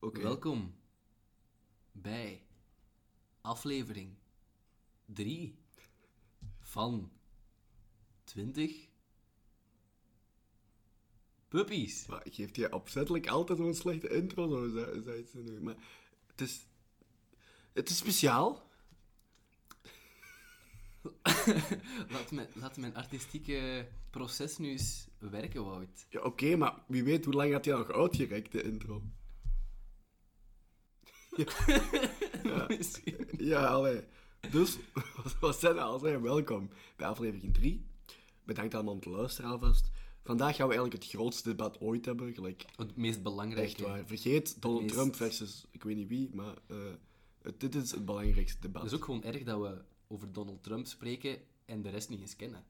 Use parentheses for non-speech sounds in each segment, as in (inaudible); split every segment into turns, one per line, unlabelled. Welkom bij aflevering 3 van 20 Puppies.
Maar geeft jij opzettelijk altijd zo'n slechte intro, zo ze- zei ze nu. Maar het is... Het is speciaal.
Laat mijn, laat mijn artistieke proces nu eens werken, Wout.
Ja, oké, maar wie weet hoe lang had hij nog uitgerekt, de intro.
(laughs)
(laughs)
Misschien.
Ja, allee. Dus, (laughs) wat- wat zijn al zijn? Welkom bij aflevering 3. Bedankt aan onze luisteraar vast. Vandaag gaan we eigenlijk het grootste debat ooit hebben, gelijk...
Het meest belangrijke.
Echt waar. Vergeet Donald
Meest-
Trump versus ik weet niet wie, maar eh, het- dit is het belangrijkste debat.
Het is ook gewoon erg dat we over Donald Trump spreken en de rest niet eens kennen.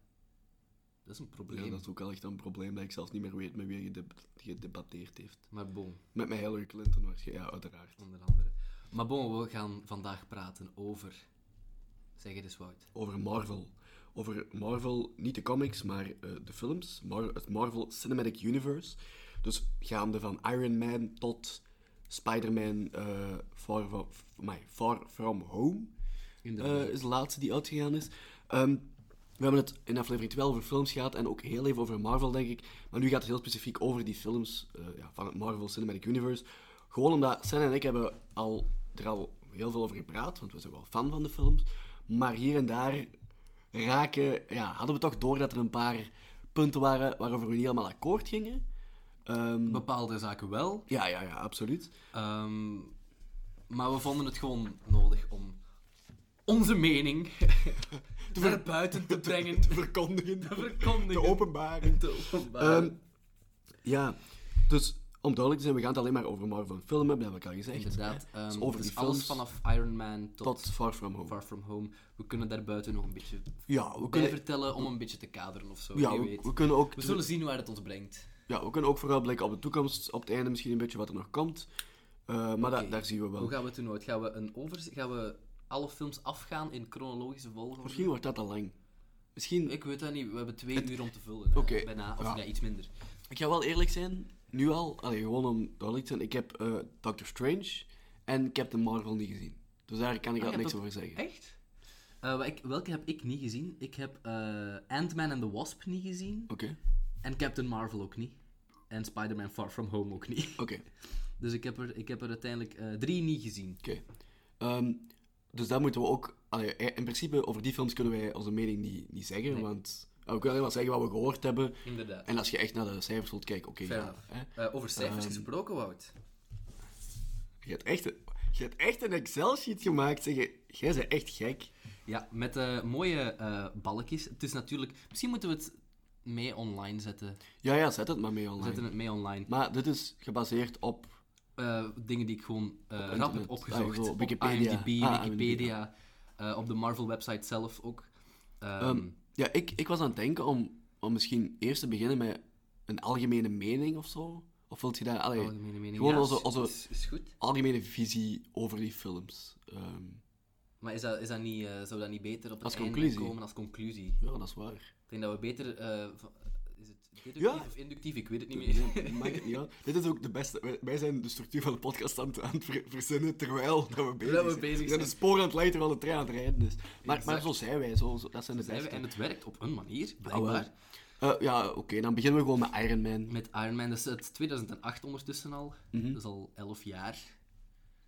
Dat is een probleem.
Ja, dat is ook al echt een probleem dat ik zelfs niet meer weet met wie gedeb- gedebatteerd heeft.
Maar bon,
Met mijn Hillary Clinton waarschijnlijk, ja, uiteraard.
onder andere. Maar bon, we gaan vandaag praten over... Zeg het eens, Wout.
Over Marvel. Over Marvel, niet de comics, maar eh, de films. Mar- het Marvel Cinematic Universe. Dus gaande van Iron Man tot Spider-Man eh, Far, Fro- amai, Far From Home.
Inderdaad.
eh, is de laatste die uitgegaan is. Ehm, we hebben het in aflevering 12 over films gehad en ook heel even over Marvel, denk ik. Maar nu gaat het heel specifiek over die films eh, ja, van het Marvel Cinematic Universe. Gewoon omdat Sen en ik hebben al, er al heel veel over gepraat, want we zijn wel fan van de films. Maar hier en daar raken, ja, hadden we toch door dat er een paar punten waren waarover we niet helemaal akkoord gingen. Ehm,
Bepaalde zaken wel,
ja, ja, ja, absoluut.
ehm, maar we vonden het gewoon nodig om onze mening (laughs) naar buiten te brengen,
Te verkondigen,
te
te
verkondigen.
openbaren.
te openbaren.
Ehm, ja, dus om duidelijk te zijn, we gaan het alleen maar over Marvel filmen, dat heb ik al gezegd.
Inderdaad,
Hè? Dus
ehm,
over
het is
die films
alles vanaf Iron Man tot,
tot Far From Home.
Far From Home. We kunnen daar buiten nog een beetje
Ja, we
bij
kunnen,
vertellen om een beetje te kaderen of zo.
ja,
wie
we,
weet.
we kunnen ook,
We zullen zien waar het ons brengt.
ja, we kunnen ook vooruitblikken op de toekomst, op het einde misschien een beetje wat er nog komt. Eh, maar da-
Oké.
daar zien we wel.
Hoe gaan we het doen ooit? Gaan we, een overzicht, gaan we alle films afgaan in chronologische volgorde?
Misschien wordt dat al lang. Misschien, ik...
Ik weet dat niet. We hebben twee uur om te vullen. hè.
Oké.
Bijna, of
Ja.
ja, iets minder.
ga wel eerlijk zijn, nu al, allee, gewoon om duidelijk te zijn, ik heb eh, Doctor Strange en Captain Marvel niet gezien. Dus daar kan ik
Ah,
al
je
niks
hebt
over zeggen.
Echt? Eh, wa- ik- welke heb ik niet gezien? Ik heb eh, Ant-Man and the Wasp niet gezien.
Oké,
En Captain Marvel ook niet. En Spider-Man Far From Home ook niet. (laughs)
oké.
Dus ik heb er, ik heb er uiteindelijk eh, drie niet gezien.
Oké. Ehm, dus daar moeten we ook... allee, eh, in principe, over die films kunnen wij onze mening niet, niet zeggen,
Nee.
want eh, we kunnen alleen maar zeggen wat we gehoord hebben.
Inderdaad.
En als je echt naar de cijfers wilt kijken, oké,
Fair
ja.
enough.
hè.
Eh, over cijfers
Ehm.
gesproken, Wout.
Je hebt echt een, je hebt echt een Excel-sheet gemaakt, zeg je. Jij bent echt gek.
Ja, met eh, mooie eh, balkjes. Het is natuurlijk... Misschien moeten we het mee online zetten.
Ja, ja, zet het maar mee
We
online.
zetten het mee online.
Maar dit is gebaseerd op...
eh, dingen die ik gewoon eh rap heb
internet.
opgezocht.
Ah, zo,
op
Wikipedia.
IMDb,
Ah,
Wikipedia, eh, op de Marvel-website zelf ook. Ehm,
Ehm, ja, ik, ik was aan het denken om, om misschien eerst te beginnen met een algemene mening of zo. Of wilt je daar... Allee,
algemene mening.
gewoon
Ja,
onze-
is-
onze-
Is, is goed.
algemene visie over die films. Ehm,
Maar is dat, is dat niet, eh, zou dat niet beter op het
Als
einde
conclusie.
komen als conclusie?
ja, dat is waar.
Ik denk dat we beter... eh, van- is het deductief
Ja.
of inductief? Ik weet het niet (laughs) meer.
Nee, maakt het niet uit. Dit is ook de beste. Wij, wij zijn de structuur van de podcast aan, het- aan het ver- verzinnen terwijl dat we bezig
we bezig
zijn. we zijn de
zijn.
sporen aan het leiden terwijl de trein aan het rijden is. Maar, maar
Exact.
zo zijn wij, zo, zo- dat zijn de
Zijn we-
beste.
En het werkt op een manier,
Ah, wel.
blijkbaar.
Eh, ja, oké, dan beginnen we gewoon met Iron Man.
Met Iron Man, dat is uit 2008 ondertussen al.
Mhm.
Dat is al 11 jaar.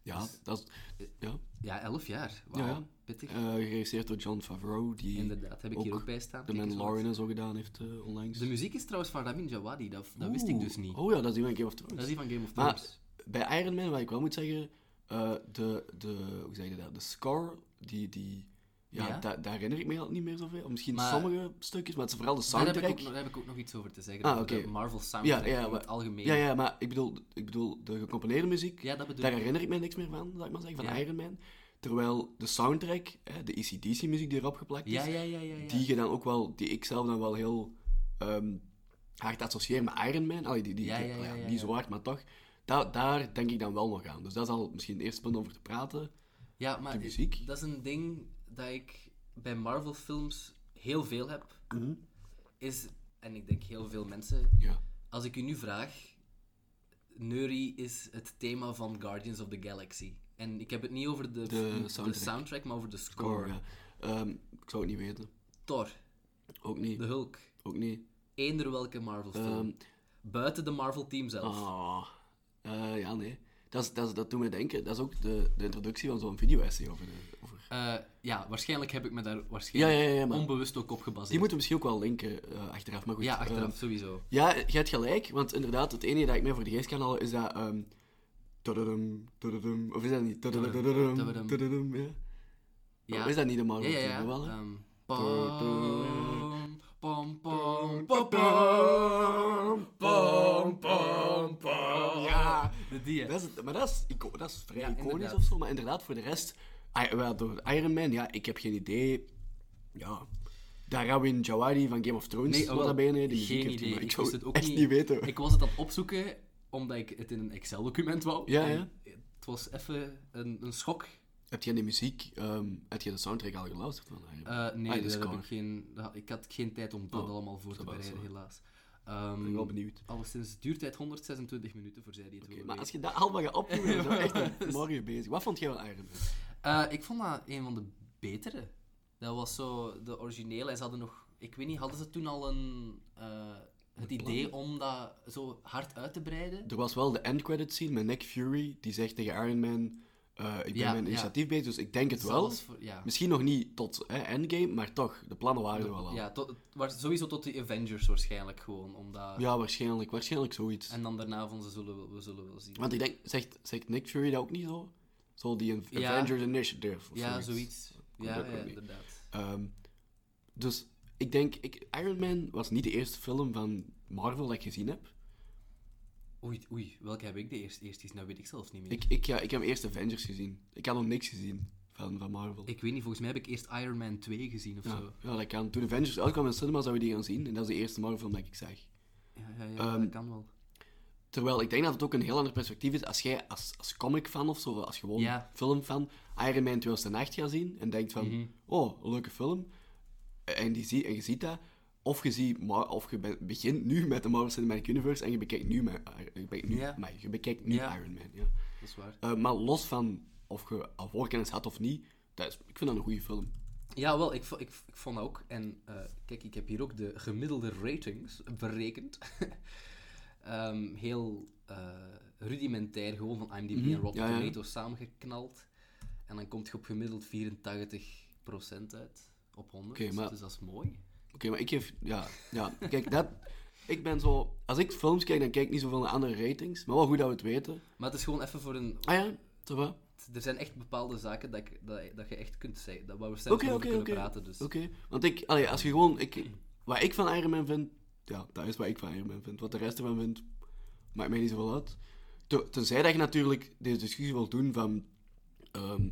Ja,
Dus-
dat is. Ja.
Ja, 11 jaar. Wauw,
Ja, ja.
pittig.
Eh, geregisseerd door John Favreau, die
Inderdaad, heb ik hier
ook
ook bij staan.
The
Kijk eens,
Mandalorian en zo gedaan heeft eh, onlangs.
De muziek is trouwens van Ramin Djawadi, dat, dat wist ik
Oeh.
dus niet.
Oh ja, dat is die van Game of
Dat
Thrones.
is die van Game of
Maar-
Thrones.
Bij Iron Man, wat ik wel moet zeggen, eh, de, de, hoe zeg je dat, de score, die, die, ja,
Ja?
da- daar herinner ik me al niet meer zoveel. Misschien
Maar-
sommige stukjes, maar het is vooral de
Daar heb, ik
soundtrack.
ook, nog- daar heb ik ook nog iets over te zeggen.
Ah,
over De
oké.
Marvel soundtrack
Ja, ja,
in
maar-
het algemeen.
Ja, ja, maar ik bedoel, ik bedoel de gecomponeerde muziek,
Ja, dat bedoel
daar
ik.
herinner ik me niks meer van, zal ik maar zeggen, van
Ja.
Iron Man. Terwijl de soundtrack, hè, de E ECDC-muziek die erop geplakt is,
Ja, ja, ja, ja. ja.
die je dan ook wel, die ik zelf dan wel heel ehm, hard associeer met Iron Man. Allee, die, die,
Ja,
die-
ja,
oh
ja, ja,
niet
ja.
zo hard, maar toch. Da- daar denk ik dan wel nog aan. Dus dat is al misschien het eerste punt om over te praten.
Ja, maar
de muziek.
dat is een ding dat ik bij Marvel films heel veel heb.
Mhm.
Is, en ik denk heel veel mensen,
Ja.
als ik u nu vraag, Neuri is het thema van Guardians of the Galaxy. En ik heb het niet over de,
De soundtrack.
maar over de score.
Core, ja. Ehm, ik zou het niet weten.
Thor,
Ook niet.
de Hulk,
Ook niet.
eender welke Marvel-film.
Ehm,
Buiten de Marvel-team zelf.
ah. Eh, ja, nee. Dat, is, dat, is- dat doet me denken. Dat is ook de, de introductie van zo'n video-essay over, de- over...
Eh, ja, waarschijnlijk heb ik me daar
Ja,
waarschijnlijk
ja, ja. Maar
onbewust ook op
die
gebaseerd.
moeten we misschien ook wel linken eh, achteraf. Maar goed.
Ja, achteraf
ehm,
sowieso.
Ja, je hebt gelijk, want inderdaad, het enige dat ik mij voor de geest kan halen is dat. ehm tududum, tududum, of is dat niet? Tududum, tududum,
tududum.
tududum, ja. Of is dat niet de
Ja,
Marvel?
ja, ja.
film? Wel, hè?
Ehm,
Door, door.
pam, pam, pam, pam, pam, pam, pam, pam.
Ja.
de die. hè.
Dat is het- maar dat is, ico- dat is vrij
Ja,
iconisch
inderdaad.
of zo, maar inderdaad, voor de rest. ah, wel, door Iron Man, ja, ik heb geen idee. Ja. Darawin Jawadi van Game of Thrones,
Nee,
wat
wel,
dat benen, die muziek
geen
heeft hij,
idee.
maar
Ik
zou
wist het ook
echt
niet.
niet weten.
Ik was het aan het opzoeken omdat ik het in een Excel-document wou.
Ja,
En Het was even een, een schok.
Heb jij de muziek, ehm heb je de soundtrack al geluisterd van Iron Man?
Eh, nee,
Ah, dat is
daar heb
score.
ik, geen, daar- ik had geen tijd om dat
Oh,
allemaal voor te
dat was
bereiden,
zo.
helaas. Ehm,
ben ik wel benieuwd.
Alleszins duurt het 126 minuten voor zij die het
Oké,
willen
maar als
weten.
je dat allemaal gaat opnoemen, dan ben je echt een morgen bezig. Wat vond jij wel Iron Man?
Eh, ik vond dat een van de betere. Dat was zo de originele. En ze hadden nog, ik weet niet, hadden ze toen al een, eh, het
Een plan?
idee om dat zo hard uit te breiden?
Er was wel de end credit scene met Nick Fury, die zegt tegen Iron Man, eh, ik ben
Ja,
mijn
ja.
initiatief bezig, dus ik denk het
Dus
wel.
alles voor- ja.
Misschien nog niet tot hè, Endgame, maar toch, de plannen waren er wel al. Ja,
Ja, tot, waar- sowieso tot de Avengers waarschijnlijk gewoon. Omdat,
waarschijnlijk, waarschijnlijk zoiets.
En dan daarna van ze zullen wel- we zullen wel zien.
Want ik denk, zegt, zegt Nick Fury dat ook niet zo? Zo die Av-
Ja.
Avengers Initiative of
ja,
zoiets.
zoiets.
Komt
Ja,
ook
ja,
nog niet.
inderdaad.
Ehm, dus ik denk, ik, Iron Man was niet de eerste film van Marvel dat ik gezien heb.
Oei, oei, welke heb ik de eerste eerst gezien? Dat weet ik zelfs niet meer.
Ik, ik, ja, ik heb eerst Avengers gezien. Ik had nog niks gezien van, van Marvel.
Ik weet niet, volgens mij heb ik eerst Iron Man 2 gezien of
ja,
zo.
ja, dat kan. Toen Avengers uitkwam in de cinema, zouden we die gaan zien. En dat is de eerste Marvel film dat ik zag.
Ja, ja, ja
Ehm,
dat kan wel.
Terwijl ik denk dat het ook een heel ander perspectief is als jij als, als comic-fan of zo, als gewoon
Ja. Mhm.
filmfan, Iron Man 2008 gaat zien en denkt van, oh, een leuke film. En, die zie, en je ziet dat. Of je, ziet, Mar- of je be- begint nu met de Marvel Cinematic Universe en je bekijkt nu, maar, je bekijkt nu,
Ja.
maar je bekijkt nu
Ja.
Iron Man. Ja.
Dat is waar.
Eh, maar los van of je al voorkennis had of niet, dat is, ik vind dat een goede film.
Ja, wel, ik, vo- ik, ik vond dat ook. En eh, kijk, ik heb hier ook de gemiddelde ratings berekend. (laughs) Ehm, heel eh, rudimentair, gewoon van IMDb en Rotten
Mhm. Ja, ja.
Tomatoes samengeknald. En dan komt je op gemiddeld 84% uit op 100.
Oké, maar-
Dus dat is mooi.
Oké, maar ik geef... Ja, ja. Kijk, dat... Ik ben zo... Als ik films kijk, dan kijk ik niet zoveel naar andere ratings. Maar wel goed dat we het weten.
Maar het is gewoon even voor een.
Ah ja, ça va.
Er zijn echt bepaalde zaken dat, ik, dat, dat je echt kunt zeggen. Dat, waar we zelfs
Oké,
over
oké,
kunnen
oké.
praten. Dus.
Oké. Want ik... Allee, als je gewoon... Ik, wat ik van Iron Man vind... Ja, dat is wat ik van Iron Man vind. Wat de rest ervan vindt, maakt mij niet zoveel uit. Te- tenzij dat je natuurlijk deze discussie wilt doen van... ehm,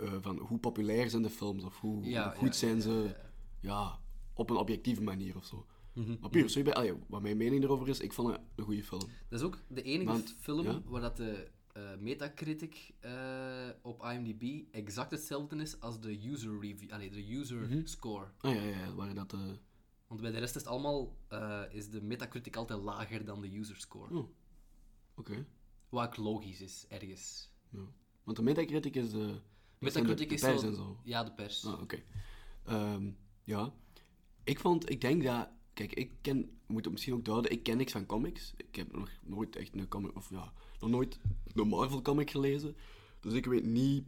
eh, van hoe populair zijn de films of hoe,
Ja,
hoe
ja,
goed
ja,
zijn ze...
ja, ja.
ja, op een objectieve manier of zo.
Mhm.
Maar puur, sorry, bij, allee, wat mijn mening erover is, ik vond het een goede film.
Dat is ook de enige
Want-
film
ja.
waar dat de eh, Metacritic eh, op IMDb exact hetzelfde is als de user review, allee, de user score.
Ah ja, ja, ja, waren dat... eh,
Want bij de rest is het allemaal eh, is de Metacritic altijd lager dan de user score.
Oh. Oké.
Wat ook logisch is ergens.
Ja. Want de Metacritic is de... dat zijn de-
Metacritic
de
is
pers
zo-
en zo.
Ja, de pers.
Ah, oké. Ehm, ja. Ik vond, ik denk dat... Kijk, ik ken... Ik moet het misschien ook duiden, ik ken niks van comics. Ik heb nog nooit echt een comic... Of ja, nog nooit een Marvel comic gelezen. Dus ik weet niet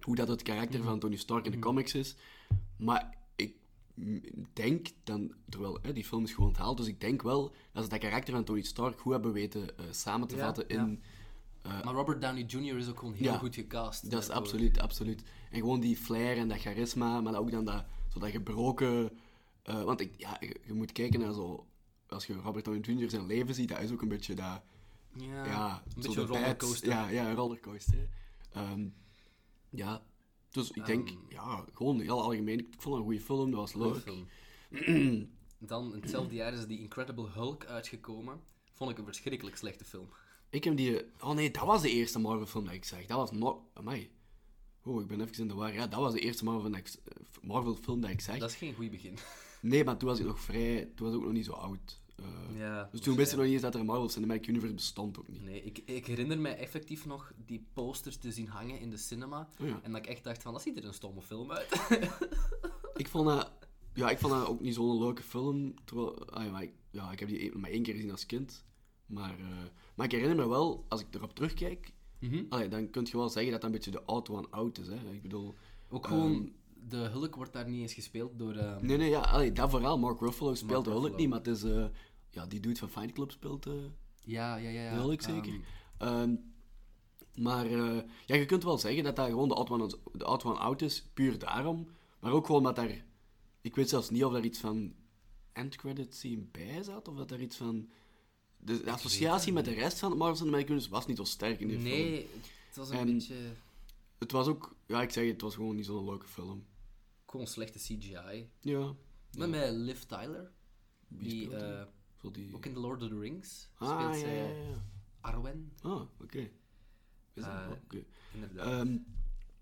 hoe dat het karakter
Mhm.
van Tony Stark in de comics is. Maar ik m- denk dan... Terwijl, hè, die film is gewoon onthaald. Dus ik denk wel dat ze dat karakter van Tony Stark goed hebben weten eh, samen te
Ja,
vatten
ja.
in...
Maar Robert Downey Jr. is ook gewoon heel
Ja,
goed gecast.
Dat is
daarvoor.
absoluut, absoluut. En gewoon die flair en dat charisma, maar ook dan dat, zo dat gebroken... eh, want ik, ja, je, je moet kijken naar zo... Als je Robert Downey Jr. zijn leven ziet, dat is ook een beetje dat...
Ja,
Ja,
een
zo
beetje een
de bad-
rollercoaster.
Ja, ja, een rollercoaster. Ehm, ja, dus ik denk, ja, gewoon heel algemeen. Ik vond het een goede film, dat was
Ehm. Goeie
leuk.
film.
(clears throat)
Dan, in hetzelfde jaar is die Incredible Hulk uitgekomen. Vond ik een verschrikkelijk slechte film.
Ik heb die... Oh nee, dat was de eerste Marvel-film dat ik zag. Dat was nog... Amai. Oh, ik ben even in de war. Ja, dat was de eerste Marvel-film dat ik, Marvel dat ik zag.
Dat is geen goed begin.
Nee, maar toen was ik nog vrij... Toen was ik ook nog niet zo oud. eh,
Ja,
dus toen wist ik nog niet eens dat er een Marvel Cinematic Universe bestond ook niet.
Nee, ik, ik herinner mij effectief nog die posters te zien hangen in de cinema.
Oh ja.
En dat ik echt dacht van, dat ziet er een stomme film uit.
(laughs) Ik vond dat... Ja, ik vond dat ook niet zo'n leuke film. Terwijl... ah ja, maar ik, ja, ik heb die e- maar één keer gezien als kind. Maar, eh, maar ik herinner me wel, als ik erop terugkijk...
Mhm.
allee, dan kun je wel zeggen dat dat een beetje de oud one out is. Hè. Ik bedoel...
Ook gewoon, Ehm, de Hulk wordt daar niet eens gespeeld door... eh,
Nee, nee, ja, allee, dat vooral. Mark Ruffalo speelt
Mark
de Hulk
Ruffalo.
niet, maar het is... eh, ja, die dude van Fight Club speelt... eh,
Ja, ja, ja. ja.
De Hulk zeker.
Ehm,
Ehm, maar eh, ja, je kunt wel zeggen dat dat gewoon de oud one, de oud one out is, puur daarom. Maar ook gewoon dat daar... Ik weet zelfs niet of daar iets van endcredit scene bij zat, of dat daar iets van... De, de associatie met de rest van het Marvel Cinematic Universe was niet zo sterk in die film.
nee, het was een
Ehm,
beetje...
Het was ook... Ja, ik zeg het, het was gewoon niet zo'n leuke film.
Gewoon slechte CGI.
Ja.
Maar met Liv Tyler,
Wie
die
speelt die?
eh,
Zo die...
ook in The Lord of the Rings
ah,
speelt
ja,
zij
ja, ja.
Arwen.
Ah, oké. Is dat-
Eh,
oké.
Inderdaad.
Ehm,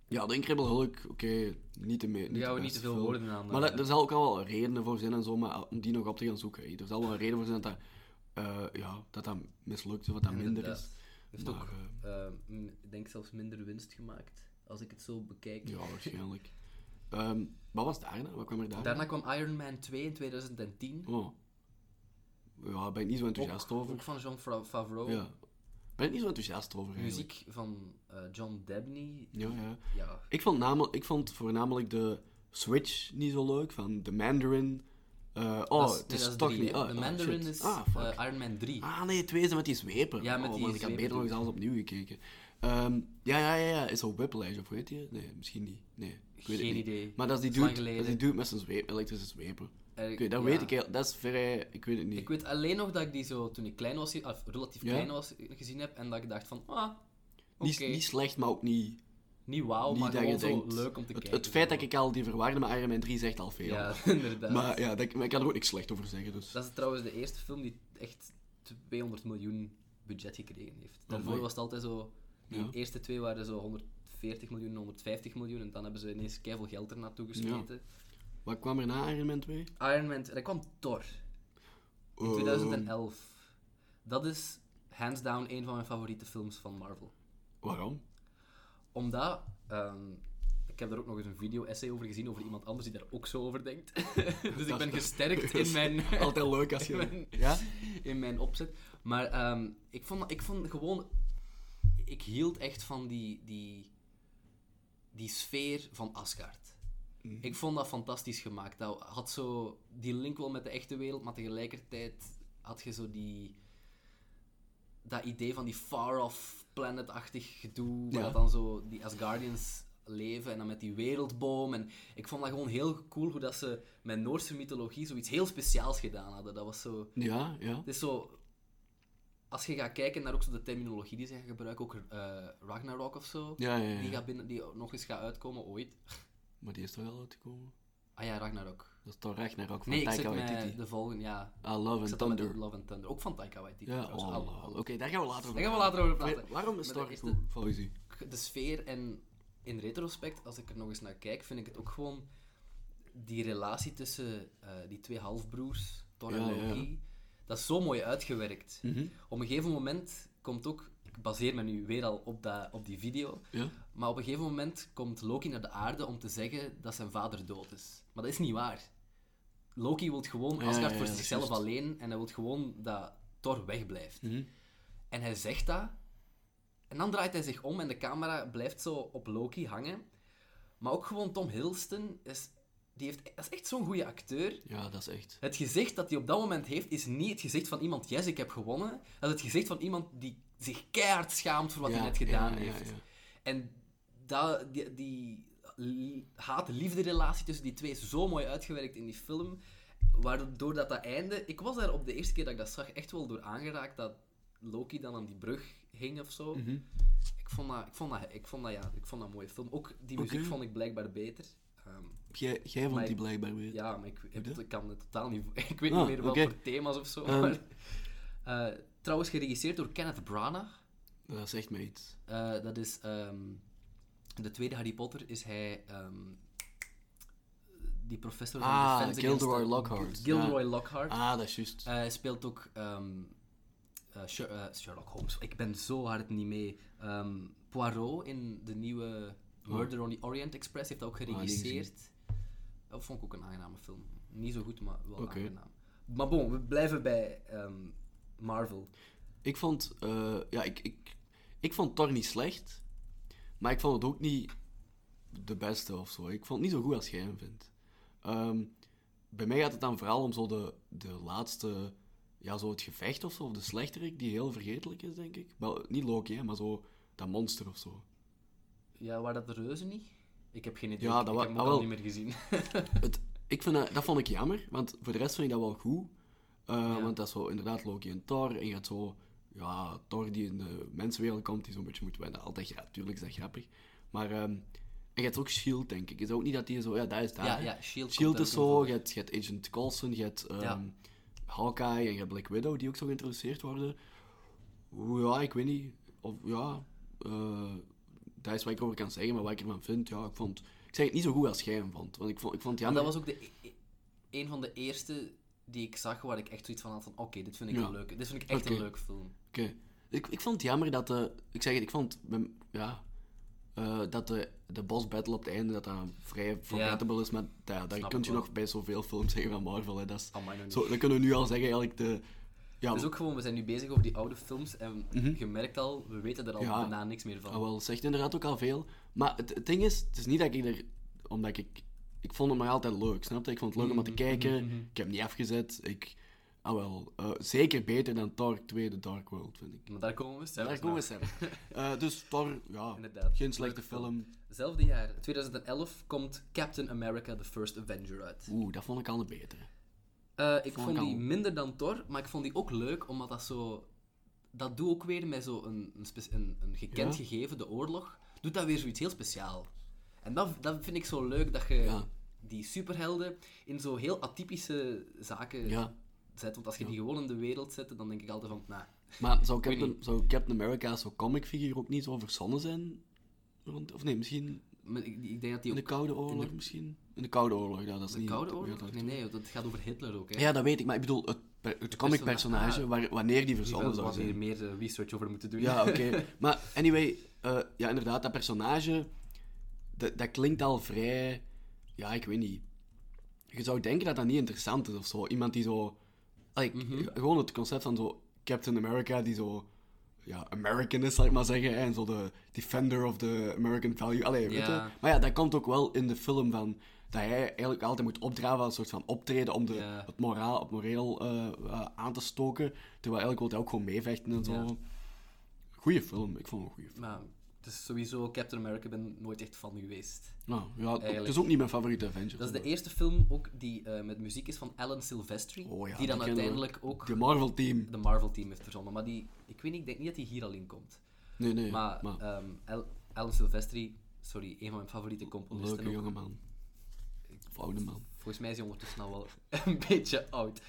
ja, de Incredible Hulk, oké, niet te mee.
Daar gaan we niet te veel woorden aan.
Eh, Maar dat-
eh,
er zal ook al wel redenen voor zijn en zo, maar om die nog op te gaan zoeken. hè. Er zal wel een reden voor zijn dat dat, eh, ja, dat, dat mislukt of dat dat minder
inderdaad.
is.
Heeft
Maar,
ook,
eh,
eh, m- ik denk zelfs minder winst gemaakt, als ik het zo bekijk.
ja, waarschijnlijk. Ehm, wat was daarna? Wat kwam er daarna?
Daarna kwam Iron Man 2 in 2010.
Oh. Ja, daar ben ik niet zo enthousiast over.
Ook van Jean Fra- Favreau.
Ja. Ben ik niet zo enthousiast over eigenlijk.
Muziek van eh, John Debney.
Ja, ja.
Ja,
Ik vond, namelijk, ik vond voornamelijk de Switch niet zo leuk, van de Mandarin. Eh, oh,
dat is-
het
nee,
is
dat is
toch
drie,
niet...
hè.
ah,
de
ah,
Mandarin
shit.
is
Ah, fuck.
eh, Iron Man 3.
Ah, nee, twee zijn met die zwepen.
Ja, met
oh,
die
man, ik had
zwepen
beter nog eens
doen.
alles opnieuw gekeken. Ehm, ja, ja, ja, ja. Is dat Whiplash of weet je? Nee, misschien niet. Nee, ik weet
Geen
het niet.
idee.
Maar dat is die
Is lang
dude, dat is die
geleden.
dude met zijn zweep, elektrische zwepen.
Eh,
Oké, dat
ja.
weet ik. heel- Dat is vrij... Ik weet het niet.
Ik weet alleen nog dat ik die zo toen ik klein was, ge- of relatief
Ja?
klein was, gezien heb. En dat ik dacht van, ah, oké.
niet, niet slecht, maar ook niet...
Niet wauw,
niet
maar
dat je
gewoon zo
denkt...
leuk om te
het,
kijken.
het feit
zo.
dat ik al die verwarde met Iron Man 3 zegt al veel.
Ja, (laughs) inderdaad.
maar ja, dat, maar ik kan er ook niks slecht over zeggen, dus...
Dat is trouwens de eerste film die echt 200 miljoen budget gekregen heeft. Daarvoor
Amai.
was het altijd zo... De
Ja.
eerste twee waren zo 140 miljoen, 150 miljoen. En dan hebben ze ineens keihard geld er naartoe gesmeten.
Wat kwam er na Iron Man 2?
Iron Man... Dat kwam Thor. In
Ehm,
2011. Dat is hands down een van mijn favoriete films van Marvel.
Waarom?
Omdat... ehm, ik heb daar ook nog eens een video-essay over gezien, over iemand anders die daar ook zo over denkt. (laughs) dus ik ben
(laughs)
gesterkt in mijn...
Altijd leuk
(laughs)
als je...
mijn-
Ja?
(laughs) in mijn opzet. Maar ehm, ik, vond, ik vond gewoon... Ik hield echt van die, die, die sfeer van Asgard. Ik vond dat fantastisch gemaakt. Dat had zo die link wel met de echte wereld, maar tegelijkertijd had je zo die... Dat idee van die far-off planet-achtig gedoe, waar
Ja.
dan zo die Asgardians leven en dan met die wereldboom. En ik vond dat gewoon heel cool hoe dat ze met Noorse mythologie zoiets heel speciaals gedaan hadden. Dat was zo...
Ja, ja.
Het is zo... Als je gaat kijken naar ook zo de terminologie die ze gaan gebruiken, ook eh, Ragnarok of zo,
Ja, ja, ja.
Die, gaat binnen, die nog eens gaat uitkomen ooit.
Maar die is toch wel uitgekomen?
Ah ja, Ragnarok.
Dat is toch Ragnarok van
Nee, ik
Taika
zit
Waititi.
met de volgende, ja.
I Love
Ik
and
zit dan met
Thunder.
Love and Thunder. Ook van Taika Waititi.
Ja,
trouwens.
oh,
Al-
lol.
al-
Oké, daar gaan we later over
Daar gaan we later over praten.
Weet- Waarom is
Maar daar
Thor
is
goed,
het-
volgens u?
de sfeer en in retrospect, als ik er nog eens naar kijk, vind ik het ook gewoon die relatie tussen eh, die twee halfbroers, Thor en
Ja, ja.
Loki, dat is zo mooi uitgewerkt. Op een gegeven moment komt ook, ik baseer me nu weer al op, dat, op die video,
Ja?
maar op een gegeven moment komt Loki naar de aarde om te zeggen dat zijn vader dood is. Maar dat is niet waar. Loki wil gewoon
Ja,
Asgard
ja,
voor
ja,
zichzelf
juist.
alleen en hij wil gewoon dat Thor wegblijft.
Mhm.
En hij zegt dat. En dan draait hij zich om en de camera blijft zo op Loki hangen. Maar ook gewoon Tom Hiddleston is, die heeft, dat is echt zo'n goede acteur.
Ja, dat is echt.
Het gezicht dat hij op dat moment heeft, is niet het gezicht van iemand, yes, ik heb gewonnen. Dat is het gezicht van iemand die zich keihard schaamt voor wat
Ja,
hij net gedaan
ja, ja,
heeft.
ja.
En dat, die, die li- haat-liefde-relatie tussen die twee is zo mooi uitgewerkt in die film. Waardoor dat, dat einde... Ik was daar op de eerste keer dat ik dat zag echt wel door aangeraakt dat Loki dan aan die brug hing of zo.
Mm.
Ik vond dat, ik vond dat, ik vond dat, ja, ik vond dat een mooie film. Ook die muziek
Oké.
vond ik blijkbaar beter. Ehm,
Jij, jij vond
Maar
die
ik-
blijkbaar weer.
ja, maar ik, ik,
dat?
ik kan het totaal niet... (laughs) Ik weet
Ah,
niet meer wat
oké.
voor thema's of zo.
Ehm.
maar, eh, trouwens, geregisseerd door Kenneth Branagh.
Dat zegt mij iets.
Eh, dat is... ehm, de tweede Harry Potter is hij... ehm, die professor van
Ah,
Defense Against
Gilderoy
the-
Lockhart.
Gilderoy Lockhart.
Ah, dat is juist.
Eh, Hij speelt ook ehm, eh, Sher- eh, Sherlock Holmes. Ik ben zo hard niet mee. Ehm, Poirot in de nieuwe
Oh.
Murder on the Orient Express heeft dat ook
niet
geregisseerd. Dat vond ik ook een aangename film. Niet zo goed, maar wel
Oké.
aangenaam. Maar bon, we blijven bij ehm, Marvel.
Ik vond, eh, ja, ik, ik, ik vond Thor niet slecht, maar ik vond het ook niet de beste of zo. Ik vond het niet zo goed als jij hem vindt. Ehm, bij mij gaat het dan vooral om zo de, de laatste, ja, zo het gevecht of zo, of de slechterik, die heel vergetelijk is, denk ik. Wel, niet Loki, hè, maar zo dat monster of zo.
Ja, waar dat de reuzen niet? Ik heb geen idee.
Ja,
Ik-
dat
ik
wa-
heb hem
ah,
ook al
wel.
niet meer
(laughs)
gezien.
Het, ik vind dat, dat vond ik jammer, want voor de rest vind ik dat wel goed. Uh,
Ja.
Want dat is zo inderdaad Loki en Thor. En je hebt zo, ja, Thor die in de mensenwereld komt, die zo'n beetje moet wennen. Altijd, ja, tuurlijk is dat grappig. Maar, ehm, en je hebt ook S.H.I.E.L.D., E denk ik. Is dat ook niet dat die zo, ja, dat is daar.
ja,
hè?
ja, Shield.
S.H.I.E.L.D.
komt
is
daar ook
zo,
in
je hebt, je hebt Agent Coulson, je hebt ehm,
Ja.
Hawkeye en je hebt Black Widow, die ook zo geïntroduceerd worden. Ja, ik weet niet. Of, ja, eh, dat is wat ik over kan zeggen, maar wat ik ervan vind, ja, ik vond... Ik zeg het niet zo goed als jij hem vond, want ik vond, ik vond het
Maar
jammer.
dat was ook de, e- e- een van de eerste die ik zag waar ik echt zoiets van had van oké, dit vind ik
Ja.
een leuke, dit vind ik echt een
Oké.
leuke film.
Oké. Ik, ik vond het jammer dat de... Ik zeg het, ik vond... mijn- Ja... eh, dat de, de boss battle op het einde dat dat vrij forgettable is, maar dat, dat
Snap
kun
ik
je
wel.
nog bij zoveel films zeggen van Marvel. Hè. Dat, is,
Amai, nog niet.
zo, dat kunnen we nu al zeggen, eigenlijk de... Ja,
Dus ook gewoon, we zijn nu bezig over die oude films en je merkt al, we weten er al
Mhm. Ja.
daarna niks meer van.
ah, wel, zegt inderdaad ook al veel. Maar het, het ding is, het is niet dat ik er... Omdat ik... Ik vond het maar altijd leuk, snap je? Ik vond het leuk om
Mhm,
naar te kijken. Ik heb hem niet afgezet. Ik... Ah wel, eh, zeker beter dan Thor 2, The Dark World, vind ik.
Maar daar komen we zelfs
Daar komen we zelf.
(laughs)
Eh, dus Thor, ja,
Inderdaad.
geen slechte film.
Hetzelfde jaar, 2011, komt Captain America The First Avenger uit.
Oeh, dat vond ik al een betere.
Eh, ik
Vond
vond
ik
die
al.
minder dan Thor, maar ik vond die ook leuk, omdat dat zo... Dat doet ook weer met zo'n een, een, spec- een, een gekend
Ja.
gegeven, de oorlog, doet dat weer zoiets heel speciaal. En dat, dat vind ik zo leuk, dat je
Ja.
die superhelden in zo heel atypische zaken
Ja.
zet. Want als je die gewoon in de wereld zet, dan denk ik altijd van, nou,
Maar zou
weet
Captain, zou Captain America zo'n comicfiguur ook niet zo verzonnen zijn? Rond, of nee, misschien
maar ik, ik denk dat die
in
ook
de Koude Oorlog? misschien? In de Koude Oorlog, ja, dat is
De
niet...
Koude
dat-
Oorlog?
dat-
Nee, nee, dat gaat over Hitler ook. Hè.
Ja, dat weet ik, maar ik bedoel, het, per- het comicpersonage,
ah.
waar- wanneer die
Hier
verzonnen
wel
zou
wat hier
zijn.
meer eh, research over moeten doen.
Ja, oké. maar anyway, eh, ja, inderdaad, dat personage, dat, dat klinkt al vrij... Ja, ik weet niet. Je zou denken dat dat niet interessant is of zo. Iemand die zo... like,
Mhm.
Gewoon het concept van zo Captain America, die zo... Ja, American is, zal ik maar zeggen. En zo de defender of the American value. Allee, weet je?
Ja.
Maar ja, dat komt ook wel in de film van... Dat hij eigenlijk altijd moet opdraven als een soort van optreden om de,
Ja.
het moraal, het moreel eh, eh, aan te stoken. Terwijl eigenlijk wil hij ook gewoon meevechten en zo.
Ja.
Goeie film, ik vond hem een goede film.
(laughs) Maar het is sowieso Captain America, ben nooit echt fan geweest.
Nou, ja, het is
Eigenlijk.
ook niet mijn favoriete Avengers.
Dat is de
maar-
eerste film ook die eh, met muziek is van Alan Silvestri,
Oh ja,
die dan
die kennen we.
uiteindelijk ook
De Marvel team.
de Marvel-team heeft verzonnen. Maar die, ik weet niet, ik denk niet dat die hier al in komt.
Nee, nee.
maar
Maar,
ehm, Al- Alan Silvestri, sorry, een van mijn favoriete componisten.
leuke
ook.
jonge man. Of oude man.
Volgens mij is hij ondertussen al wel (laughs) een beetje oud.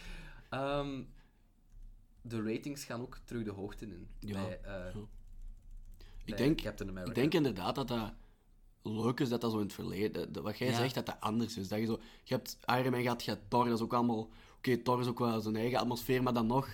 Ehm, de ratings gaan ook terug de hoogte in.
Ja,
bij, eh,
Ik
bij
denk,
Captain America.
ik denk inderdaad dat dat leuk is dat dat zo in het verleden... dat- dat wat jij
Ja.
zegt, dat dat anders is. Dat je zo... Je hebt Iron Man gehad, je hebt Thor, dat is ook allemaal... Oké, Thor is ook wel zijn eigen atmosfeer, maar dan nog...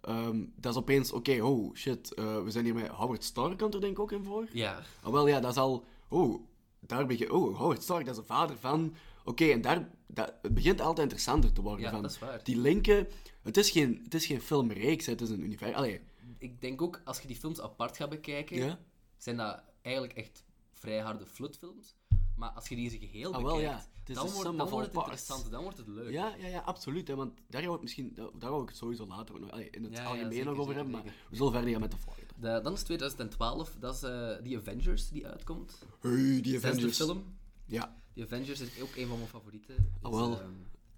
ehm, dat is opeens... Oké, oh, shit. eh, we zijn hier met Howard Stark, komt er denk ik ook in voor.
Ja,
Ah, wel ja, dat is al. Oh, daar begin Oh, Howard Stark, dat is de vader van. Oké, en daar. Dat, het begint altijd interessanter te worden.
Ja,
van.
dat is waar.
Die linken. Het is geen, het is geen filmreeks, hè, het is een universum. Allee,
ik denk ook als je die films apart gaat bekijken,
Ja.
zijn dat eigenlijk echt vrij harde flutfilms. Maar als je die in zijn geheel
Ah, wel,
bekijkt,
ja. Het is
dan,
de
wordt,
sum
dan
of
wordt het
all parts.
interessant, dan wordt het leuk.
ja, ja, ja, absoluut. Hè, want daar wou ik misschien. Daar daar wou ik het sowieso later ook nog. allee, in het
Ja, ja,
algemeen
zeker,
nog over
zeker,
hebben, maar we zullen verder gaan met de volgende.
De- dan is 2012, dat is eh die Avengers die uitkomt.
Hey, die
Zesde
Avengers.
film.
Ja,
Die Avengers is ook een van mijn favorieten.
Ah,
Is,
wel.
ehm,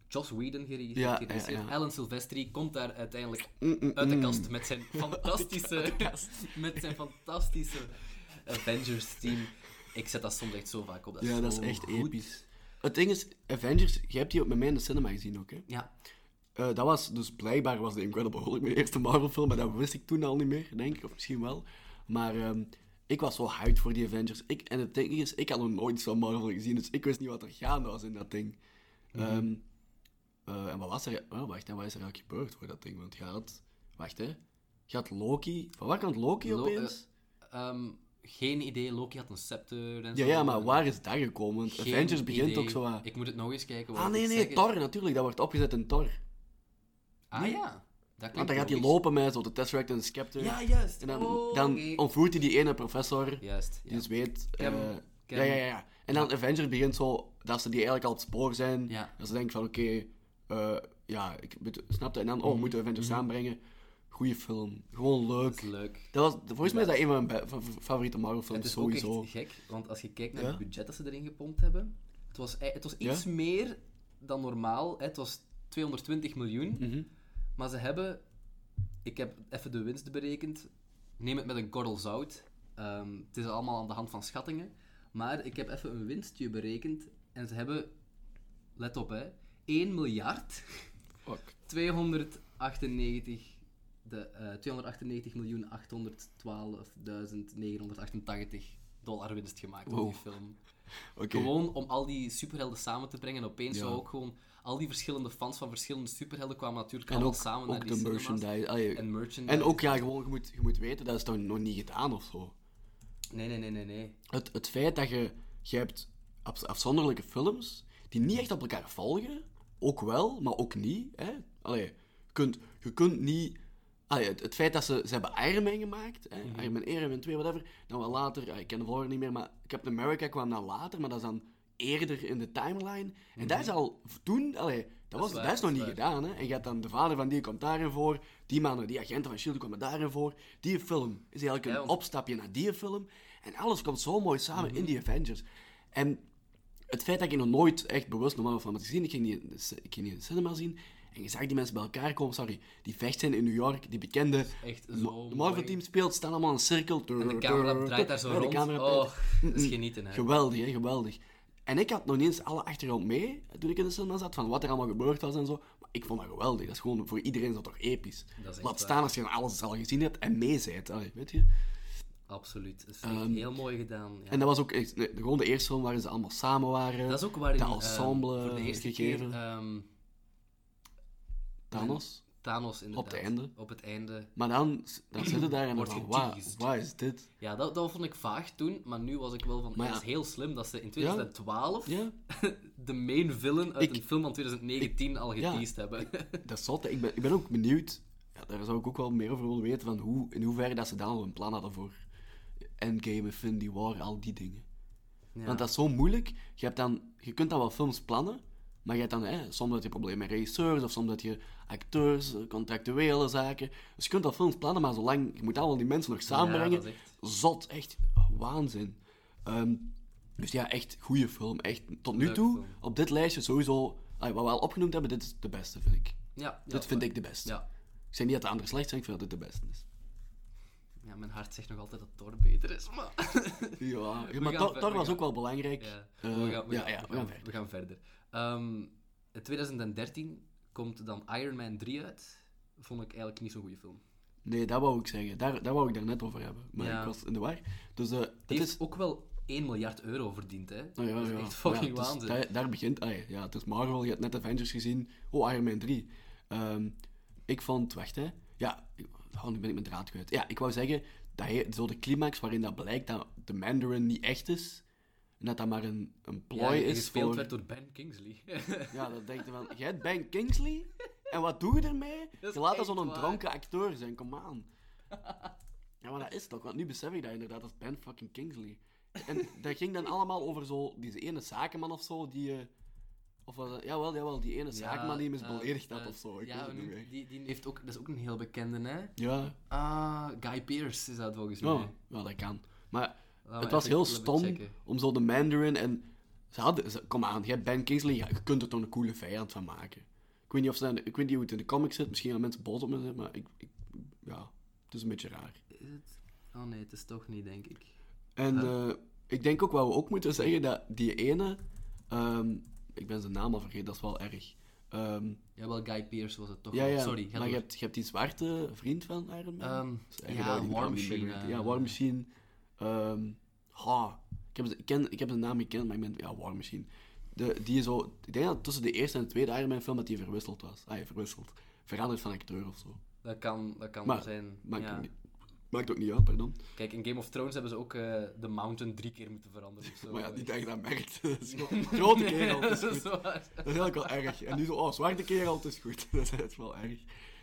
Joss Whedon gerege-
Ja,
geregisseerd.
ja, Mm, ja.
Alan Silvestri komt daar uiteindelijk uit de kast met
(laughs)
zijn fantastische, (laughs) met zijn fantastische Avengers team. Ik zet dat soms echt zo vaak op. Dat
ja, dat is
zo
echt
Oh, goed.
episch. Het ding is, Avengers, jij hebt die ook met mij in de cinema gezien ook, hè?
Ja,
Eh, dat was dus blijkbaar was The Incredible Hulk mijn eerste Marvel-film, maar dat wist ik toen al niet meer, denk ik, of misschien wel. Maar ehm, ik was zo hyped voor die Avengers. Ik, en het ding is, ik had nog nooit zo'n Marvel gezien, dus ik wist niet wat er gaande was in dat ding.
Mhm.
Ehm, eh, en wat was er... Oh, wacht, hè, wat is er eigenlijk gebeurd voor dat ding? Want je had... Wacht, hè. Je had Loki... Van waar komt Loki
Lo-
opeens?
Ehm, geen idee, Loki had een scepter en
ja,
zo.
ja, maar waar is dat gekomen? Want
eh, Geen
Avengers begint
idee.
ook zo aan...
Ik moet het nog eens kijken.
Ah,
want
nee,
ik
nee,
zeg het-
Thor natuurlijk. Dat wordt opgezet in Thor.
Ah, ja. Dat
Want
klinkt
dan gaat hij
logisch.
lopen met zo de Tesseract en de Scepter.
Ja, juist.
En dan,
Oh,
dan
oké.
ontvoert hij die ene professor, die
Juist, ja.
dus weet...
Cam,
eh,
Cam.
Ja, ja, ja, ja. En dan Avengers begint zo dat ze die eigenlijk al op het spoor zijn.
Ja.
Dat ze denken van, oké, eh, ja, ik bet- snap dat. En dan, oh, we moeten Avengers samenbrengen. Goeie film. Gewoon
Mhm. Dat
leuk.
is leuk.
Dat was, volgens mij is dat een van mijn be- fa- fa- favoriete Marvel
Het
films,
is
sowieso.
ook echt gek, want als je kijkt naar
Ja?
het budget dat ze erin gepompt hebben, het was, ei- het was iets meer dan normaal. hè. Het was 220 miljoen,
Mhm.
maar ze hebben, ik heb even de winst berekend, neem het met een korrel zout. Ehm, het is allemaal aan de hand van schattingen, maar ik heb even een winstje berekend en ze hebben, let op hè, 1 miljard (laughs)
Fuck.
298 de, eh 298.812.988 dollar winst gemaakt op
Wow.
die film.
Oké.
Gewoon om al die superhelden samen te brengen. En opeens
Ja.
zo ook gewoon... Al die verschillende fans van verschillende superhelden kwamen natuurlijk
En
allemaal
ook,
samen naar
ook
die
de
cinema's.
merchandise. allee,
En
en,
merchandise.
ook, ja, gewoon, je moet, je moet weten, dat is toch nog niet gedaan of zo.
Nee, nee, nee, nee, nee.
het, het feit dat je, je hebt abs- afzonderlijke films die niet echt op elkaar volgen, ook wel, maar ook niet. Hè? Allee, je, kunt, je kunt niet. Allee, het, het feit dat ze, ze hebben Iron Man gemaakt, hè? Iron Man 1, Iron Man 2, whatever, dan wel later, ah, ik ken de volgende niet meer, maar Captain America kwam dan later, maar dat is dan eerder in de timeline. En dat is al v- toen, allee, dat, was,
is waar,
dat is nog
dat
niet
is
gedaan. Hè? En je hebt dan de vader van die komt daarin voor, die mannen, die agenten van S.H.I.E.L.D. komen daarin voor. Die film is eigenlijk een
Ja, want- Mhm.
opstapje naar die film. En alles komt zo mooi samen in die Avengers. En het feit dat ik nog nooit echt bewust normaal van had gezien, ik ging, die in de, ci- ik ging die in de cinema zien. En je zag die mensen bij elkaar komen, sorry, die vecht zijn in New York, die bekende
Echt
Ma-
zo
de
mooi.
Marvel team speelt, staan allemaal in een cirkel.
En de camera draait daar zo
Ja, de
rond.
camera
oh, dat is
Mm-mm.
genieten, hè.
(laughs) Geweldig, hè, geweldig. En ik had nog niet eens alle achtergrond mee toen ik in de cinema zat, van wat er allemaal gebeurd was en zo. Maar ik vond dat geweldig. Dat is gewoon voor iedereen is dat toch episch.
Dat is echt
Laat
waar.
staan als je alles al gezien hebt en mee bent. Allee, weet je?
Absoluut. Dat is echt heel mooi gedaan. Ja.
Ehm, En dat was ook echt, nee, gewoon de eerste film waar ze allemaal samen waren.
dat is ook waar
dat
die, eh,
ensemble
voor de eerste
gegeven.
keer ehm,
Thanos.
Thanos inderdaad.
het einde.
Op het einde.
Maar dan,
(clears throat)
dan zitten daar en dan
Wordt
van,
geteased.
waar is dit?
Ja, dat, dat vond ik vaag toen, maar nu was ik wel van.
Maar
dat
ja.
is heel slim dat ze in 2012
Ja,
(laughs) de main villain uit
Ik-
een film van 2019 al geteased hebben. (laughs)
dat is zot. hè. Ik ben, ik ben ook benieuwd. Ja, daar zou ik ook wel meer over willen weten. Van hoe, in hoeverre dat ze daar al een plan hadden voor Endgame, Infinity War, al die dingen.
Ja.
Want dat is zo moeilijk. Je, hebt dan, je kunt dan wel films plannen, maar je hebt dan hè, soms dat je problemen met regisseurs, of soms dat je acteurs, eh, contractuele zaken. Dus je kunt wel films plannen, maar zolang je moet al die mensen nog
Ja,
samenbrengen.
dat is echt-
Zot, echt waanzin. Ehm, dus ja, echt goede film. Echt tot nu
Leuk
toe,
film.
op dit lijstje sowieso, ah, wat we al opgenoemd hebben, dit is de beste, vind ik.
Ja, ja,
dit vind ik de beste.
Ja.
Ik zeg niet dat de andere slecht zijn, ik vind dat dit de beste
(laughs)
is.
ja, mijn hart zegt nog altijd dat Thor beter is, maar.
Ja, maar
gaan
Thor
ver-
Thor
we
was
gaan-
ook wel belangrijk.
Ja,
Eh,
we gaan, we
ja,
gaan-
ja,
we
we gaan
gaan-
verder.
we gaan verder. Ehm, in 2013 komt dan Iron Man 3 uit. Vond ik eigenlijk niet zo'n goede film.
Nee, dat wou ik zeggen. Daar, daar wou ik daar net over hebben. Maar
Ja.
ik was in de war. Dus eh het
Die
is...
heeft ook wel 1 miljard euro verdiend, hè?
Oh, ja,
dat is (laughs)
ja.
echt fucking
Ja, het is-
waanzin.
daar, daar begint... ah, ja, ja, het is Marvel, je hebt net Avengers gezien. Oh, Iron Man 3. Ehm, ik vond... Wacht, hè. Ja, ik- oh, nu ben ik mijn draad kwijt. Ja, ik wou zeggen, dat hij, zo de climax waarin dat blijkt dat de Mandarin niet echt is, en dat dat maar een, een
Ja,
plooi
die
is
gespeeld
voor...
werd door Ben
(laughs)
Kingsley.
Ja, dan denk je van, jij hebt Ben Kingsley? En wat doe je ermee?
is
Je laat
echt
dat zo'n
waar.
dronken acteur zijn, kom aan. Ja, maar dat is toch, want nu besef ik dat inderdaad, dat is Ben fucking Kingsley. En dat ging dan allemaal over zo, die ene zakenman of zo, die... eh, of was dat, jawel, jawel, die ene zakenman die hem eens
eh,
beledigd had
eh,
of zo. Ik
ja,
weet het niet
nu-
meer.
die, die heeft ook, dat is ook een heel bekende, hè?
Ja,
Ah, Guy Pearce is dat volgens mij.
ja, ja, dat kan. Maar
Laten we
het was
even-
heel
laten we even
stom
checken.
om zo de Mandarin en... Ze hadden, ze- kom aan, jij hebt Ben Kingsley, ja, je kunt er toch een coole vijand van maken. Ik weet niet, of ze, ik weet niet hoe het in de comics zit, misschien gaan mensen boos op me zijn, maar ik, ik- ja, het is een beetje raar.
Is het- Oh nee, het is toch niet, denk ik.
En eh, ik denk ook wat we ook moeten zeggen, dat die ene... ehm, ik ben zijn naam al vergeten, dat is wel erg. Ehm,
Jawel, Guy Pearce was het toch?
ja,
wel.
ja,
Oh, Sorry, ga
maar je
door.
hebt, je hebt die zwarte vriend van Iron Man.
Ehm,
Dat is Dus eigenlijk
ja,
dat ik die
War
naam niet meer
Machine,
weet.
eh.
Ja, War Machine. Ehm, ha, ik, heb, ze- ik, ken, ik heb de naam gekend, maar ik ben... Ja, War Machine. De, die zo, ik denk dat tussen de eerste en de tweede Iron Man film dat die verwisseld was. Ah, ja, verwisseld. Veranderd van acteur of zo.
Dat kan, dat kan
Maar,
zijn.
Maakt,
ja.
ook niet, maakt ook niet uit, pardon.
Kijk, in Game of Thrones hebben ze ook eh The Mountain drie keer moeten veranderen. of zo.
maar ja, niet dat je dat merkt. (laughs) Dat is gewoon- grote
(laughs)
kerel, dat is
dat
goed.
is waar.
Dat is eigenlijk wel erg. En nu zo, oh, zwarte kerel, het is goed. (laughs) Dat is echt wel erg.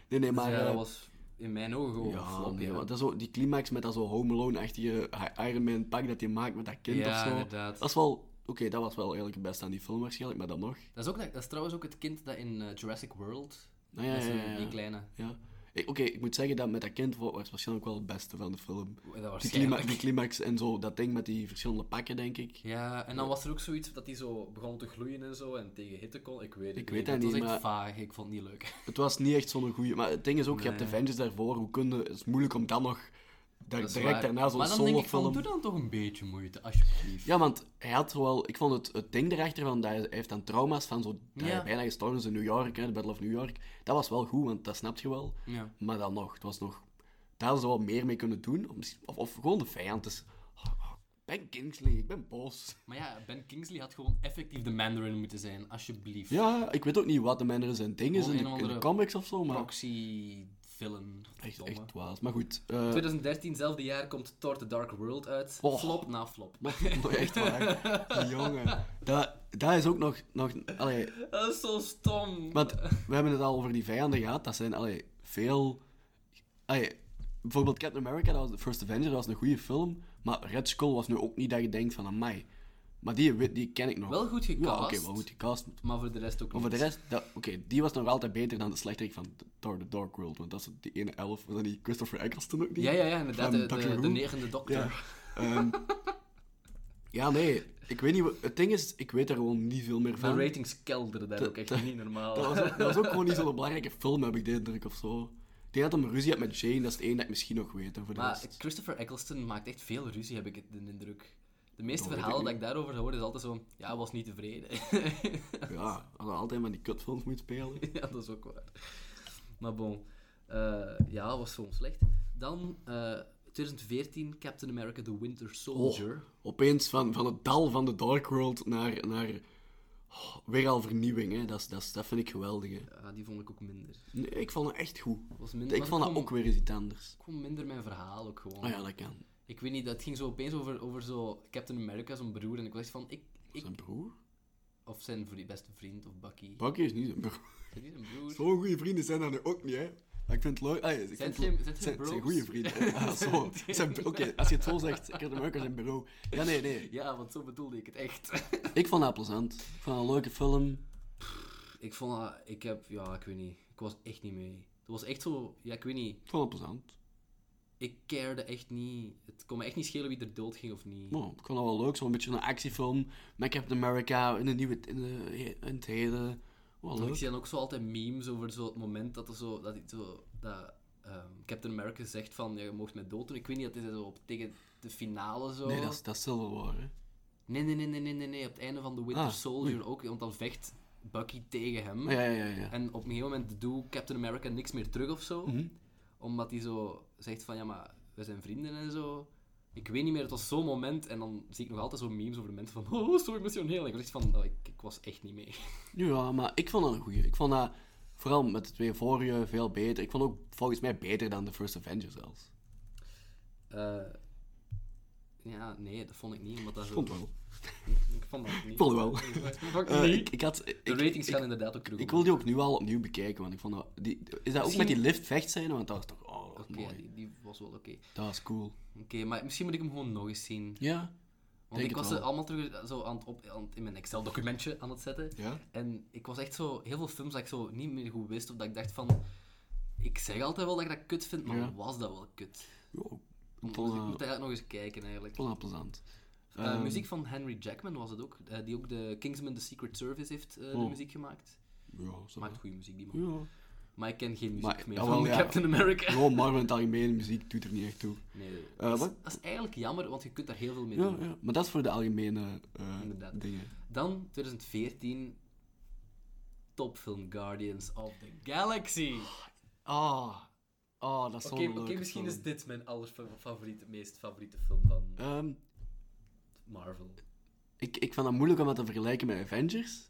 Nee, nee, maar...
Dus ja, dat
eh,
was in mijn ogen gewoon een
Ja,
flop.
nee,
ja.
want dat is zo, die climax met dat zo Home Alone-achtige Iron Man pak dat hij maakt met dat kind
Ja,
of zo.
inderdaad.
Dat is wel... Oké, dat was wel eigenlijk het beste aan die film waarschijnlijk, maar dan nog.
Dat, is ook, dat dat is trouwens ook het kind dat in eh, Jurassic World...
Nou ja,
dat is
ja,
een-
ja, ja.
Die kleine.
Ja. Ik- Oké, ik moet zeggen dat met dat kind wa- was waarschijnlijk wel het beste van de film.
Dat was
Die, clima die climax en zo, dat ding met die verschillende pakken, denk ik.
Ja, en dan was er ook zoiets dat hij zo begon te gloeien en zo en tegen hitte kon. Ik weet het niet.
Ik weet dat
was
niet,
echt
maar-
vaag. Ik vond het niet leuk. (laughs)
Het was niet echt zo'n goeie. Maar het ding is ook, je hebt
Nee.
Avengers daarvoor. Hoe kun je... Het is moeilijk om dan nog... Daar,
Dat is
direct
waar.
daarna zo'n
Maar dan denk ik van,
solofilm...
doe dan toch een beetje moeite, alsjeblieft.
Ja, want hij had wel... Ik vond het, het ding erachter van... Dat hij hij heeft dan trauma's van zo... dat
Ja.
hij bijna gestorven is in New York, hè, de Battle of New York. Dat was wel goed, want dat snap je wel.
Ja.
Maar dan nog, het was nog... Daar hadden ze wel meer mee kunnen doen. Of, misschien- of, of gewoon de vijand. Dus, ben Kingsley, ik ben boos.
Maar ja, Ben Kingsley had gewoon effectief de Mandarin moeten zijn, alsjeblieft.
Ja, ik weet ook niet wat de man er zijn ding is
Gewoon
in de,
een of
in de
andere
comics of zo, maar...
Proxy, villain,
Echt,
domme.
echt dwaas. Maar goed. eh,
2013, zelfde jaar, komt Thor The Dark World uit.
Oh.
Flop na flop.
maar (laughs) echt waar. Die jongen. Dat, dat is ook nog... nog allee,
Dat is zo stom.
want we hebben het al over die vijanden gehad. Dat zijn allee, veel... Allee, bijvoorbeeld Captain America, dat was de First Avenger, dat was een goede film. Maar Red Skull was nu ook niet dat je denkt van, amai. Maar die, wit- die ken ik nog.
Wel goed
Ja,
gecast,
oké, wel goed gecast.
maar voor de rest ook
Maar
niet.
voor de rest, dat- oké, die was nog altijd beter dan de slechterik van Thor The Dark World. Want dat is die ene elf, was dat die Christopher Eccleston ook niet?
Ja, ja, ja, inderdaad.
Van
De, de,
Doctor Who?
de negende dokter.
Ja. Ehm, (laughs) ja, nee. Ik weet niet... wat- Het ding is, ik weet er gewoon niet veel meer
De
van.
ratings kelderen daar ook echt niet normaal.
Dat was, ook, dat was ook gewoon niet zo'n belangrijke film, heb ik de indruk, of zo. Ik denk dat hem ruzie had met Jane, dat is het enige dat ik misschien nog weet. En voor de
(laughs) Maar
rest-
Christopher Eccleston maakt echt veel ruzie, heb ik het- de indruk. De meeste
Dat weet
verhalen
ik
dat ik daarover hoor, is altijd zo... Ja, hij was niet tevreden.
Ja, als je altijd van die kutfilms moet spelen.
(laughs) ja, dat is ook waar. Maar bon. eh, ja, was gewoon slecht. Dan, eh, 2014, Captain America The Winter Soldier.
Oh. Opeens van, van het dal van de Dark World naar... naar oh, weer al vernieuwing, hè. Dat, is- dat, is- dat vind ik geweldig, hè.
Ja, die vond ik ook minder.
Nee, ik vond het echt goed.
Was minder
Ik
maar
vond dat
kwam-
ook weer eens iets anders.
kwam minder mijn verhaal ook gewoon.
Oh ja, dat kan.
Ik weet niet, dat ging zo opeens over, over zo Captain America, zijn broer. En ik was echt van... Ik, ik,
Zijn broer?
of zijn vri- beste vriend, of Bucky.
Bucky is niet zijn broer.
Zijn die een broer?
Zo'n goede vrienden zijn dat nu ook niet, hè? Maar ik vind het leuk. Ah, ja, ik
Zijn
vind
ze-
het-
zijn ze bros?
zijn goede vrienden. hè. Ah,
(laughs)
zo. Zijn- Oké, als je het zo zegt, ik heb de Amerika zijn bureau. Ja, nee, nee.
Ja, want zo bedoelde ik het echt. (laughs)
Ik vond dat plezant. Ik vond dat een leuke film.
ik vond dat... Ik heb... Ja, ik weet niet. Ik was echt niet mee. Het was echt zo... Ja, ik weet niet.
Ik vond het plezant.
Ik cared echt niet. Het kon me echt niet schelen wie er dood ging of niet.
Nou, ik vond dat wel leuk. Zo'n beetje een actiefilm. Met Captain America in, de nieuwe, in, de, in het heden. Wel
Ik
leuk.
zie dan ook zo altijd memes over zo het moment dat er zo... Dat, hij zo, dat ehm, Captain America zegt van... Ja, je mocht mij dood doen. Ik weet niet, dat is zo op, tegen de finale zo.
Nee, dat is, dat is Civil War, hè.
nee, nee, nee, nee, nee, nee, nee. Op het einde van The Winter
Ah,
Soldier ook. Want dan vecht Bucky tegen hem.
Ah, Ja, ja, ja. ja.
En op een gegeven moment doet Captain America niks meer terug of zo.
Mhm.
Omdat hij zo zegt van, ja, maar we zijn vrienden en zo. Ik weet niet meer, het was zo'n moment. En dan zie ik nog altijd zo memes over de mensen van, (laughs) oh, zo emotioneel. Ik was echt van, nou, ik, ik was echt niet mee.
Ja, maar ik vond dat een goeie. Ik vond dat, vooral met de twee vorige, veel beter. Ik vond ook volgens mij beter dan de First Avenger zelfs.
Eh, ja, nee, dat vond ik niet. Omdat dat
Ik
zo...
vond het wel.
Ik vond dat niet.
Ik vond het wel.
Fuck
Eh,
nee.
ik, ik had, ik,
de ratings
ik,
gaan inderdaad ook terug.
ik wil
omhoog.
die ook nu al opnieuw bekijken, want ik vond dat... Die, is dat ook met die
Misschien-
lift vechtscène? Want dat was toch... Oh, dat was
Oké,
mooi.
die, die was wel oké.
Dat is cool.
Oké, maar misschien moet ik hem gewoon nog eens zien.
Ja.
Want ik
Denk het
was
wel.
ze allemaal terug eh, zo aan het op, aan het- in mijn Excel-documentje aan het zetten.
Ja?
En ik was echt zo... Heel veel films dat ik zo niet meer goed wist, of dat ik dacht van... Ik zeg altijd wel dat ik dat kut vind, maar
Ja.
was dat wel kut?
Jo,
Dus
ik
ik
vond
moet
dat- ik
eigenlijk nog eens kijken, eigenlijk.
vond dat plezant.
Eh,
Ehm,
muziek van Henry Jackman was het ook, eh, die ook de Kingsman The Secret Service heeft eh, de
Oh.
muziek gemaakt.
Ja, zo.
Maakt goede muziek, die man.
Ja.
Maar ik ken geen muziek
Maar-
meer
jawel,
van
ja.
Captain
(laughs)
America.
Gewoon Marvel in het algemeen, muziek doet er niet echt toe.
Nee,
Eh,
dat, is,
wat?
dat is eigenlijk jammer, want je kunt daar heel veel mee
Ja,
doen.
ja. Maar dat is voor de algemene eh,
Inderdaad.
dingen.
Dan 2014, topfilm Guardians of the Galaxy.
Ah, ah dat is
Oké,
zo'n
oké,
leuke
misschien
film.
is dit mijn allerfavoriete, meest favoriete film van
Ehm,
Marvel.
Ik, ik vond dat moeilijk om dat te vergelijken met Avengers.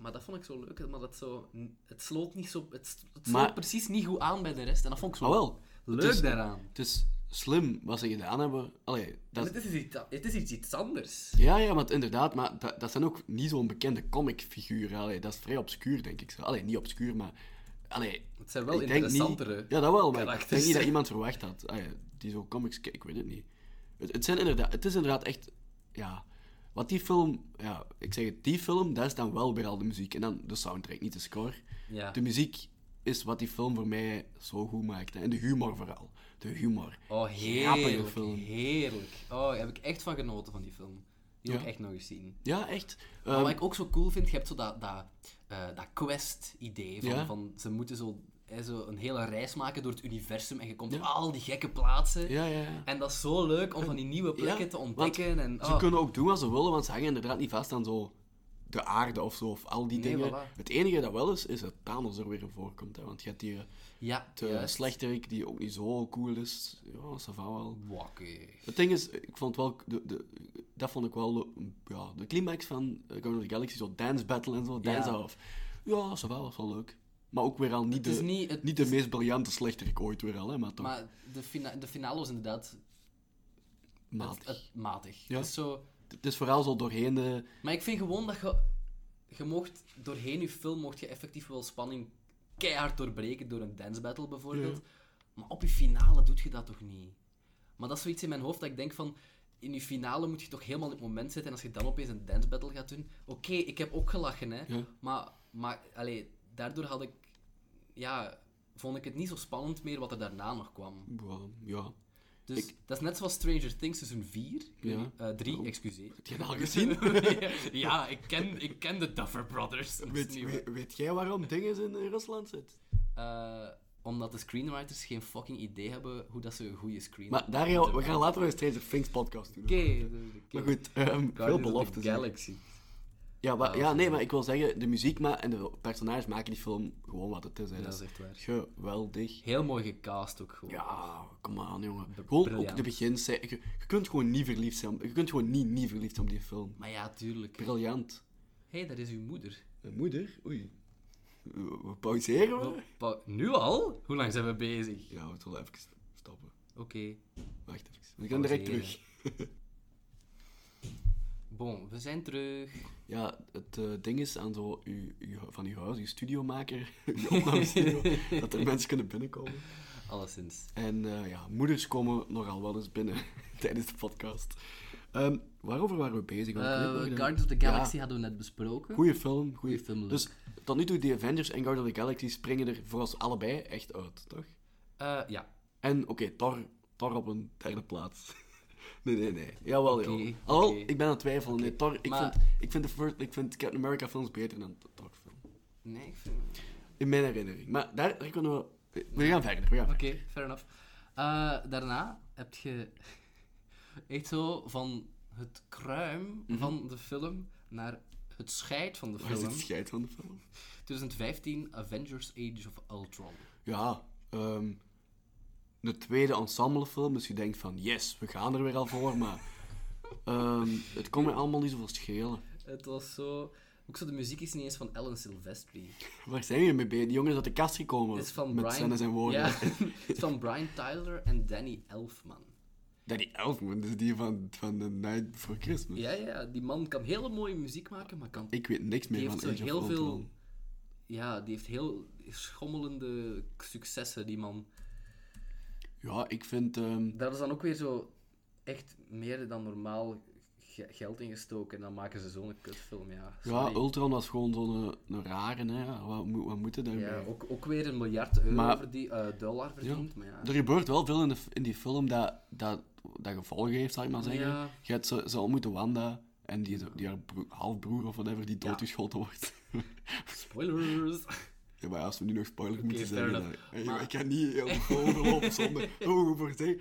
Maar dat vond ik zo leuk, maar dat zo, het sloot, niet zo, het, s- het sloot
Maar-
precies niet goed aan bij de rest. En dat vond ik zo
Maar wel,
leuk
het is-
daaraan.
het is slim wat ze gedaan hebben. Allee,
En
dat,
het, is iets, het is iets, iets anders.
ja, ja, maar het- inderdaad, maar dat, dat zijn ook niet zo'n bekende comicfiguren. Allee, dat is vrij obscuur, denk ik. zo. Allee, niet obscuur, maar... Allee,
Het zijn wel
ik denk
interessantere.
Niet, ja, dat wel, maar ik denk
karakters.
niet
(laughs)
dat iemand verwacht had. Ah, ja, die zo comics... Ik weet het niet. Het, het, zijn inderdaad, het is inderdaad echt... Ja, wat die film... Ja, ik zeg het, die film, dat is dan wel weer al de muziek. En dan de soundtrack, niet de score.
Ja.
De muziek is wat die film voor mij zo goed maakte. En de humor vooral. De humor.
Oh,
Grappige
heerlijk.
film.
Heerlijk. Oh, daar heb ik echt van genoten van die film. Die wil
Ja.
ik echt nog eens zien.
Ja, echt.
Oh, Maar
Ehm,
wat ik ook zo cool vind, je hebt zo dat, dat, eh, dat quest-idee van,
Ja.
van ze moeten zo, hè, zo een hele reis maken door het universum en je komt
Ja.
op al die gekke plaatsen.
ja, ja, ja.
En dat is zo leuk om van die nieuwe plekken
Ja,
te
want
ontdekken. En,
Ze
oh,
kunnen ook doen wat ze willen, want ze hangen inderdaad niet vast aan zo de aarde of zo, of al die
Nee,
dingen.
voilà.
Het enige dat wel is, is dat Thanos er weer in voorkomt. Hè, want je hebt die
ja,
de
juist.
slechterik die ook niet zo cool is. Ja, ça va wel.
Wakker.
Het ding is, ik vond wel, de, de, dat vond ik wel eh, ja, de climax van eh, Guardians of the Galaxy, zo dance battle en zo, dance
Ja.
off. Ja, ça va, was wel leuk. Maar ook weer al niet
Het is
de,
niet... Het,
niet de meest briljante slechterik ooit weer al, hè, maar toch
maar de, fina de finale was inderdaad
matig.
Het, het- matig.
Ja.
Het is zo...
Het is vooral zo doorheen eh, de...
Maar ik vind gewoon dat je, je mocht doorheen je film mocht je effectief wel spanning keihard doorbreken door een dance battle bijvoorbeeld. Maar op je finale doet je dat toch niet? Maar dat is zoiets in mijn hoofd dat ik denk van. In je finale moet je toch helemaal in het moment zitten. En als je dan opeens een dance battle gaat doen. Oké, ik heb ook gelachen, hè.
Ja.
Maar, maar allee, daardoor had ik. Ja, vond ik het niet zo spannend meer wat er daarna nog kwam.
Wow, ja.
Dus dat is net zoals Stranger Things seizoen 4.
Ja.
3,
Oh.
eh, excuseer.
Heb je het al (laughs) gezien?
(laughs) ja, ik ken, ik ken de Duffer Brothers. Dat is
Weet,
nieuw.
weet, weet jij waarom dingen in eh, Rusland zit?
Eh, omdat de screenwriters geen fucking idee hebben hoe dat ze een goede screen...
Maar daar gaan we, we gaan later nog eens Stranger Things podcast doen.
Oké, dus
Maar goed, ehm veel beloftes. hè.
Galaxy.
Ja,
Ah,
maar, ja, nee, maar ik wil zeggen, de muziek ma- en de personages maken die film gewoon wat het is. Hè.
Dat
Dat
is
is
echt waar.
geweldig.
Heel mooi gecast ook gewoon.
Ja, kom aan, jongen. Gewoon ook
briljant.
de begin. Je, je kunt gewoon niet verliefd zijn. op- Je kunt gewoon niet, niet verliefd zijn op die film.
Maar ja, tuurlijk.
Briljant.
Hé, hey, dat is uw moeder.
Mijn moeder? Oei. We Eh, we pauzeren we?
Pa- nu al? Hoe lang zijn we bezig?
Ja, we zullen even stoppen.
Oké.
Wacht even. We gaan direct
Pauzeren.
terug.
Bon, we zijn terug.
Ja, het eh, ding is aan zo uw, uw- van uw huis, uw studiomaker, (laughs)
(laughs)
uw opnamestudio, dat er mensen kunnen binnenkomen.
Alleszins.
En eh, ja, moeders komen nogal wel eens binnen (laughs) tijdens de podcast. Ehm, waarover waren we bezig? Want ik weet
Eh,
nog niet.
Guardians of the
Ja,
Galaxy hadden we net besproken.
goeie film, goeie
Goeie film, leuk.
Dus tot nu toe, die Avengers en Guardians of the Galaxy springen er voor ons allebei echt uit, toch?
Eh, ja.
En oké, Thor, Thor op een derde plaats. (laughs) nee, nee, nee. Jawel,
Oké,
joh. Alhoewel,
oké.
ik ben aan het twijfelen. Nee, Thor, ik,
maar-
vind, ik, vind de first, ik vind Captain America films beter dan de Thor film.
Nee, ik vind...
In mijn herinnering. Maar daar, daar kunnen we... We gaan verder, we gaan verder.
Oké, fair enough. Eh, daarna heb je (laughs) echt zo van het kruim van de film naar het scheid van de
Mhm. Waar is
film.
het scheid van de film?
2015 Avengers Age of Ultron.
Ja, ehm de tweede ensemblefilm, dus je denkt van yes, we gaan er weer al voor,
(laughs)
maar ehm, het kon mij allemaal niet zoveel schelen.
Het was zo. Ook zo, de muziek is niet eens van Alan Silvestri.
Waar zijn jullie mee bezig? Die jongen is uit de kast gekomen
Het is van
met
Brian.
scènes en woorden.
Ja, (laughs) het is van Brian Tyler en Danny Elfman.
(laughs) Dat die Elfman, dat is die van, van The Night Before Christmas.
Ja, ja, die man kan hele mooie muziek maken, maar kan.
Ik weet niks meer
Die
van
heeft zo
Age of
heel
Ultron.
veel. Ja, die heeft heel schommelende successen, die man.
Ja, ik vind... ehm,
Daar is dan ook weer zo echt meer dan normaal ge- geld in gestoken. En dan maken ze zo'n kutfilm, ja.
ja,
Sorry.
Ultron was gewoon zo'n eh, een rare, hè. Wat, moet- wat moeten daarbij?
Ja, ook, ook weer een miljard euro
Maar-
verdie- eh, dollar verdiend, maar ja.
Er gebeurt wel veel in, de, in die film dat, dat, dat gevolgen heeft, zou ik maar zeggen.
Ja.
Je hebt zo, zo ontmoeten Wanda en die, die haar broer- halfbroer of whatever die doodgeschoten wordt. (laughs)
Spoilers!
ja, maar als we nu nog spoilers moeten
fair
zeggen, dan,
enough.
Hey,
Maar-
ik kan niet heel de film
(laughs)
overlopen zonder oh, voor (laughs) zeggen.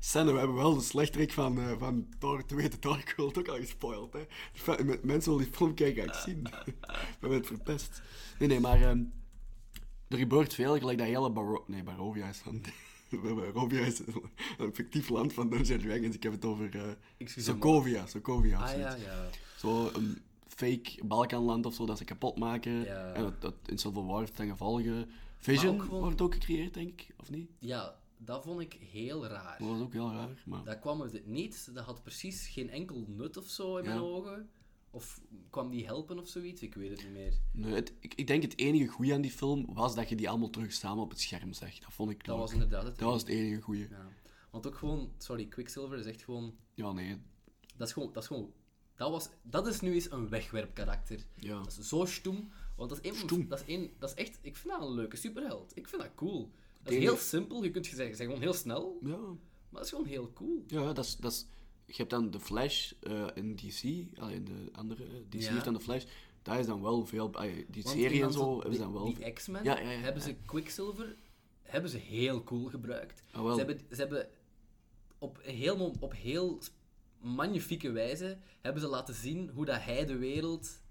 Sanne, we hebben wel de slechterik van, eh, van Thor 2 de Dark World ook al gespoild. Hè? Die fa- m- Mensen willen die film kijken, ga ik zien.
(laughs)
we hebben het (laughs) verpest. Nee, nee, maar ehm, er gebeurt veel, gelijk dat hele Baro... Nee, Barovia is van... Robia is een fictief land van Dungeons Dragons. Ik heb het over eh,
Excuseer me.
Sokovia. Sokovia of
Ah
zoiets.
ja, ja.
Zo een fake Balkanland of zo dat ze kapot maken.
Ja.
En dat, dat in Civil War heeft ten gevolge. Vision
ook gewoon-
wordt ook gecreëerd, denk ik, of niet?
Ja, dat vond ik heel raar.
Dat was ook heel raar. Maar...
Dat kwam uit het niet. Dat had precies geen enkel nut of zo in
Ja.
mijn ogen. Of kwam die helpen of zoiets? Ik weet het niet meer.
Nee, het- ik, ik denk het enige goede aan die film was dat je die allemaal terug samen op het scherm zag. Dat vond ik
Dat
leuk.
was inderdaad het.
Dat was het enige goede. Ja.
Ja. Want ook gewoon, sorry, Quicksilver is echt gewoon.
nee.
Dat is gewoon. Dat is, gewoon, dat was, dat is nu eens een wegwerpkarakter.
Ja.
Dat is zo stoem. Want dat is, een,
Stoem.
Dat, is een, dat is echt. Ik vind dat een leuke superheld. Ik vind dat cool. Dat
Tegen-
is heel simpel. Je kunt zeggen, ze zijn gewoon heel snel.
Ja,
Maar dat is gewoon heel cool.
ja dat is, dat is... Je hebt dan de Flash eh, in DC, allee, in de andere, eh, DC
Ja.
heeft dan de Flash. Daar is dan wel veel... allee, die
Want
serie en
iemand-
zo hebben ze
die-
dan wel...
Die X-Men
Ja, ja, ja,
hebben
ja.
ze Quicksilver hebben ze heel cool gebruikt.
Ah, wel.
Ze hebben, ze hebben op een heel, mo- op heel s- magnifieke wijze hebben ze laten zien hoe dat hij de wereld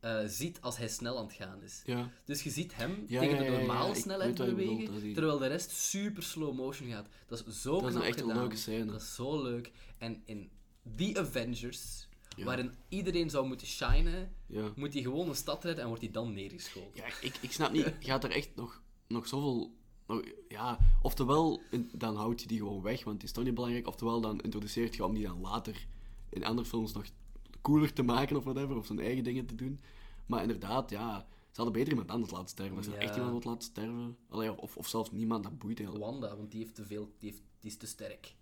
eh, ziet als hij snel aan het gaan is.
Ja.
Dus je ziet hem
Ja,
tegen
ja, ja,
de
ja,
normale
ik
snelheid
weet wat je
bewegen,
bedoelt, dat is die-
terwijl de rest super slow motion gaat. Dat is zo
Dat is
knap
echt een
gedaan.
leuke scène.
Dat is zo leuk. En in The Avengers, waarin iedereen zou moeten shinen,
Ja.
moet hij gewoon een stad redden en wordt hij dan neergeschoten.
Ja, ik, ik snap niet. Gaat er echt nog, nog zoveel. nog- ja, oftewel, in- dan houd je die gewoon weg, want die is toch niet belangrijk. Oftewel, dan introduceert je om die dan later in andere films nog cooler te maken of whatever, of zijn eigen dingen te doen. Maar inderdaad, ja, ze hadden beter iemand anders laten sterven. Als je
Ja.
echt iemand wilt laten sterven, allee, of, of zelfs niemand, dat boeit heel.
Wanda, want die, heeft te veel, die, heeft, die is te sterk.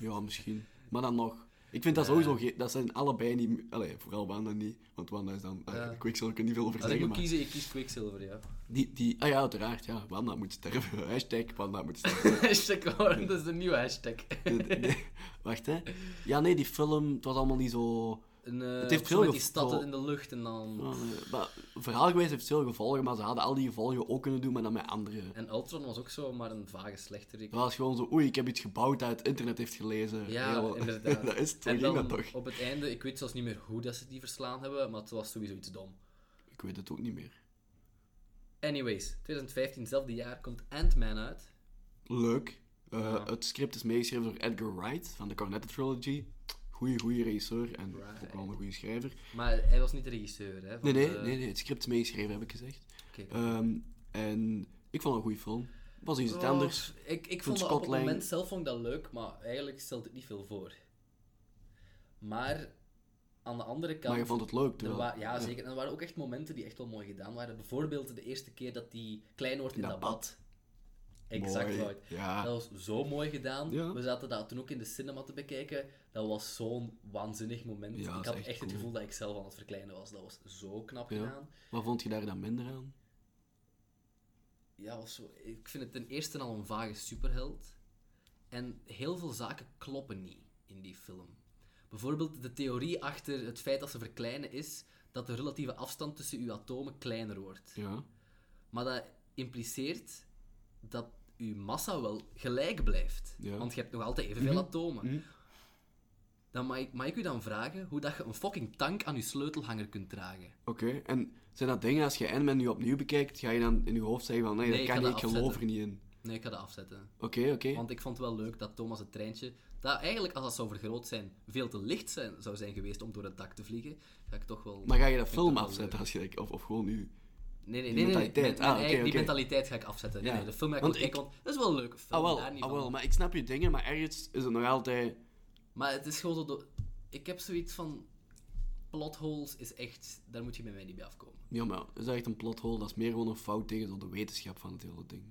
Ja, misschien. Maar dan nog. Ik vind dat
Eh.
sowieso geen- Dat zijn allebei niet. Allee, vooral Wanda niet, want Wanda is dan.
Ja.
Uh, Quicksilver kan niet veel over
Als ik
zeggen,
moet
maar.
kiezen, ik kies Quicksilver, ja. (laughs)
Die, die, ah ja, uiteraard, ja. Wanda moet sterven. (laughs) Hashtag Wanda
(laughs)
moet sterven.
hashtag hoor, dat is de nieuwe hashtag.
Nee, nee. Wacht, hè. Ja, nee, die film, het was allemaal niet zo...
En, eh,
Het heeft
of zo
veel
met die
gevo-
stad in de lucht en dan...
Oh, nee. Maar, verhaal geweest heeft veel gevolgen, maar ze hadden al die gevolgen ook kunnen doen, maar dan met andere.
En Ultron was ook zo, maar een vage slechterik.
Dat was gewoon zo, oei, ik heb iets gebouwd dat het internet heeft gelezen.
Ja,
(laughs) Heel-
inderdaad.
dat is het,
en
hoe ging
dan
dat toch?
op het einde, ik weet zelfs niet meer hoe dat ze die verslaan hebben, maar het was sowieso iets dom.
Ik weet het ook niet meer.
Anyways, 2015, hetzelfde jaar, komt Ant-Man uit.
Leuk. Eh, Het script is meegeschreven door Edgar Wright van de Cornetto Trilogy. Goeie, goeie regisseur en ook wel een goede schrijver.
Maar hij was niet de regisseur, hè? want,
Nee, nee,
eh,
nee, nee, het script is meegeschreven, heb ik gezegd.
oké.
Ehm, en ik vond het een goede film. Het was iets
Oh,
anders.
Ik, ik vond dat op het
Scotland-
moment zelf vond ik dat leuk, maar eigenlijk stelt het niet veel voor. Maar aan de andere kant.
Maar je vond het leuk,
er
terwijl...
wa- ja, zeker. En er waren ook echt momenten die echt wel mooi gedaan waren. Bijvoorbeeld de eerste keer dat die klein wordt in
In
dat,
dat
bad. Exact,
Mooi,
Lloyd.
ja.
Dat was zo mooi gedaan.
Ah. Ja.
We zaten dat toen ook in de cinema te bekijken. Dat was zo'n waanzinnig moment.
Ja, dat
ik
is
had echt,
echt
het
cool.
gevoel dat ik zelf aan het verkleinen was. Dat was zo knap
Ja.
gedaan.
Wat vond je daar dan minder aan?
Ja, was zo- ik vind het ten eerste al een vage superheld. En heel veel zaken kloppen niet in die film. Bijvoorbeeld de theorie achter het feit dat ze verkleinen is dat de relatieve afstand tussen uw atomen kleiner wordt.
Ja.
Maar dat impliceert dat uw massa wel gelijk blijft.
Ja. Mhm.
Want je hebt nog altijd evenveel atomen. Dan mag ik, mag ik u dan vragen hoe dat je een fucking tank aan uw sleutelhanger kunt dragen?
Oké, en zijn dat dingen als je Ant-Man nu opnieuw bekijkt, ga je dan in je hoofd zeggen van nee,
Nee,
dat
ik
kan
ga
niet, ik
dat
geloof er
afzetten.
niet in.
Nee, ik ga dat afzetten.
Oké, oké.
Want ik vond het wel leuk dat Thomas het treintje, dat eigenlijk als dat zou vergroot zijn, veel te licht zijn, zou zijn geweest om door het dak te vliegen, ga ik toch wel...
Maar ga je
vind
dat
ik
film
toch wel
afzetten als je dat- of, of gewoon nu?
Nee, nee, nee,
die
nee, nee, mijn-
mentaliteit?
mijn
Ah, oké,
eigen- die
oké.
mentaliteit ga ik afzetten. Nee,
Ja.
nee, de film ga ik
Want
wel kijken, want dat is wel een leuke film,
Ah wel,
daar niet
ah
van.
wel, maar ik snap je dingen, maar ergens is het nog altijd...
Maar het is gewoon zo... do- Ik heb zoiets van... Plotholes is echt... Daar moet je bij mij niet bij afkomen.
Ja, maar dat is echt een plot hole, dat is meer gewoon een fout tegen zo de wetenschap van het hele ding.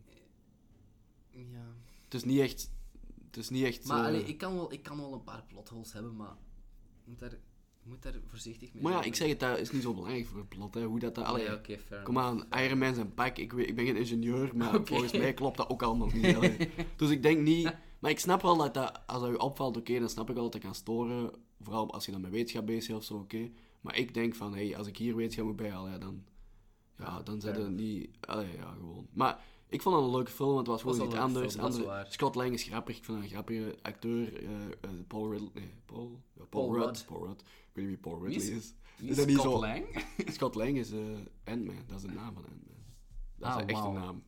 Ja...
Het is niet echt... Het is niet echt...
Maar
eh,
allee, ik, kan wel, ik kan wel een paar plotholes hebben, maar... Ik moet daar, ik moet daar voorzichtig mee
Maar ja,
zijn.
ik zeg het, dat is niet zo belangrijk voor het plot, hè. Hoe dat... dat allee,
Nee, oké, fair
Kom aan, Iron Man zijn pak. Ik, weet, ik ben geen ingenieur,
(laughs)
maar
Oké.
volgens mij klopt dat ook allemaal
(laughs)
niet. allee. dus ik denk niet... Maar ik snap wel dat, dat als dat je opvalt, oké, dan snap ik wel dat dat kan storen. Vooral als je dan met wetenschap bezig bent of zo, oké. Maar ik denk van, hé, hey, als ik hier wetenschap moet bijhalen, ja, dan... Ja, dan zijn
fair
het niet... Allee, ja, gewoon. Maar ik vond het een leuke film, want het was
was
gewoon iets
een leuke
anders.
film, dat is
Andere-
waar.
Scott Lang is grappig. Ik vind hem een grappige acteur. eh, eh, Paul Riddle... Nee, Paul... Ja, Paul,
Paul
Rudd.
Rudd.
Paul Rudd. Ik weet niet wie Paul Ridley
is-
is.
Wie
dat niet
Scott
zo-
Lang?
(laughs) Scott Lang is eh Ant-Man. Dat is de naam van Ant-Man. Dat is
Ah,
de echte
wauw.
naam.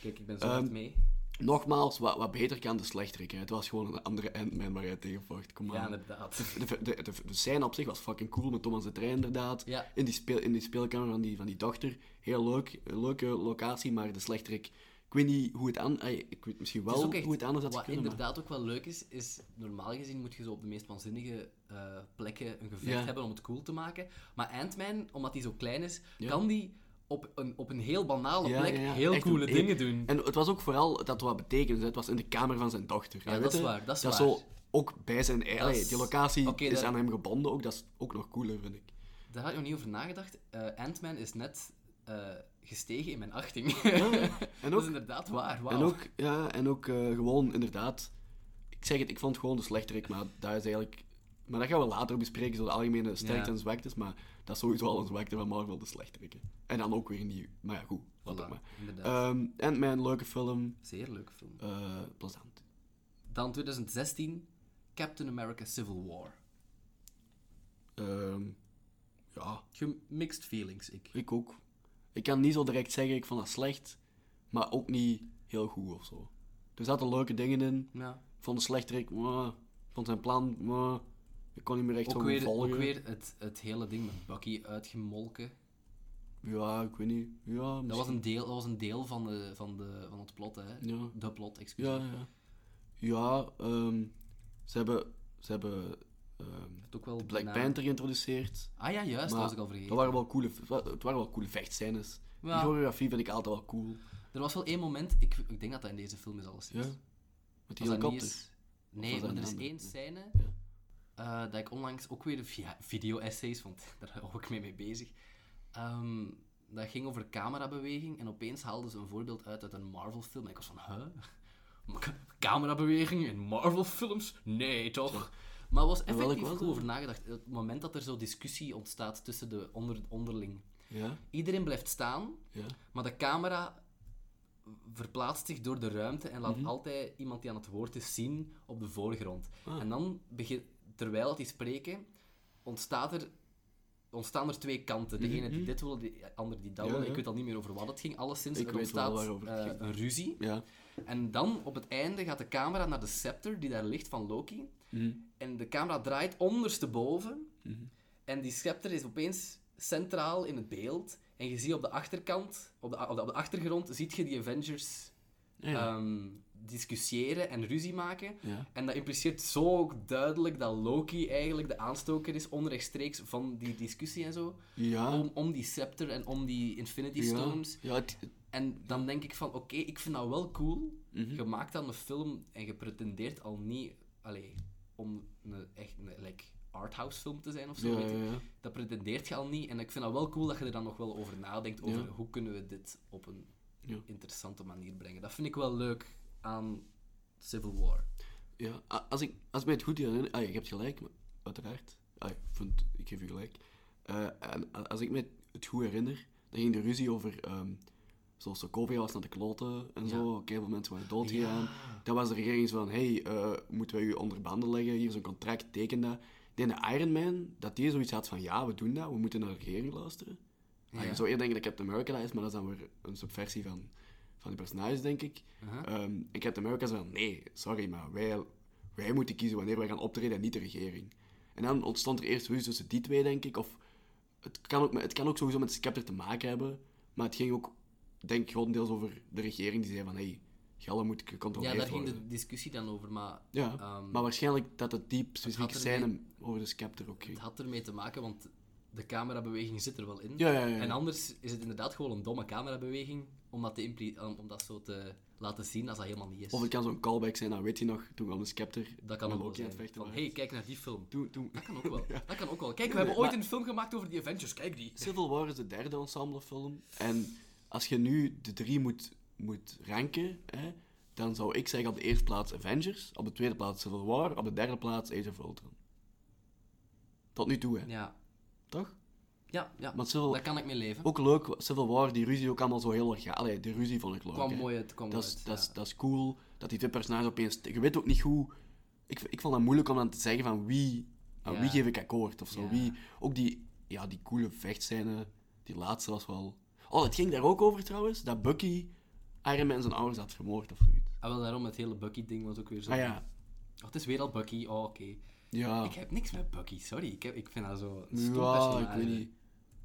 Kijk, ik ben zo
Ehm,
hard mee.
Nogmaals, wat, wat beter kan de slechterik. hè. Het was gewoon een andere Ant-Man waar hij tegen vocht. Kom
Ja,
aan.
inderdaad.
de, de, de, de scène op zich was fucking cool met Thomas de Trein, inderdaad.
Ja.
In, die speel, in die speelkamer van die, van die dochter. Heel leuk, een leuke locatie, maar de slechterik... Ik weet niet hoe het aan... ah, Ik weet misschien
Het is
wel
ook echt-
hoe het anders had
Wat
kunnen, maar...
inderdaad ook wel leuk is, is normaal gezien moet je zo op de meest waanzinnige eh, plekken een gevecht
Ja.
hebben om het cool te maken. Maar Ant-Man, omdat hij zo klein is,
Ja.
kan die op een, op een heel banale
Ja,
plek
ja, ja.
heel
Echt
coole
een-
dingen doen.
En het was ook vooral dat het wat betekende. hè. Het was in de kamer van zijn dochter.
Ja,
weet
dat is
je?
waar, dat is waar.
zo ook bij zijn... ei- allee,
is-
Die locatie
Oké,
is
dat-
aan hem gebonden ook. Dat is ook nog cooler, vind ik.
Daar had ik nog niet over nagedacht. Eh Ant-Man is net eh, gestegen in mijn achting. (laughs)
(laughs) En
dat
ook,
is inderdaad waar. Wauw.
en ook, ja, en ook eh, gewoon inderdaad... Ik zeg het, ik vond het gewoon de slechterik, maar dat is eigenlijk... Maar dat gaan we later bespreken, zo de algemene sterkte
Ja.
en zwaktes. Maar dat is sowieso al een zwakte van Marvel, de slechterikken. En dan ook weer nieuw. Maar ja, goed, laat het
Voilà,
maar.
inderdaad.
Ehm Ant-Man, leuke film.
Zeer leuke film.
eh plezant.
Dan 2016, Captain America Civil War.
Ehm, ja,
Mixed feelings, ik.
Ik ook. Ik kan niet zo direct zeggen, ik vond dat slecht, maar ook niet heel goed of zo. Er zaten leuke dingen in.
Ja.
Ik vond de slechterik, mwah. Ik vond zijn plan, mwah. Ik kon niet meer echt
Ook
zo goed
weer,
volgen.
ook weer het, het hele ding met Bucky uitgemolken.
Ja, ik weet niet. Ja,
Dat was
misschien-
een deel, dat was een deel van, de, van, de, van het plot, hè?
Ja,
De plot, excuus.
ja, ja. Ja, ehm, ze hebben, ze hebben ehm,
Het ook wel
de Black
bijna-
Panther geïntroduceerd.
Ah ja, juist,
Maar
dat was ik al vergeten.
Dat waren wel coole, het wa- het waren wel coole vechtscènes.
Ja.
Die choreografie vind ik altijd wel cool.
Er was wel één moment, ik, ik denk dat dat in deze film is alles.
Ja. Met die
Als dat niet
helikopter.
is...
was
Nee,
dat
maar er
een
is
ander?
één
Nee.
scène
Ja.
eh, dat ik onlangs ook weer via video-essays, want (laughs) daar hou ik mee mee bezig. Ehm, dat ging over camerabeweging en opeens haalden ze een voorbeeld uit uit een Marvel-film. En ik was van, huh? (laughs) Ka- Camerabeweging in Marvel-films? Nee, toch? Maar er was
welk
effectief
was
goed
dat?
over nagedacht. Het moment dat er zo discussie ontstaat tussen de onder onderling.
Ja,
Iedereen blijft staan,
ja.
maar de camera verplaatst zich door de ruimte en
Mhm.
laat altijd iemand die aan het woord is zien op de voorgrond.
Ah.
En dan, begin, terwijl dat die spreken, ontstaat er, ontstaan er twee kanten. De ene die dit wil, de ander die dat
Mhm. Ja,
wil.
ja.
Ik weet al niet meer over wat het ging. Alleszins,
Ik
er
weet wel
ontstaat
waarover het
eh,
ging.
een ruzie.
Ja.
En dan, op het einde, gaat de camera naar de scepter die daar ligt van Loki.
Mhm.
En de camera draait ondersteboven. En die scepter is opeens centraal in het beeld. En je ziet op de achterkant, op de, op de, op de achtergrond, ziet je die Avengers
Ja.
ehm, discussiëren en ruzie maken.
Ja.
En dat impliceert zo ook duidelijk dat Loki eigenlijk de aanstoker is, onrechtstreeks van die discussie en zo.
Ja.
Om, om die scepter en om die Infinity Stones.
Ja, ja, Mhm. het-
En dan denk ik van, oké, ik vind dat wel cool. Je maakt dan een film en je pretendeert al niet... Allee, om een, echt een like, arthouse film te zijn of zo.
Ja,
weet
ja,
ik.
ja.
Dat pretendeert je al niet. En ik vind dat wel cool dat je er dan nog wel over nadenkt. Over
Ja.
hoe kunnen we dit op een
Ja.
interessante manier brengen. Dat vind ik wel leuk aan Civil War.
ja. A- Als, ik, als ik mij het goed herinner... Ah, je hebt gelijk, maar uiteraard. Ah, ik, vind, ik geef je gelijk. Eh, en a- als ik me het goed herinner, dan ging de ruzie over... ehm zoals Sokovia was naar de kloten en zo. Oké, veel mensen waren doodgegaan. Dan was de regering zo van... Hé, hey, eh, moeten wij u onder banden leggen? Hier is een contract, teken dat. Ik denk de Iron Man, dat die zoiets had van... Ja, we doen dat. We moeten naar de regering luisteren. Ah, je
Ja.
zou eerder denken dat Captain America dat is, maar dat is dan weer een subversie van, van die personages, denk ik.
Aha.
Ehm, en Captain America zei van, nee, sorry, maar wij, wij moeten kiezen wanneer wij gaan optreden en niet de regering. En dan ontstond er eerst ruzie tussen die twee, denk ik. Of het kan ook, met- het kan ook sowieso met Scepter te maken hebben, maar het ging ook, denk ik, grotendeels over de regering die zei van, hé, hey, Gallen moet gecontroleerd
Ja, daar ging
worden.
de discussie dan over, maar...
Ja,
ehm,
maar waarschijnlijk dat het die specifieke
er
scène over de Scepter ook ging.
Het had ermee te maken, want de camerabeweging zit er wel in.
Ja, ja, ja.
En anders is het inderdaad gewoon een domme camerabeweging om dat, te impli- om om dat zo te laten zien als dat helemaal niet is.
Of het kan zo'n callback zijn, dan weet je nog, toen kwam de Scepter
dat kan
met
ook wel
Loki aan
zijn.
het vechten
Van,
was.
hey, kijk naar die
(laughs)
film.
Toen, toen,
Dat kan ook (laughs) wel. Dat kan ook wel. Kijk, we hebben
maar-
ooit een film gemaakt over die Avengers. Kijk die.
Civil War is de derde ensemblefilm. En als je nu de drie moet, moet ranken, hè, dan zou ik zeggen op de eerste plaats Avengers, op de tweede plaats Civil War, op de derde plaats Age of Ultron. Tot nu toe, hè.
Ja,
Toch?
ja, ja.
Maar Civil...
daar kan ik mee leven.
Ook leuk, Civil War, die ruzie ook allemaal zo heel erg... Allee, de ruzie vond ik leuk,
kwam
hè.
mooi uit. Kwam
Dat
mooi
is,
uit,
dat,
ja.
is, dat is cool, dat die twee personages opeens... Je weet ook niet hoe... Ik, ik vond het moeilijk om dan te zeggen van wie... Aan
Ja.
wie geef ik akkoord, of zo.
Ja.
Wie, ook die, ja, die coole vechtscène, die laatste was wel... Oh, het ging daar ook over trouwens, dat Bucky Iron Man zijn ouders had vermoord, of zoiets.
En Ah, wel daarom het hele Bucky-ding was ook weer zo.
Ah ja.
Oh, het is weer al Bucky, oh oké.
Ja.
Ik heb niks met Bucky, sorry. Ik, heb, ik vind dat zo een stom
Ja, ik
personage.
weet niet.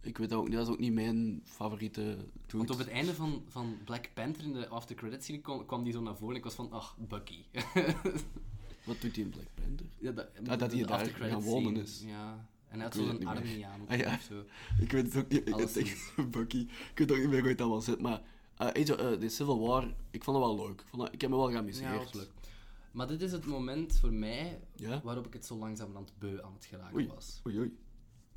Ik weet dat ook niet. Dat is ook niet mijn favoriete
Want
dude.
op het einde van, van Black Panther in de after credits scene kwam, kwam die zo naar voren en ik was van, ach, Bucky.
Wat doet hij in Black Panther?
ja, dat,
dat hij daar
aftercredits
gaan wonen
scene,
is.
Ja. En hij had
Ik weet het
zo'n
niet
arm
meer.
niet aan.
Ah, ja.
of
(laughs)
zo.
Ik weet het ook niet. Ik
Alles
denk- (laughs) Bucky. Ik weet ook niet meer hoe het dat was. Maar eh, Age of- eh, de Civil War, ik vond het wel leuk. Ik, vond dat- ik heb me wel
Ja,
geamuseerd.
dat was leuk. Maar dit is het moment voor mij
Ja?
waarop ik het zo langzamerhand beu aan het geraken
Oei.
was.
Oei, oei.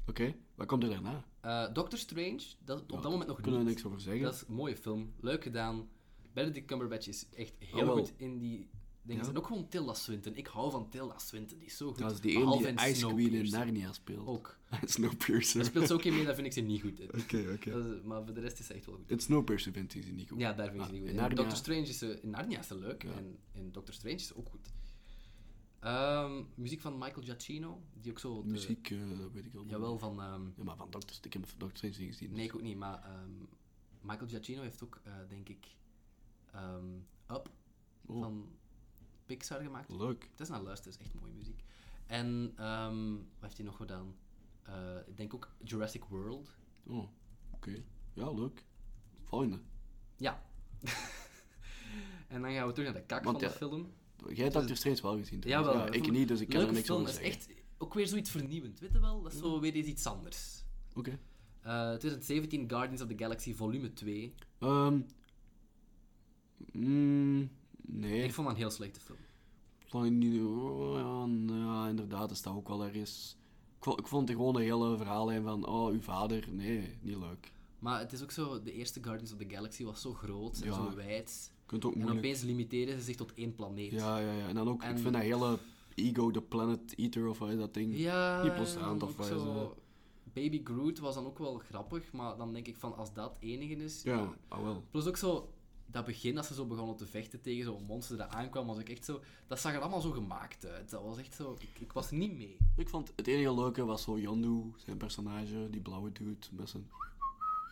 Oké, wat komt er daarna?
Eh, Doctor Strange, dat, op dat moment nog
Kunnen we
niet.
niks over zeggen.
Dat is een mooie film, leuk gedaan. Benedict Cumberbatch is echt heel
Oh, wel.
goed in die dingen.
Ja.
En ook gewoon Tilda Swinton. Ik hou van Tilda Swinton, die is zo goed.
Dat is die ene
Behalve
die
in
Ice Queen in
Snowpiercer.
Narnia speelt.
Ook. Daar
(laughs) Snowpiercer.
speelt ze ook in mee, daar vind ik ze niet goed in.
(laughs) Oké, (laughs) oké.
Dat is- maar voor de rest is ze echt wel goed.
In Snowpiercer vindt hij ze niet goed.
Ja, daar vind ik ze
Ah,
niet goed
in
in.
Narnia-
Doctor Strange is ze, in Narnia is ze leuk.
Ja.
En in Doctor Strange is ze ook goed. Ehm, muziek van Michael Giacchino, die ook zo... de-
Muziek, eh, dat weet ik allemaal.
Jawel, van... ehm,
Ja, maar van Doctor, ik heb Doctor Strange niet gezien.
nee, ik ook niet, maar... ehm, Michael Giacchino heeft ook, eh, denk ik... ehm, Up
Oh.
van Pixar gemaakt.
Leuk.
Het is naar luisteren, het is echt mooie muziek. En ehm, wat heeft hij nog gedaan? Eh, ik denk ook Jurassic World.
Oh, oké. Ja, leuk. Volgende.
Ja. (laughs) en dan gaan we terug naar de kak
Want
van
ja,
de film.
Jij hebt Doctor Strange wel gezien.
Ja,
trouwens.
wel.
ik niet, dus ik kan er
Leuke
niks
film,
over
dat is
zeggen.
echt ook weer zoiets vernieuwend. Weet je wel? Dat is zo weer eens iets anders.
Oké.
Eh, 2017 Guardians of the Galaxy volume 2.
Ehm, mm, nee.
Ik vond dat een heel slechte film.
Vond ik niet- oh, ja, nou ja, inderdaad, dat staat ook wel ergens. Ik vond, ik vond het gewoon een hele verhaallijn van, oh, uw vader, nee, niet leuk.
Maar het is ook zo, de eerste Guardians of the Galaxy was zo groot en
Ja.
zo wijd.
Je kunt ook
En
moeilijk.
opeens limiteren ze zich tot één planeet.
Ja, ja, ja. En dan ook,
En-
ik vind dat hele Ego the Planet Eater of wat is dat ding.
Ja,
Die postaan,
en
of
ook
wat is dat?
Baby Groot was dan ook wel grappig, maar dan denk ik van als dat het enige is.
Ja, ah wel.
Plus ook zo dat begin als ze zo begonnen te vechten tegen zo'n monster dat aankwam, was ik echt zo. Dat zag er allemaal zo gemaakt uit. Dat was echt zo. Ik, ik was er niet mee.
Ik vond het enige leuke was zo Yondu, zijn personage, die blauwe dude, met zijn...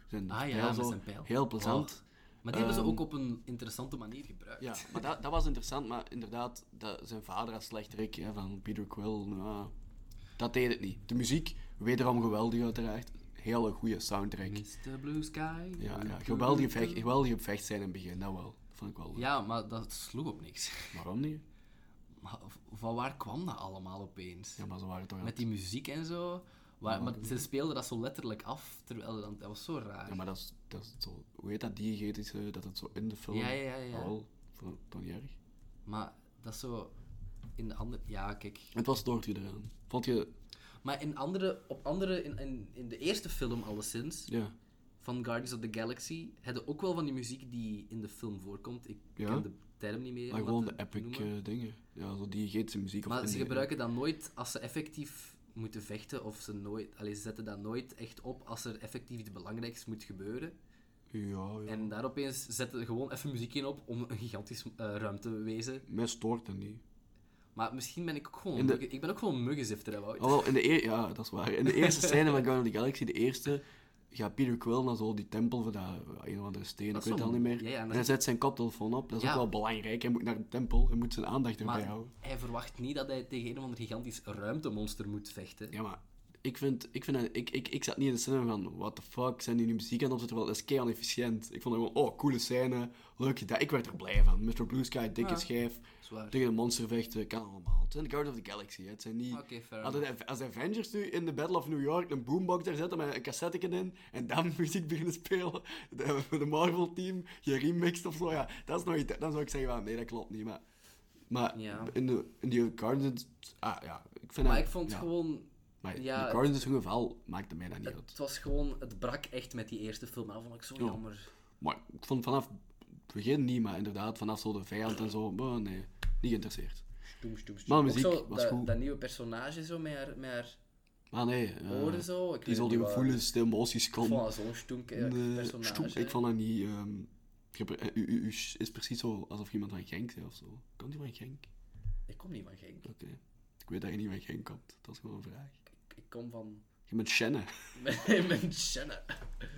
zijn
Ah ja,
pijl
met
zo.
zijn pijl. Oh.
Heel plezant.
Maar die hebben ze
Ehm.
ook op een interessante manier gebruikt.
Ja, maar dat, dat was interessant, maar inderdaad, dat, zijn vader als slechterik hè, van Peter Quill, nou, dat deed het niet. De muziek, wederom geweldig uiteraard, hele goede soundtrack.
Mr. Blue Sky.
Ja, ja geweldige, vecht,
eh.
geweldige vecht zijn in het begin, dat wel. Dat vond ik wel leuk.
Ja, maar dat sloeg op niks. (laughs)
Waarom niet?
Maar v- van waar kwam dat allemaal opeens?
Ja, maar ze waren toch aan
Met die muziek en zo. Waar, maar ze speelden dat zo letterlijk af, terwijl dan, dat was zo raar.
Ja, maar dat is, dat is zo... Hoe heet dat diegetische, dat het zo in de film...
Ja, ja, ja, ja.
Ah, wel, vond ik toch niet erg.
Maar dat is zo in de andere. Ja, kijk.
Het was stoort je eraan. Vond je...
Maar in andere, op andere, in, in, in de eerste film alleszins,
Ja.
van Guardians of the Galaxy, hadden ook wel van die muziek die in de film voorkomt. Ik
Ja?
ken de term niet meer.
Maar
om
gewoon de
dat te
epic
noemen.
eh, dingen. Ja, zo diegetische muziek. of
Maar ze
indie-
gebruiken dat nooit als ze effectief moeten vechten, of ze nooit. Allee, ze zetten dat nooit echt op als er effectief iets belangrijks moet gebeuren.
Ja, ja.
En daar opeens zetten ze gewoon even muziek in op om een gigantisch eh, ruimtewezen.
Mij stoort dat niet.
Maar misschien ben ik ook gewoon.
In de- Oh,
muggen- Ik ben ook gewoon een muggenzifter, hè, Wout.
Alhoewel, in de eer- ja, dat is waar. In de
(laughs)
eerste scène van Guardians of the Galaxy, de eerste, gaat Peter Quill naar zo die tempel van dat een of andere steen, ik
Dat is
weet het
wel-
al niet meer.
ja, ja, en
en
dat
hij
is-
zet zijn koptelefoon op, dat is
Ja.
ook wel belangrijk. Hij moet naar de tempel, hij moet zijn aandacht erbij
Maar
houden.
hij verwacht niet dat hij tegen een of ander gigantisch ruimtemonster moet vechten.
Ja, maar ik vind, ik, vind dat- ik, ik, ik zat niet in de scène van, what the fuck, zijn die nu muziek aan het opzetten? Terwijl dat is kei efficiënt. Ik vond het gewoon, oh, coole scène, leuk gedaan. Ik werd er blij van. Mr. Blue Sky, dikke
Ja.
schijf,
Zwaar.
tegen een monster vechten, kan allemaal. Het zijn de Guardians of the Galaxy, hè. het zijn niet...
Oké, fair
Als, de, als de Avengers nu in de Battle of New York een boombox daar zetten met een cassette in en dan (laughs) muziek beginnen spelen, de, de Marvel team, je remixed of zo, ja, dat is nog iets. Dan zou ik zeggen, van, nee, dat klopt niet. Maar, maar
Ja.
in, de, in die Guardians, ah ja, ik vind
Maar
dat-
ik vond
ja.
gewoon...
Maar in
ja,
de Guardians hun geval maakte mij dat niet uit.
Het was gewoon... Het brak echt met die eerste film. En dat vond ik zo jammer.
Maar ik vond vanaf het begin niet, maar inderdaad, vanaf zo de vijand en zo, maar nee, niet geïnteresseerd.
Stoem, stoem, stoem.
Maar
Ook
muziek
zo,
was
dat,
goed.
Dat nieuwe personage zo met haar, met haar
Maar nee, eh,
oren zo. Ik
die
weet
zal
niet
die
wat-
gevoelens, de emoties
Ik
komen.
vond dat zo'n stoemke eh,
Nee,
personage.
stoem, ik vond dat niet. ehm, gebru- eh, u, u- u s- is precies zo alsof iemand van Genk is of zo. Komt die van Genk?
Ik kom niet van Genk.
Oké. Ik weet dat je niet van Genk komt. Dat is gewoon een vraag.
Ik, ik kom van... (laughs)
Je bent Shannon. (laughs)
Mijn Shanna.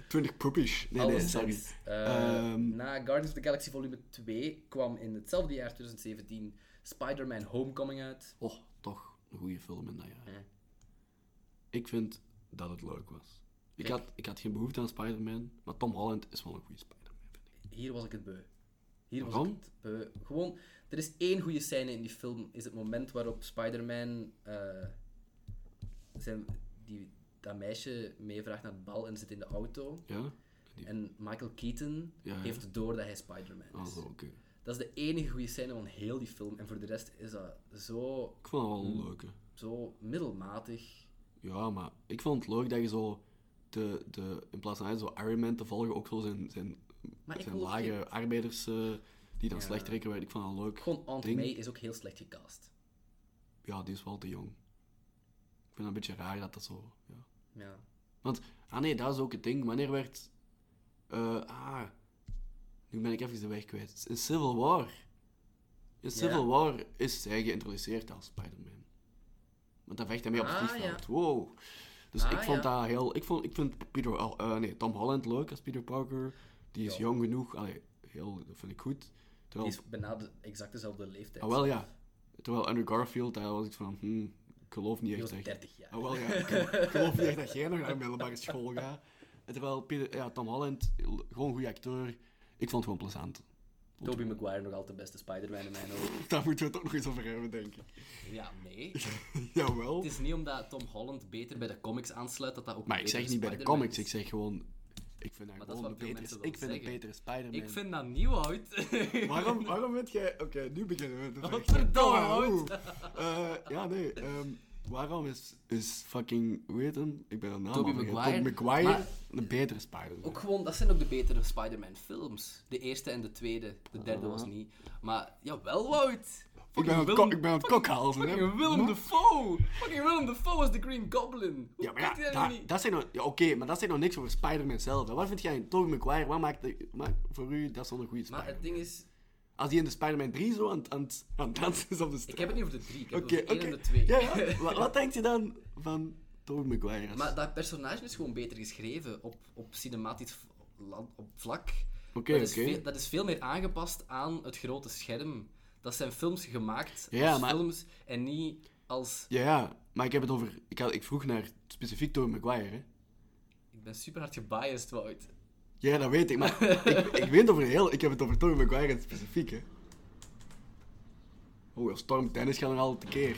20 poepies.
Oh,
Nee, nee, sorry.
Alleszins, eh,
Ehm.
na Guardians of the Galaxy volume 2 kwam in hetzelfde jaar, 2017, Spider-Man Homecoming uit.
Oh, toch een goede film in dat jaar.
Ja.
Ik vind dat het leuk was. Ik
Kijk.
had, ik had geen behoefte aan Spider-Man, maar Tom Holland is wel een goede Spider-Man, vind ik.
Hier was ik het beu. Hier was
Waarom?
ik het beu. Gewoon, er is één goede scène in die film, is het moment waarop Spider-Man eh, zijn, die, dat meisje meevraagt naar het bal en zit in de auto.
Ja? Die...
En Michael Keaton
Ja, ja.
heeft door dat hij Spider-Man
Ah,
is.
zo, oké.
Dat is de enige goede scène van heel die film. En voor de rest is dat zo,
Ik vond het wel een leuke.
zo middelmatig.
Ja, maar ik vond het leuk dat je zo, de, de, in plaats van hij zo Iron Man te volgen, ook zo zijn, zijn,
Maar ik
zijn
wil ook
lage arbeiders eh, die dan
Ja.
slecht trekken werden. Ik vond het leuk.
Gewoon Aunt
Ding.
May is ook heel slecht gecast.
Ja, die is wel te jong. Ik vind het een beetje raar dat dat zo... Ja.
Ja.
Want, ah nee, dat is ook het ding. Wanneer werd. eh, ah, nu ben ik even de weg kwijt. In Civil War. In Civil
Ja.
War is zij geïntroduceerd als Spider-Man. Want dan vecht hij mee op het
Ah,
vliegveld. Wow. Dus
Ah,
ik vond
ja.
dat heel. Ik, vond, ik vind Peter, Hol- eh, nee, Tom Holland leuk als Peter Parker. Die is
Ja.
jong genoeg. Allee, heel, dat vind ik goed.
Die
Terwijl,
is bijna de- exact dezelfde leeftijd.
ah, wel, ja. Terwijl Andrew Garfield, daar was ik van, hmm, ik geloof niet
Die
echt.
was
echt.
30 jaar.
Ah, wel, ja. Ik ik geloof niet echt dat jij nog naar de middelbare school gaat. En terwijl Peter, ja, Tom Holland, gewoon een goede acteur. Ik vond het gewoon plezant.
Tobey Maguire nog altijd de beste Spider-Man in mijn ogen.
Daar moeten we het ook nog eens over hebben, denk ik. (laughs)
Ja, nee.
Jawel.
Het is niet omdat Tom Holland beter bij de comics aansluit dat dat ook
Maar ik
een
zeg
betere
niet bij de
Spider-Man
comics, ik
is.
zeg gewoon... Ik vind haar
Maar dat is
gewoon een
wat veel
betere...
mensen
Ik vind
wel
een
zeggen.
betere Spider-Man.
Ik vind dat nieuw oud.
(laughs)
(laughs)
Waarom, waarom vind jij... Oké, nu beginnen we. te vechten.
verdomme,
Ah,
hoor.
oeh. Eh, ja, nee. ehm, waarom is, is fucking... Hoe heet hem? Ik ben de naam
Tobey
vergeten.
Maguire.
Tobey Maguire
Maar-
een betere Spider-Man.
Ook gewoon, dat zijn ook de betere Spider-Man films. De eerste en de tweede. De derde was niet. Maar, jawel Wout!
Ik ben aan het, ko- ik ben aan het kokhalzen, hè.
Fucking Willem Dafoe! Fucking Willem Dafoe was de Green Goblin! Hoe
Ja, maar
kan die
ja,
dat
daar-
nu niet?
dat zijn nog, ja, oké, maar dat zijn nog niks over Spider-Man zelf. hè. Wat vind jij in Tobey Maguire? Wat maakt, de- maakt voor u dat zo'n goede
Maar
Spider-Man?
het ding is,
Als die in de Spider-Man 3 zo aan, het- aan, het- aan het dansen is op de straat.
ik heb het niet over de drie, ik heb
Oké,
het over de
oké.
één en de twee. (laughs)
Ja, ja. Wat, wat denk je dan van Tobey Maguire? als-
Maar dat personage is gewoon beter geschreven op, op cinematisch v- la- op vlak.
Oké,
dat, is
oké.
veel- dat is veel meer aangepast aan het grote scherm. Dat zijn films gemaakt
Ja,
als
maar-
films en niet als...
Ja, ja, maar ik heb het over... Ik, had, ik vroeg naar specifiek Tobey Maguire, hè.
Ik ben super hard gebiased, Wout.
Ja, dat weet
(laughs)
ik, maar ik, ik weet het over heel... Ik heb het over Tobey Maguire in het specifiek, hè. Oh, als Storm Tennis gaan we al tekeer.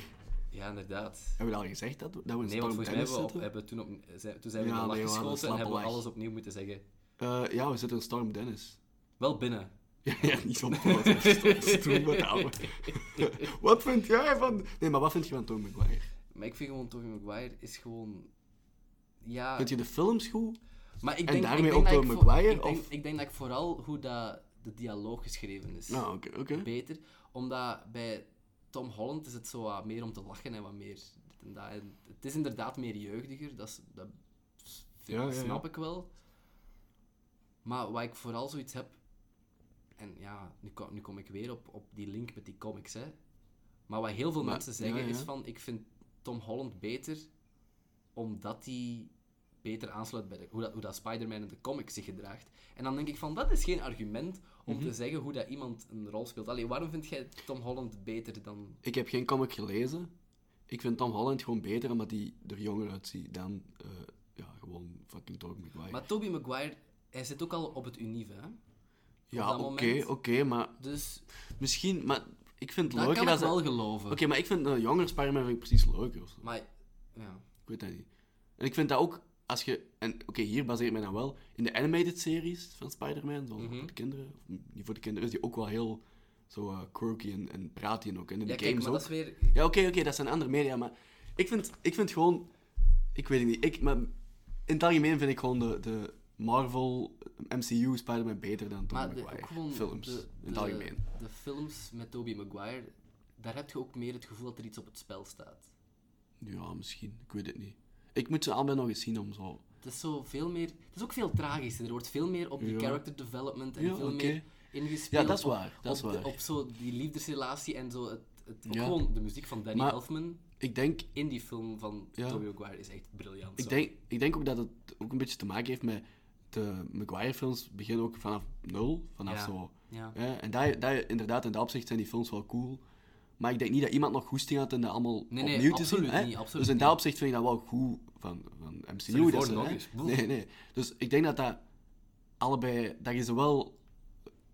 Ja, inderdaad.
Hebben we dat al gezegd, dat, we- dat we in
Nee, want
Storm
volgens mij
Tennis
hebben we, op-
zitten?
hebben we toen, op, zijn, toen zijn we
Ja,
in de lach
nee, we hadden
geschoten
een
en
slappe
hebben we
lach.
alles opnieuw moeten zeggen.
Eh, ja, we zitten in Storm Dennis. (laughs)
Wel binnen.
Ja, ja, niet zo'n stoel met ouwe. (laughs) Wat vind jij van... Nee, maar wat vind je van Tom McGuire?
Maar ik vind gewoon, Tobey Maguire is gewoon... Ja...
Vind je de films goed?
Maar ik
En
denk,
daarmee
ik denk
ook
dat
door
ik voor-
Maguire,
Ik denk,
of?
ik denk dat ik vooral hoe dat de dialoog geschreven is.
Nou, oké, oké.
Beter. Omdat bij Tom Holland is het zo wat meer om te lachen en wat meer dit en dat. En het is inderdaad meer jeugdiger, dat, is, dat s-
Ja, ja, ja.
snap ik wel. Maar wat ik vooral zoiets heb... En ja, nu kom, nu kom ik weer op, op die link met die comics, hè. Maar wat heel veel
Maar-
mensen zeggen
ja, ja.
is van... Ik vind Tom Holland beter omdat hij beter aansluit bij de, hoe, dat, hoe dat Spider-Man in de comics zich gedraagt. En dan denk ik van, dat is geen argument om
Mhm.
te zeggen hoe dat iemand een rol speelt. Allee, waarom vind jij Tom Holland beter dan...
Ik heb geen comic gelezen. Ik vind Tom Holland gewoon beter, omdat hij er jonger uitziet dan... eh, ja, gewoon fucking Tom McGuire.
Maar Tobey Maguire, hij zit ook al op het unieve, hè?
ja,
dat
oké,
moment-
oké, maar
Dus
misschien... Maar ik vind het
dat
leuker
kan ik
als...
wel
Oké,
geloven.
maar ik vind eh, een jonger Spider-Man vind ik precies leuker of zo.
Maar, ja.
Ik weet dat niet. En ik vind dat ook, als je... En oké, hier baseert mij dan wel... In de animated series van Spider-Man, zoals
Mhm.
voor de kinderen... Of niet voor de kinderen, is die ook wel heel zo eh, quirky en, en praat die ook. En in
Ja,
de
kijk,
games
maar
ook.
dat is weer...
Ja, oké, oké, dat zijn andere media, maar... Ik vind, ik vind gewoon... Ik weet het niet. Ik, maar in het algemeen vind ik gewoon de, de Marvel, MCU, Spider-Man beter dan Tom
Maar de,
Maguire
ook gewoon
films.
de,
in het
de-
algemeen.
de films met Tobey Maguire, daar heb je ook meer het gevoel dat er iets op het spel staat.
Ja, misschien. Ik weet het niet. Ik moet ze allebei nog eens zien om zo...
Het is zo veel meer... Het is ook veel tragischer. Er wordt veel meer op die
Ja.
character development en
Ja,
veel
oké.
meer ingespeeld.
Ja, dat is
op-
waar, dat
op
is
de-
waar.
op zo die liefdesrelatie en zo. Het, het, ook
Ja.
gewoon de muziek van Danny
Maar-
Elfman.
Ik denk,
in die film van
Ja.
Tobey Maguire is echt briljant.
ik,
zo.
denk, ik denk ook dat het ook een beetje te maken heeft met de Maguire-films beginnen ook vanaf nul, vanaf
Ja.
zo.
Ja.
hè. en daar, daar, inderdaad, in dat opzicht zijn die films wel cool. Maar ik denk niet dat iemand nog goesting had en dat allemaal
Nee, nee,
opnieuw te zien.
absoluut
hè.
niet, absoluut
dus in
niet.
dat opzicht vind ik dat wel goed van, van
je
MCU. Dat
voor,
ze,
nog
hè.
eens. Boef.
Nee, nee. Dus ik denk dat dat allebei, dat je zowel,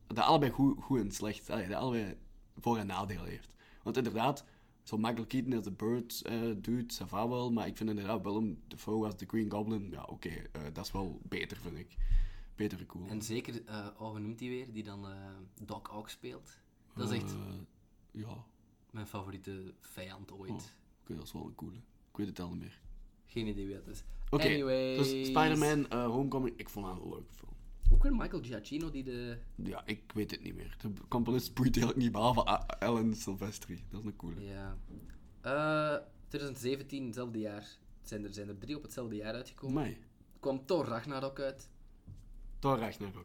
dat allebei goed, goed en slecht, allee, dat allebei voor- en nadelen heeft. Want inderdaad, zo Michael Keaton als de Bird eh dude, ça va wel, maar ik vind inderdaad Willem Dafoe als de Green Goblin, ja oké, eh, dat is wel beter, vind ik. Beter cool.
En zeker, eh oh, hoe noemt die weer? Die dan eh, Doc Ock speelt. Dat is echt
Eh, ja,
mijn favoriete vijand ooit.
Oh. Oké, dat is wel een coole. Ik weet het al niet meer.
Geen idee wie dat is.
Oké,
Anyways.
dus Spider-Man eh, Homecoming, ik vond dat een leuke film.
Ook weer Michael Giacchino die de...
Ja, ik weet het niet meer. De componist boeit eigenlijk niet, behalve A- Alan Silvestri. Dat is een coole.
Ja. Eh, 2017, hetzelfde jaar. Zijn er, zijn er drie op hetzelfde jaar uitgekomen.
Mij.
Kwam Thor Ragnarok uit.
Thor Ragnarok.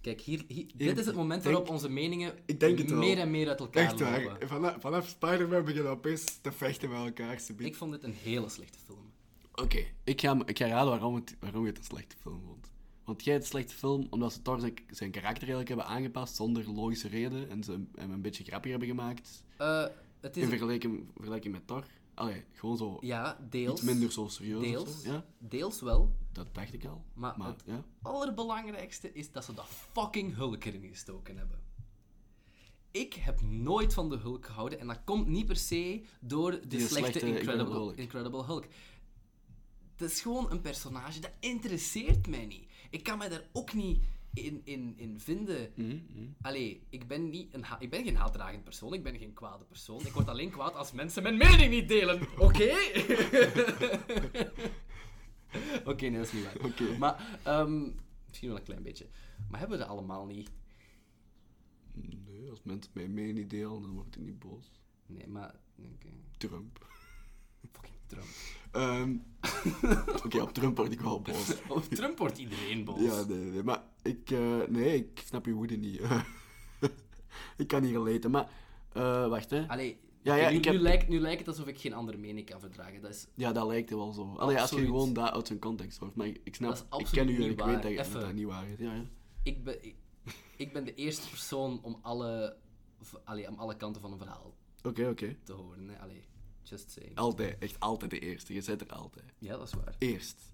Kijk, hier, hier- dit is het moment
denk-
waarop onze meningen
ik denk het wel.
meer en meer uit elkaar
Echt waar.
lopen.
Vanaf, vanaf Spider-Man beginnen we opeens te vechten met elkaar. ze biedt-
Ik vond dit een hele slechte film.
Oké, ik, ga, ik ga raden waarom, het, waarom je het een slechte film vond. Want jij het een slechte film omdat ze Thor zijn, zijn karakter eigenlijk hebben aangepast zonder logische reden en ze hem- hem een beetje grappiger hebben gemaakt.
Eh, het is
In vergelijking, vergelijking met Thor. Allee, gewoon zo
ja, deels.
iets minder zo serieus. of
Deels.
zo. Ja,
Deels wel.
dat dacht ik al.
Maar het-
ja.
allerbelangrijkste is dat ze dat fucking Hulk erin gestoken hebben. Ik heb nooit van de Hulk gehouden en dat komt niet per se door de
Die
slechte,
slechte
Incredible,
Incredible
Hulk.
Hulk.
Incredible Hulk. Het is gewoon een personage dat interesseert mij niet. Ik kan mij daar ook niet in, in, in vinden. Allee, ik ben, niet een ha- ik ben geen haatdragend persoon, ik ben geen kwade persoon. Ik word alleen kwaad als mensen mijn mening niet delen. Oké? (laughs) Oké, nee, dat is niet waar.
Oké.
Maar, ehm, misschien wel een klein beetje. Maar hebben we dat allemaal niet?
Nee, als mensen mij mee niet delen, dan word ik niet boos.
Nee, maar... oké.
Trump.
Fucking Trump. (laughs)
Ehm, Oké, op Trump word ik wel boos.
Op Trump wordt iedereen boos.
Ja, nee, nee, nee, maar ik, eh, nee, ik snap je woede niet. (laughs) ik kan niet relaten, maar eh, wacht hè.
Allee,
Ja,
oké,
ja,
nu,
ik heb-
nu, lijkt, nu lijkt het alsof ik geen andere mening kan verdragen. Dat is,
Ja, dat lijkt er wel zo. Allee, als je
Absoluut.
gewoon dat uit zijn context hoort. Maar ik, ik snap,
Dat is
ik
absoluut
ken u en
niet
ik
waar.
weet dat, je- dat
Effe.
dat niet waar is. Ja, ja.
ik, ben, ik, ik ben de eerste persoon om alle, v- allee, om alle kanten van een verhaal
Oké, oké.
te horen. Hè. Allee, just saying.
Altijd, echt altijd de eerste. Je zit er altijd.
Ja, dat is waar.
Eerst.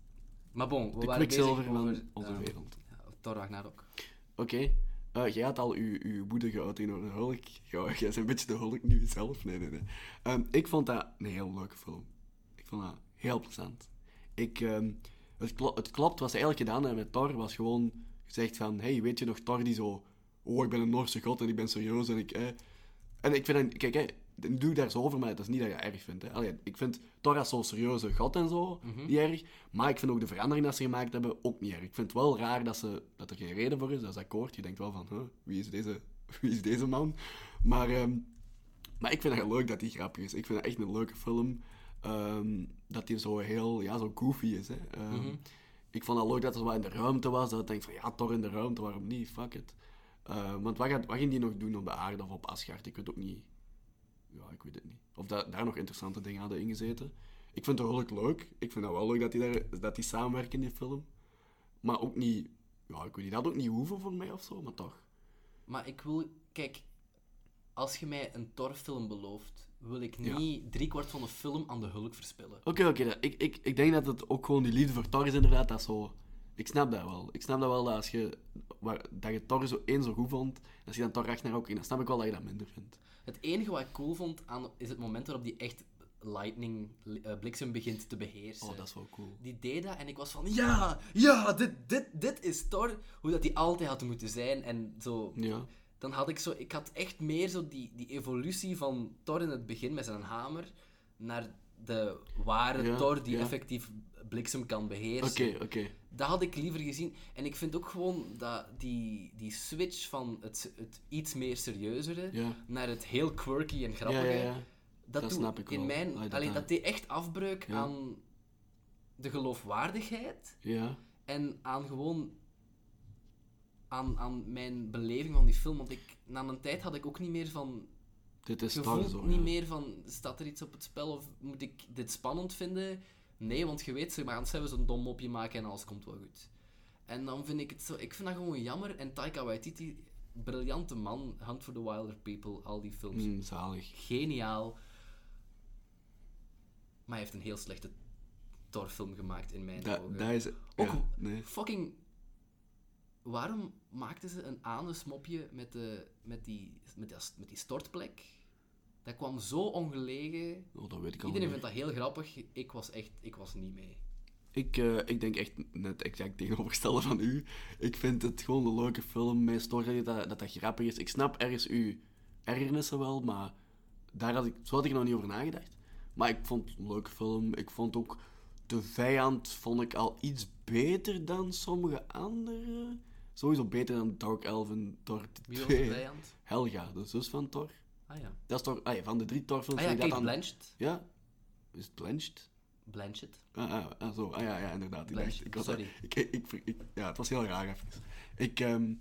Maar bon, we
De
waren bezig
kwikzilver
over...
van onze
ehm,
wereld.
ja, Thor Ragnarok.
eh, Oké. Eh, jij had al uw, uw woede geuit in een hulk. Ja, (laughs) jij bent een beetje de hulk nu zelf. Nee, nee, nee. Ehm, ik vond dat een heel leuke film. Ik vond dat heel plezant. Ik, ehm, het, klo- het klopt, wat ze eigenlijk gedaan hebben met Thor was gewoon gezegd van... Hey, weet je nog Thor die zo... Oh, ik ben een Noorse god en ik ben serieus en ik... eh." En ik vind... dat- Kijk, hè, dan doe ik daar zo over, maar dat is niet dat je erg vindt. Hè. Allee, ik vind Thor als zo'n serieuze god en zo niet erg. Maar ik vind ook de verandering dat ze gemaakt hebben ook niet erg. Ik vind het wel raar dat, ze, dat er geen reden voor is. Dat is akkoord. Je denkt wel van... Huh, wie, is deze, (laughs) wie is deze man? Maar... ehm, maar ik vind het heel leuk dat die grappig is. Ik vind het echt een leuke film. Ehm, dat die zo heel, ja, zo goofy is. Hè. Ehm, Ik vond het leuk dat het wel in de ruimte was. Dat ik denk van, ja, toch in de ruimte, waarom niet? Fuck it. Ehm, want wat, gaat, wat ging die nog doen op de aarde of op Asgard? Ik weet ook niet. Ja, ik weet het niet. Of da- daar nog interessante dingen hadden ingezeten. Ik vind het Hulk leuk. Ik vind het wel leuk dat die, daar, dat die samenwerken in die film. Maar ook niet... Ja, ik weet niet. Dat had ook niet hoeven voor mij of zo, maar toch.
Maar ik wil... Kijk, als je mij een Thor-film belooft, wil ik
Ja.
niet driekwart van de film aan de Hulk verspillen.
Oké, oké. dat- ik, ik, ik denk dat het ook gewoon die liefde voor Thor is, inderdaad. Dat is zo... Ik snap dat wel. Ik snap dat wel, dat als je, waar, dat je Thor zo één zo goed vond, en als je dan Thor Ragnarok in, dan snap ik wel dat je dat minder vindt.
Het enige wat ik cool vond aan, is het moment waarop die echt lightning, eh, bliksem begint te beheersen.
Oh, dat is wel cool.
Die deed dat en ik was van, ja, ja, dit, dit, dit is Thor. Hoe dat die altijd had moeten zijn en zo.
Ja.
Dan had ik zo, ik had echt meer zo die, die evolutie van Thor in het begin met zijn hamer naar de ware
Ja,
Thor die
ja.
effectief bliksem kan beheersen.
Oké, oké.
Dat had ik liever gezien. En ik vind ook gewoon dat die, die switch van het, het iets meer serieuzere
Ja.
naar het heel quirky en
Ja,
grappige.
ja, ja.
Dat,
Dat
doet
snap ik
in
wel.
mijn.
Ah, dat
allee,
daar.
dat deed echt afbreuk
Ja.
aan de geloofwaardigheid
Ja.
en aan gewoon. Aan, aan mijn beleving van die film. Want ik, na een tijd had ik ook niet meer van.
Dit is
Je
Star
voelt
Zone.
niet
ja.
meer van, staat er iets op het spel of moet ik dit spannend vinden? Nee, want je weet, ze gaan zelfs een dom mopje maken en alles komt wel goed. En dan vind ik het zo, ik vind dat gewoon jammer. En Taika Waititi, briljante man, Hunt for the Wilder People, al die films.
Mm, zalig.
Geniaal. Maar hij heeft een heel slechte Thor-film gemaakt in mijn
Da-
ogen.
dat is...
Ook-
ja, nee.
Fucking. Waarom maakten ze een anusmopje met, de, met, die, met, die, met die stortplek? Dat kwam zo ongelegen.
Oh, dat weet ik al
Iedereen
niet.
vindt dat heel grappig. Ik was echt ik was niet mee.
Ik, eh, ik denk echt net exact tegenovergestelde van u. Ik vind het gewoon een leuke film. Mij stoort dat dat, dat dat grappig is. Ik snap ergens uw ergernissen wel, maar daar had ik, zo had ik nog niet over nagedacht. Maar ik vond het een leuke film. Ik vond ook de vijand vond ik al iets beter dan sommige andere. Sowieso beter dan Dark Elf en Thor
Wie was
2.
de vijand?
Helga, de zus van Thor.
Ah ja.
Dat is Thor, ah ja, van de drie Thor-films
Ah ja,
vind ik
Kate
dat dan...
Blanchett.
Ja? Is het Blanched?
Blanchett.
Ah, ah, ah, zo. Ah, ja, ja, inderdaad. Ik
Blijf.
dacht, ik was
Sorry.
Ik, ik, ik- ja, het was heel raar even. Ik, ehm,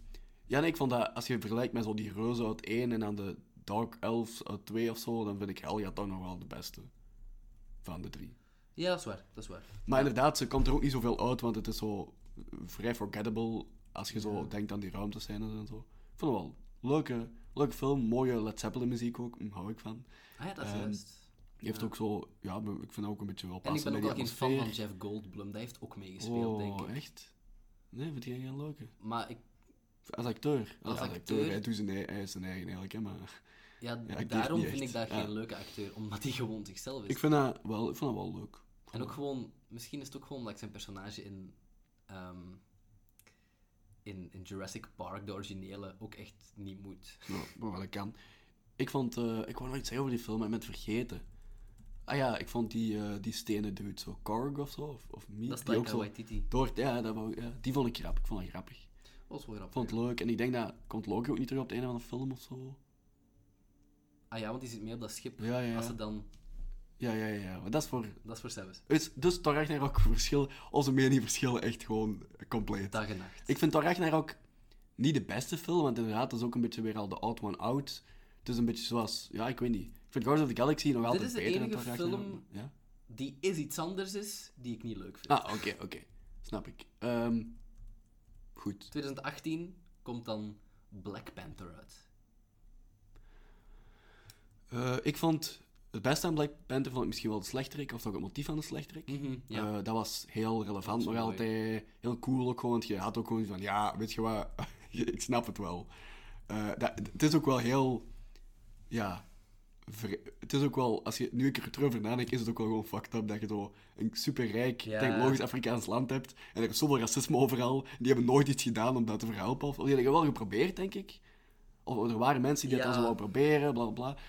ja, nee, ik vond dat, als je vergelijkt met zo die reuzen uit 1 en dan de Dark Elves uit 2 of zo, dan vind ik Helga toch nog wel de beste van de drie.
Ja, dat is waar. Dat is waar.
Maar inderdaad, ze komt er ook niet zoveel uit, want het is zo vrij forgettable als je zo denkt aan die ruimtescènes en zo. Ik vond het wel een leuke, leuke film, mooie Led Zeppelin muziek ook, mm, hou ik van.
Ah ja, dat is
Ehm,
juist.
Die heeft ook zo, ja, ik vind dat ook een beetje wel
En ik
passen
ben ook
bij
wel
die
geen fan van
atmosfeer.
Jeff Goldblum. Dat heeft ook meegespeeld, denk ik.
Oh, echt? Nee, vind jij geen leuke?
Maar ik,
Als acteur. Als, acteur.
acteur. Dus-
Hij, doet zijn, ei- hij is zijn eigen eigenlijk, hè, maar...
ja,
niet
daarom
echt.
vind ik dat
Ja.
geen leuke acteur. Omdat hij gewoon zichzelf is.
Ik vind dat wel, ik vind dat wel leuk.
En ook gewoon, misschien is het ook gewoon dat ik zijn personage in, ehm, in, in Jurassic Park, de originele, ook echt niet moet.
Ja, maar wel, dat kan. Ik vond... eh, ik wou nog iets zeggen over die film, maar ik ben het vergeten. Ah ja, ik vond die, eh, die stenen dude zo. Korg of zo, of, of Meat.
Dat is
die ook
Taika
zo...
Waititi.
Door, ja, dat wou, ik- ja, die vond ik grappig. Ik vond dat grappig. Ik
Dat was wel grappig.
vond het leuk. En ik denk dat... Komt Loki ook niet terug op het einde van de film of zo?
Ah ja, want die zit mee op dat schip.
Ja, ja,
Als
ja.
ze dan...
Ja, ja, ja. ja. Maar dat is voor...
Dat is voor zelfs.
Dus, dus Thor Ragnarok verschillen... Onze meningen verschillen echt gewoon compleet.
Dag en nacht.
Ik vind Thor Ragnarok niet de beste film, want inderdaad, dat is ook een beetje weer al de oud one out. Het is een beetje zoals, ja, ik weet niet. Ik vind Guardians of the Galaxy nog altijd
is de
beter dan
enige
Thor Ragnarok.
film-
Ja?
Die is iets anders is, die ik niet leuk vind.
Ah, oké, oké. Snap ik. Ehm, goed.
2018 komt dan Black Panther uit.
Eh, ik vond het beste aan Black Panther vond ik misschien wel de slechterik, of toch het motief van de slechterik.
Mhm, ja.
Eh, dat was heel relevant
Dat
nog
is mooi.
altijd. Heel cool ook gewoon. Want je had ook gewoon van, ja, weet je wat, (laughs) ik snap het wel. Eh, dat, het is ook wel heel, ja... vre- het is ook wel, als je, nu ik er terug over nadenk, is het ook wel gewoon fucked up dat je zo een superrijk,
Ja.
technologisch Afrikaans land hebt. En er is zoveel racisme overal. en Die hebben nooit iets gedaan om dat te verhelpen. Of, of die hebben wel geprobeerd, denk ik. Of er waren mensen die dat
Ja.
dan zo wouden proberen, bla bla bla.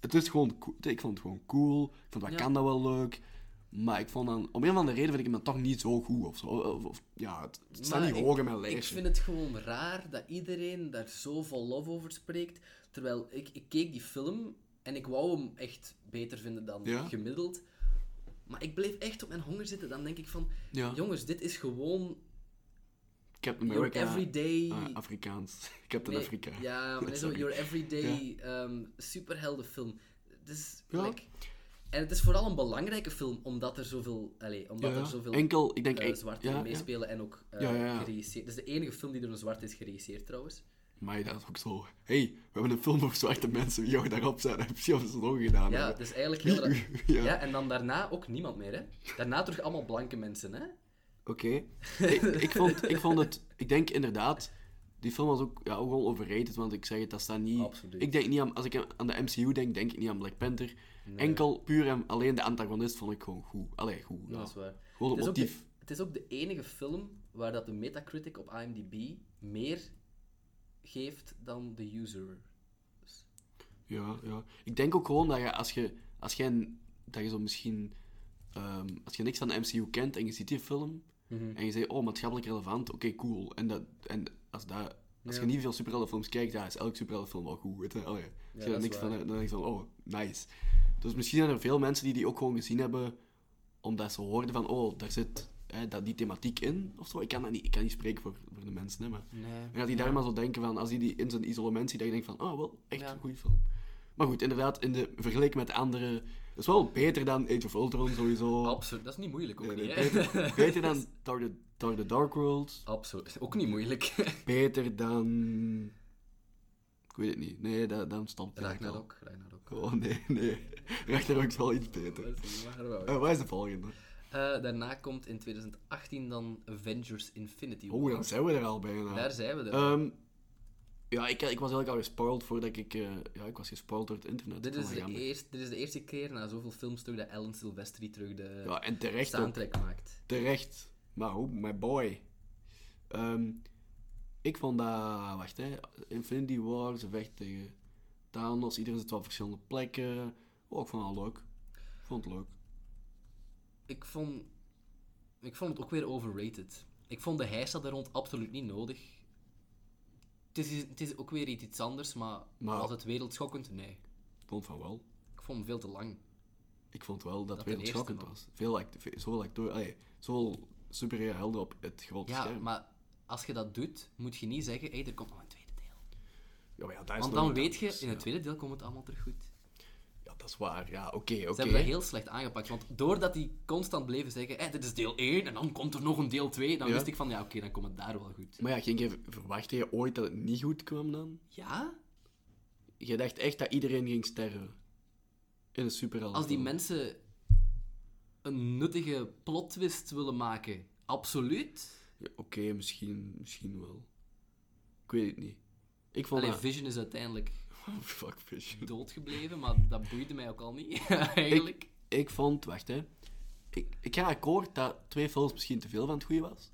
Het is gewoon cool. Ik vond het gewoon cool. Ik vond Wakanda wel leuk. Maar ik vond dan, om een of andere reden, vind ik hem dan toch niet zo goed of zo. Of, of- ja, het, het staat
Maar
niet
ik-
hoog in mijn
Ik
lijstje.
vind het gewoon raar dat iedereen daar zo vol lof over spreekt. Terwijl ik, ik keek die film en ik wou hem echt beter vinden dan
Ja.
gemiddeld. Maar ik bleef echt op mijn honger zitten. Dan denk ik van,
Ja.
jongens, dit is gewoon
Captain
your
America.
everyday...
ah, Afrikaans. (laughs) Captain
Nee,
Afrika.
Ja, maar dit is zo
(laughs) Sorry.
your everyday ehm superheldenfilm. Dus,
Ja.
like, en het is vooral een belangrijke film, omdat er zoveel... Allee, omdat
Ja, ja.
er zoveel
Enkel, ik denk...
eh,
ik-
zwarten
ja, ja.
meespelen en ook eh
Ja, ja, ja.
geregisseerd. Dat is de enige film die door een zwart is geregisseerd, trouwens.
Maar dat is ook zo. hey, we hebben een film over zwarte mensen. Wie jou daarop zijn, (laughs) heb je ons nog
Ja,
gedaan.
dus
hebben.
het is eigenlijk heel raar.
(laughs) Ja.
Ja. en dan daarna ook niemand meer, hè. Daarna terug allemaal blanke mensen, hè.
Oké. ik, ik, vond, ik vond het... Ik denk inderdaad... Die film was ook, ja, ook wel overrated, want ik zeg het, dat staat niet...
Absoluut.
Ik denk niet aan... Als ik aan de MCU denk, denk ik niet aan Black Panther. Enkel, puur en alleen de antagonist vond ik gewoon goed. Allee, goed. Ja.
Dat is waar.
Gewoon
Het
het
is, ook de,
motief.
het is ook de enige film waar dat de Metacritic op IMDb meer geeft dan de user.
Ja, ja. Ik denk ook gewoon dat je, als je... Als jij... n- Dat je zo misschien... ehm, als je niks van de MCU kent en je ziet die film...
Mhm.
En je zegt, oh, maatschappelijk relevant, oké, cool. En, dat, en als, dat, als je niet veel superheldenfilms kijkt, dan is elke superheldenfilm wel goed. Weet je? Allee, als je
dat
daar
is
niks van
waar.
hebt, dan denk je van, oh, nice. Dus misschien zijn er veel mensen die die ook gewoon gezien hebben, omdat ze hoorden van, oh, daar zit hè, dat, die thematiek in, of zo. Ik kan, dat niet, ik kan niet spreken voor, voor de mensen, hè, maar...
Nee.
En dat die daar maar zo denken van, als die, die in zijn isolement ziet, dat je denkt van, oh, wel, echt
Ja.
een goede film. Maar goed, inderdaad, in de vergelijking met de andere... Dat is wel beter dan Age of Ultron, sowieso.
Absoluut, dat is niet moeilijk ook
Nee, nee,
niet. hè. (laughs)
beter, beter dan Thor the, Thor the Dark World.
Absoluut, ook niet
(laughs)
moeilijk.
Beter dan... Ik weet het niet. Nee, da, dan stond het eigenlijk
Ragnarok, Ragnarok.
al. Oh, nee, nee. Ragnarok is wel iets beter.
Dat is niet waar, wel.
Eh, waar is de volgende?
Eh, daarna komt in 2018 dan Avengers Infinity War.
Oh, dan zijn we er al bijna.
Daar zijn we er.
Ehm, ja, ik, ik was eigenlijk al gespoild voordat ik... eh, ja, ik was gespoild door het internet. Oh,
dit,
Van
is de
Gamma.
eerste, dit is de eerste keer na zoveel films terug dat Alan Silvestri terug de
Ja, en terecht ook.
soundtrack maakt.
Terecht. Maar hoe, my boy. Ehm, ik vond dat... Wacht, hè. Infinity War, ze vecht tegen Thanos. Iedereen zit wel op verschillende plekken. Oh, ik vond het wel leuk. Ik vond het leuk.
Ik vond, ik vond het ook weer overrated. Ik vond de heisa daar rond absoluut niet nodig. Het is, het is ook weer iets anders, maar,
Maar-
was het wereldschokkend? Nee.
Ik vond van wel.
Ik vond hem veel te lang.
Ik vond wel dat,
Dat
het
de
wereldschokkend
eerste
was. Veel act ve- zoveel acteur... Allee, zoveel superhelden helden op het grote
Ja,
scherm.
maar als je dat doet, moet je niet zeggen, hey, er komt nog een tweede deel.
Ja, maar ja, dat is
Want
nog
dan
iets
weet je,
anders.
in het tweede deel komt het allemaal terug goed.
Ja, dat is waar. Ja, oké, oké.
Ze hebben dat heel slecht aangepakt. Want doordat die constant bleven zeggen, eh, dit is deel 1 en dan komt er nog een deel 2, dan
Ja.
wist ik van, ja, oké, dan komt het daar wel goed.
Maar ja, ging je, verwachtte je ooit dat het niet goed kwam dan?
Ja?
Je dacht echt dat iedereen ging sterven. In een superhelden.
Als die mensen een nuttige plot twist willen maken, absoluut.
Ja, Oké, misschien, misschien wel. Ik weet het niet. Ik vond
Alleen
dat-
Vision is uiteindelijk
(laughs) Fuck Vision.
doodgebleven, maar dat boeide mij ook al niet, (laughs) eigenlijk.
Ik vond... Wacht, hè. Ik, ik ga akkoord dat twee films misschien te veel van het goede was.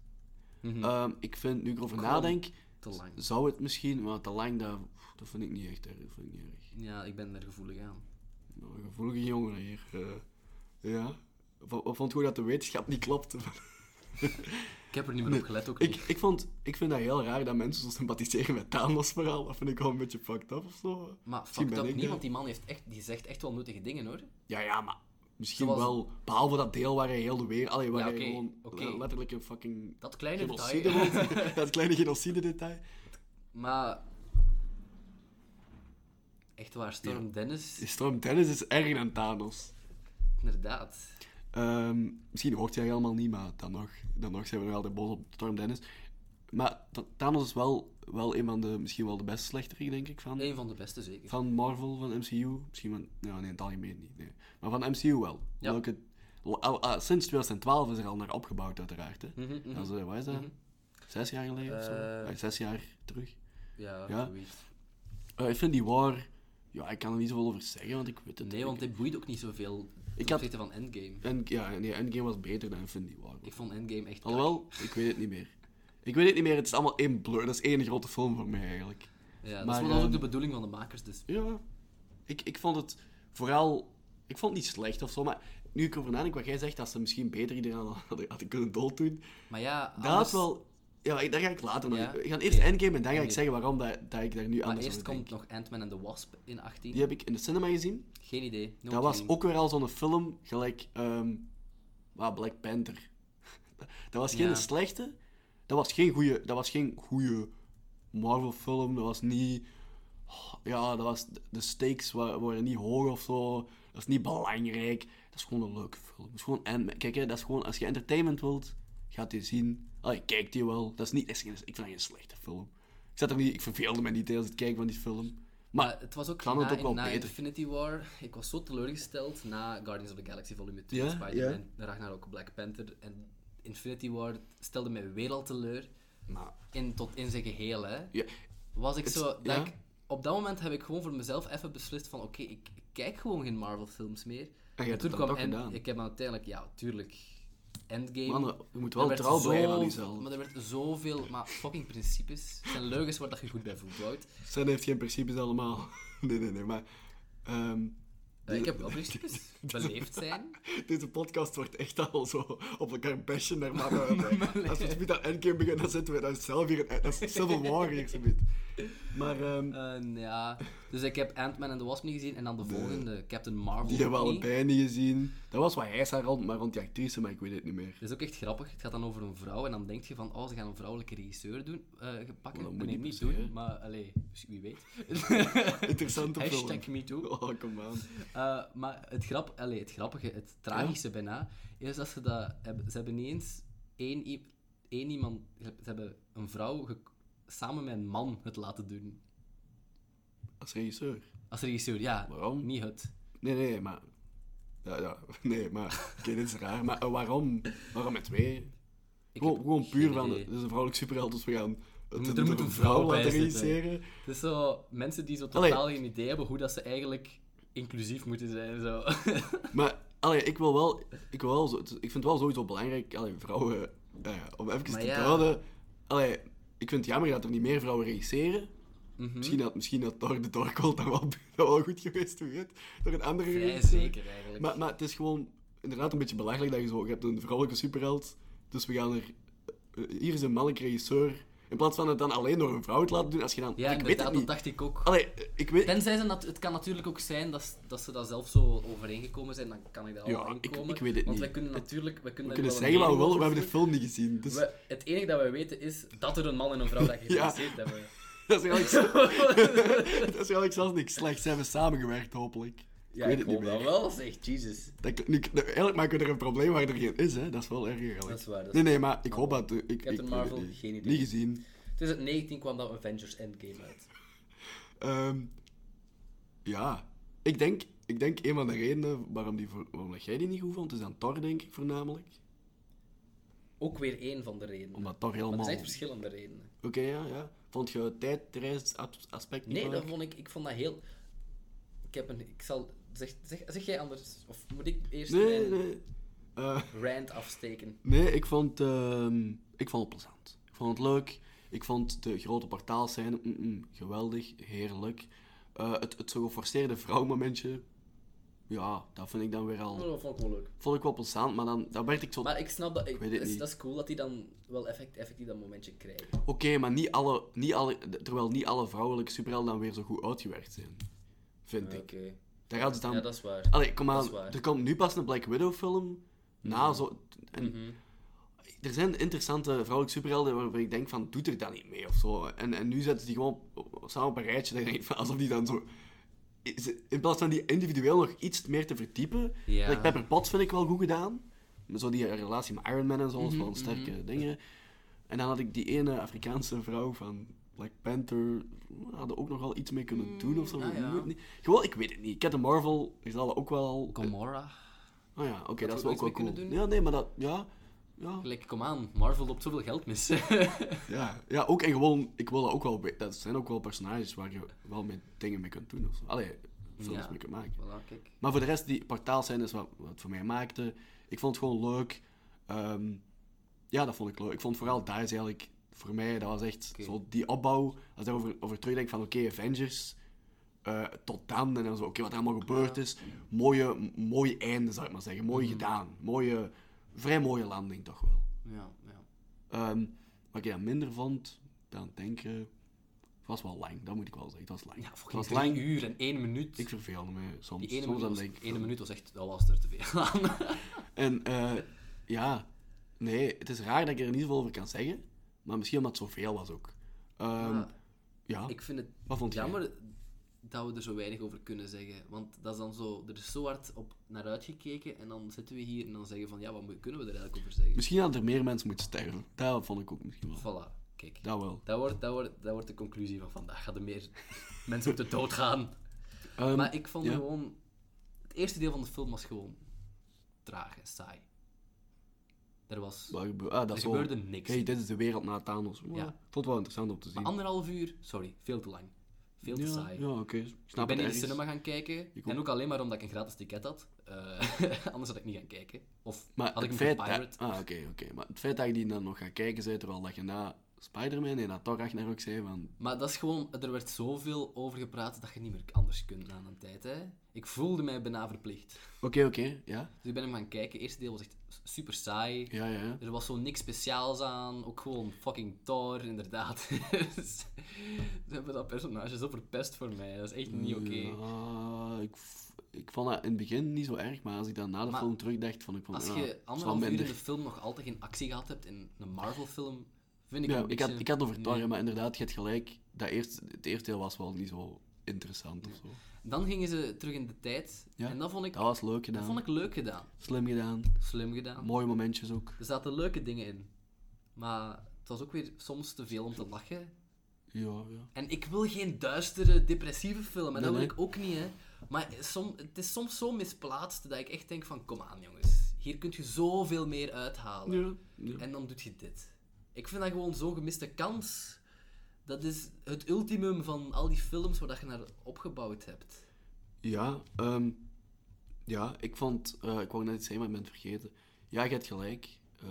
Mhm.
Ehm, ik vind, nu ik erover nadenk,
Te lang.
zou het misschien... Maar te lang, dat, dat vind ik niet echt erg. Dat vind ik niet erg.
Ja, ik ben er gevoelig aan.
Nou, een gevoelige jongen hier. eh. ja. V- vond gewoon dat de wetenschap niet klopt.
Ik heb er niet meer op gelet, ook
(laughs) ik,
niet.
ik, vond, ik vind dat heel raar dat mensen zo sympathiseren met Thanos verhaal. Dat vind ik wel een beetje fucked up of zo.
Maar
Misschien
fuck
ben
up,
ik,
niemand,
eh,
die man heeft echt, die zegt echt wel nuttige dingen, hoor.
Ja, ja, maar misschien
Zoals-
wel. Behalve dat deel waar hij heel de wereld. Allee, waar
Ja,
hij
oké,
gewoon
oké.
le- letterlijk een fucking.
Dat kleine
genocide
detail. (laughs)
wordt. dat kleine genocide detail.
Maar... Echt waar, Storm Dennis,
Storm Dennis is erger dan Thanos.
inderdaad.
Ehm, misschien hoort hij helemaal niet, maar dan nog, dan nog zijn we nog altijd boos op Storm Dennis. Maar Th- Thanos is wel, wel een van de, misschien wel de beste slechterik, denk ik, van,
Een van de beste, zeker.
van Marvel, van MCU. Misschien van, nou, nee, in het algemeen niet. Nee. Maar van MCU wel.
Ja.
Welke, wel, ah, ah, sinds 2012 is er al naar opgebouwd, uiteraard. Hè. Dat is, eh, wat is dat? Zes jaar geleden of zo?
Mhm, Eh.
Ah, zes jaar terug.
Ja,
Ja.
zoiets.
Eh, ik vind die war... Ja, ik kan er niet zoveel over zeggen, want ik weet het
Nee,
ik-
want dit boeit ook niet zoveel ten
had-
opzichte van Endgame.
En, ja, nee, Endgame was beter dan Infinity War.
Ik vond Endgame echt...
Alhoewel, ik weet het niet meer. Ik weet het niet meer, het is allemaal één blur. Dat is één grote film voor mij eigenlijk.
Ja, dat
maar,
is wel dat is ook
ehm,
de bedoeling van de makers, dus...
Ja, ik, ik vond het vooral. Ik vond het niet slecht of zo, maar nu ik erover nadenk wat jij zegt, dat ze misschien beter iedereen (laughs) hadden, hadden kunnen dooddoen.
Maar ja,
Dat
anders-
had wel. Ja, ik- daar ga ik later naar.
Ja?
We gaan eerst
Oké.
Endgame en dan ga ik
Oké.
zeggen waarom dat, dat ik daar nu
Maar
anders
eerst
over denk.
komt nog Ant-Man and the Wasp in 18.
Die heb ik in de cinema gezien.
Geen idee. No
dat was
clue.
ook weer al zo'n film, gelijk ehm, ah, Black Panther. (laughs) dat was geen
Ja.
slechte, dat was geen goede, dat was geen goede Marvel film. Dat was niet, oh, ja, dat was de stakes wa- waren niet hoog of zo. Dat is niet belangrijk. Dat is gewoon een leuke film. Dat is gewoon en kijk, hè, dat is gewoon als je entertainment wilt, gaat die zien. Allee, kijk die wel. Dat is niet, dat is geen- ik vind dat geen slechte film. Ik zat er niet, ik verveelde me niet tijdens het kijken van die film. Maar
Maar Ah, het was ook
kan
na,
het ook wel
na
beter.
Infinity War. Ik was zo teleurgesteld na Guardians of the Galaxy Volume 2,
Ja,
Spider-Man, Ragnarok, Black Panther en Infinity War stelde mij weer al teleur.
maar
In, tot in zijn geheel, hè.
ja,
Was ik
Het-
zo... dat
ja.
ik- op dat moment heb ik gewoon voor mezelf even beslist van... Oké, ik, ik kijk gewoon geen Marvel-films meer.
en je hebt het dan toch
End-
gedaan.
Ik heb uiteindelijk... Ja, tuurlijk... Endgame...
Mannen, je moet
Er
wel
werd
trouw blijven aan
zoveel-
jezelf.
Maar er werd zoveel... Maar fucking principes. Het zijn leugens waar dat je goed bij voelt, Wout.
(laughs) Sen heeft geen principes allemaal. nee, nee, nee, maar... ehm,
Eh, ik
(laughs)
heb oprichtjes beleefd zijn.
Deze podcast wordt echt al zo op elkaar bashen naar maar
(laughs)
Als we het met aan Endgame beginnen, dan zitten we dan zelf hier.
(laughs)
in- Dat is Civil War hier, zo Maar, ehm
Eh, ja. Dus ik heb Ant-Man en de Wasp niet gezien. En dan de volgende, Captain Marvel.
die hebben we
ook niet.
allebei niet gezien. Dat was wat hij zei rond, maar rond die actrice, maar ik weet het niet
(laughs)
meer.
Dat is ook echt grappig. Het gaat dan over een vrouw en dan denk je van, oh, ze gaan een vrouwelijke regisseur doen, eh pakken.
dat moet
nee,
niet
niet,
per se,
doen,
hè.
maar allee, wie
(laughs)
weet.
Interessante film. (laughs)
Hashtag me too.
Oh, kom aan.
Eh, maar het, grap, allee, het grappige, het tragische bijna, is dat ze dat hebben. Ze hebben niet eens één, i- één iemand, ze hebben een vrouw ge- samen met een man het laten doen.
Als regisseur.
Als regisseur, ja.
Waarom?
Niet het.
Nee, nee, maar... Ja, ja. (laughs) Nee, maar... Oké, dit is raar. Maar eh, waarom? Waarom met twee?
Ik
Gewoon,
heb
gewoon
geen
puur van...
idee.
Dit is een vrouwelijk superheld, dus we gaan... Het,
moet- er
door
moet een vrouw bij
laten
zitten.
regisseren.
Het is zo, mensen die zo
Allee.
totaal geen idee hebben hoe dat ze eigenlijk inclusief moeten zijn. Zo. (laughs)
Maar allee, ik wil wel, ik wil wel zo, het- ik vind het wel sowieso belangrijk, allee, vrouwen, eh, om even
Maar
te
ja.
houden. Allee, ik vind het jammer dat er niet meer vrouwen regisseren.
Mhm.
Misschien had, misschien had door de Dorkool dan wel, (laughs) dan wel goed geweest, hoe weet. Door een andere
Vrij
regisseur.
zeker eigenlijk.
Maar, maar het is gewoon inderdaad een beetje belachelijk dat je zo, je hebt een vrouwelijke superheld, dus we gaan er, eh, hier is een mannelijk regisseur. In plaats van het dan alleen door een vrouw te laten doen, als je dan,
ja,
ik weet
inderdaad,
het
dat
niet.
dacht ik ook.
Allee, ik weet,
Tenzij ze nat- het kan natuurlijk ook zijn dat, s- dat ze daar zelf zo overeengekomen zijn, dan kan ik daar
Ja,
al aan
ik-
komen.
ik weet het
Want
niet.
wij kunnen natuurlijk... Wij kunnen,
we
daar
kunnen
wel
zeggen wat we
een
willen,
mening
we hebben
over
de film niet gezien. Dus...
voeren. We- het enige dat wij weten is dat er een man en een vrouw dat geïnteresseerd hebben.
(laughs) Dat is eigenlijk,
(laughs)
zo- (laughs) dat is eigenlijk zelfs niks slechts. Ze hebben samengewerkt, hopelijk.
Ja,
ik
ik,
weet het
hoop
niet meer.
dat wel, zeg. Jesus.
Dat, nu, nou, eigenlijk maken we er een probleem waar er geen is, hè. Dat is wel erg, eigenlijk.
Dat is waar, dat is
nee, nee, maar ik hoop dat... eh, Ik, ik,
Captain
weet het
Marvel,
niet.
geen idee.
Niet gezien.
2019 kwam dat Avengers Endgame uit.
Ehm, ja. Ik denk, ik denk een van de redenen waarom, die, voor- waarom dat jij die niet goed vond, is aan Thor, denk ik, voornamelijk.
Ook weer één van de redenen.
Omdat Thor
Maar er
helemaal...
zijn echt
Oké,
verschillende redenen.
ja, ja. Vond je het tijdreisaspect niet
Nee, dat
belangrijk?
vond ik... Ik vond dat heel... Ik heb een... Ik zal... Zeg, zeg, zeg jij anders? Of moet ik eerst
Nee,
mijn
nee. Eh,
rant afsteken?
Nee, ik vond, ehm, ik vond het plezant. Ik vond het leuk. Ik vond de grote portaalscène mm, mm, geweldig, heerlijk. Eh, het, het zo geforceerde vrouwmomentje, ja, dat vind ik dan weer
Oh,
al...
dat vond ik wel leuk.
Vond ik wel plezant, maar dan, dan werd ik zo... Oké,
Maar ik snap dat. Ik,
weet het
dat, is,
niet.
dat is cool dat die dan wel effect, effectief dat momentje krijgen.
maar niet alle, niet alle, terwijl niet alle vrouwelijke superhelden dan weer zo goed uitgewerkt zijn. Vind ik. Daar gaat het dan...
Ja, dat is waar.
Allee, kom
dat
aan.
is waar.
Er komt nu pas een Black Widow film. Na zo... En
Mhm.
Er zijn interessante vrouwelijke superhelden waarvan ik denk van, doet er dat niet mee of zo. En, en nu zetten ze die gewoon op- samen op een rijtje. Dat ik denk van, (laughs) alsof die dan zo... is- In plaats van die individueel nog iets meer te verdiepen.
Ja.
Like Pepper Potts vind ik wel goed gedaan. Maar zo die relatie met Iron Man en zo, dat
Mhm,
is wel een sterke dingen. En dan had ik die ene Afrikaanse vrouw van Black Panther. We hadden ook nog wel iets mee kunnen doen of zo.
ah,
maar
ja.
moet niet. Gewoon, ik weet het niet. Captain Marvel is al ook wel...
Gamora.
Oh ja, oké, dat
we
is wel
ook
ook wel
iets mee
cool.
kunnen doen.
Ja, nee, maar dat... Ja, ja.
Gelijk, kom aan. Marvel loopt zoveel geld mis. (laughs)
Ja, ja ook en gewoon, ik wil dat ook wel. be- Dat zijn ook wel personages waar je wel met dingen mee kunt doen. Of zo. Allee, films
Ja.
mee kunt maken.
voilà, kijk.
Maar voor de rest, die portaalscène is wat, wat het voor mij maakte. Ik vond het gewoon leuk. Ehm, ja, dat vond ik leuk. Ik vond vooral daar is eigenlijk, voor mij, dat was echt
Oké.
zo die opbouw. Als je over, over terugdenkt van, oké, Avengers, eh, tot dan. En dan zo, oké, wat er allemaal gebeurd is. Mooie, m- mooi einde, zou ik maar zeggen.
Mhm.
Mooi gedaan. Mooie, vrij mooie landing toch wel.
Ja, ja.
Ehm, wat ik dan minder vond, dan het denken. Het was wel lang, dat moet ik wel zeggen. Het was lang.
ja
het
fucking
was
drie
lang.
uur en één minuut.
Ik verveelde me soms.
die ene minuut,
soms dan
was,
denk ik.
ene minuut was echt... Dat was er te veel aan.
En eh, ja, nee, het is raar dat ik er niet zoveel over kan zeggen. Maar misschien omdat het zoveel was ook. Ehm,
Maar (laughs)
ja,
ik vind het
wat vond jij?
jammer dat we er zo weinig over kunnen zeggen. Want dat is dan zo... Er is zo hard op naar uitgekeken. En dan zitten we hier en dan zeggen van... Ja, wat moet- kunnen we er eigenlijk over zeggen?
Misschien hadden er meer mensen moeten sterven. Dat vond ik ook misschien wel.
Voilà, kijk.
Dat wel.
Dat wordt, dat, wordt, dat wordt de conclusie van vandaag. Gaan er meer (laughs) mensen op de dood gaan.
Ehm,
Maar ik vond
ja.
gewoon... Het eerste deel van de film was gewoon traag en saai. Er was...
wat gebe- ah, dat
Er
is wel-
gebeurde niks.
hey, dit is de wereld na Thanos. Ja. Ik vond het wel interessant om te zien.
Anderhalf uur, sorry, veel te lang. Veel te
ja,
saai.
ja oké. Ik
ik ben
Snap het
in de
ergens.
cinema gaan kijken.
Ik ook.
En ook alleen maar omdat ik een gratis ticket had. Eh, (laughs) anders had ik niet gaan kijken. Of
Maar
had ik
het
hem
feit
gepirate.
dat... Ah, oké, oké. Maar het feit dat je die dan nog gaat kijken, zei terwijl dat je na Spider-Man en dat Thor Ragnarok zei van...
Maar dat is gewoon, er werd zoveel over gepraat dat je niet meer anders kunt na een tijd. Hè? Ik voelde mij bijna verplicht.
Oké, oké, ja.
Dus ik ben hem gaan kijken. Het eerste deel was echt super saai.
Ja, ja, ja.
Er was zo niks speciaals aan. Ook gewoon fucking Thor, inderdaad. (laughs) Dus Ze hebben dat personage zo verpest voor mij. Dat is echt niet oké.
Ja, ik, v- ik vond dat in het begin niet zo erg, maar als ik dan na de
Maar
film terugdacht, vond ik van...
Als
ja, het
je
is wel
anderhalf uur in
minder.
de film nog altijd geen actie gehad hebt in een Marvel-film, vind ik
Ja,
een
ik
beetje...
had, ik had over Thor,
Nee.
maar inderdaad, je hebt gelijk. Dat eerst, het eerste deel was wel niet zo interessant of zo.
Dan gingen ze terug in de tijd.
Ja,
En dat vond, ik,
Dat was leuk
dat
gedaan.
vond ik leuk gedaan.
Slim gedaan.
Slim gedaan.
Mooie momentjes ook.
Er zaten leuke dingen in. Maar het was ook weer soms te veel om te lachen.
Ja, ja.
En ik wil geen duistere, depressieve film. En dat wil
nee.
ik ook niet, hè. Maar som, het is soms zo misplaatst dat ik echt denk van... Kom aan, jongens. Hier kun je zoveel meer uithalen.
Ja, ja.
En dan doet je dit. Ik vind dat gewoon zo'n gemiste kans. Dat is het ultimum van al die films waar dat je naar opgebouwd hebt.
Ja, ehm, ja ik vond... eh, ik wou net iets zeggen, maar ik ben het vergeten. Ja, je hebt gelijk. Eh,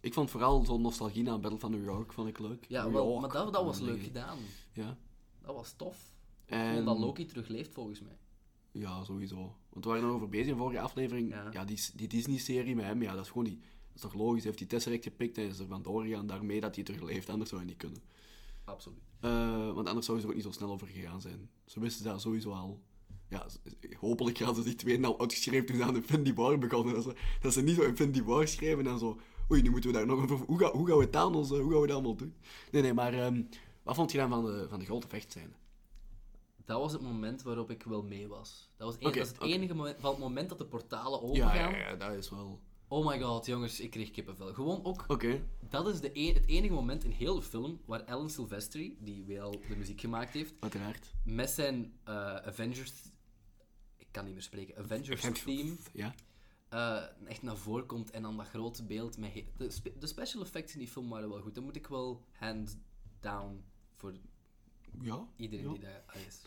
ik vond vooral zo'n nostalgie aan Battle van New York vond ik leuk.
Ja,
New
wel,
York, eh,
maar dat, dat was
dingen.
leuk gedaan.
Ja.
Dat was tof.
En,
En... Dat Loki terugleeft, volgens mij.
Ja, sowieso. Want we waren erover bezig in de vorige aflevering.
Ja.
Ja, die, die Disney-serie met hem, ja, dat is gewoon die... Dat is toch logisch, hij heeft die Tesseract gepikt en is er van doorgegaan daarmee dat hij terugleeft. Anders zou hij niet kunnen.
Absoluut.
Eh, want anders zouden ze er ook niet zo snel over gegaan zijn. Ze wisten dat sowieso al. Ja, z- hopelijk gaan ze die twee nou uitgeschreven toen ze aan Infinity War begonnen. Dat ze, dat ze niet zo Infinity War schrijven en dan zo... Oei, nu moeten we daar nog over... Hoe, ga, hoe gaan we het aan ons... eh, Hoe gaan we dat allemaal doen? Nee, nee, maar... ehm, wat vond je dan van de, van de grote vechtscène?
Dat was het moment waarop ik wel mee was. Dat was, een-
Oké,
dat is het
oké.
enige moment, van het moment dat de portalen
Ja,
opengaan.
ja, ja, dat is wel...
Oh my god, jongens, ik kreeg kippenvel. Gewoon ook,
Oké.
dat is de e- het enige moment in heel de film waar Alan Silvestri, die wel de muziek gemaakt heeft,
Uiteraard.
met zijn eh, Avengers... Ik kan niet meer spreken. Avengers theme
Ja.
eh, echt naar voren komt en dan dat grote beeld met... he- De, spe- de special effects in die film waren wel goed. Dat moet ik wel hands down voor
Ja.
iedereen
ja.
die daar ah, is.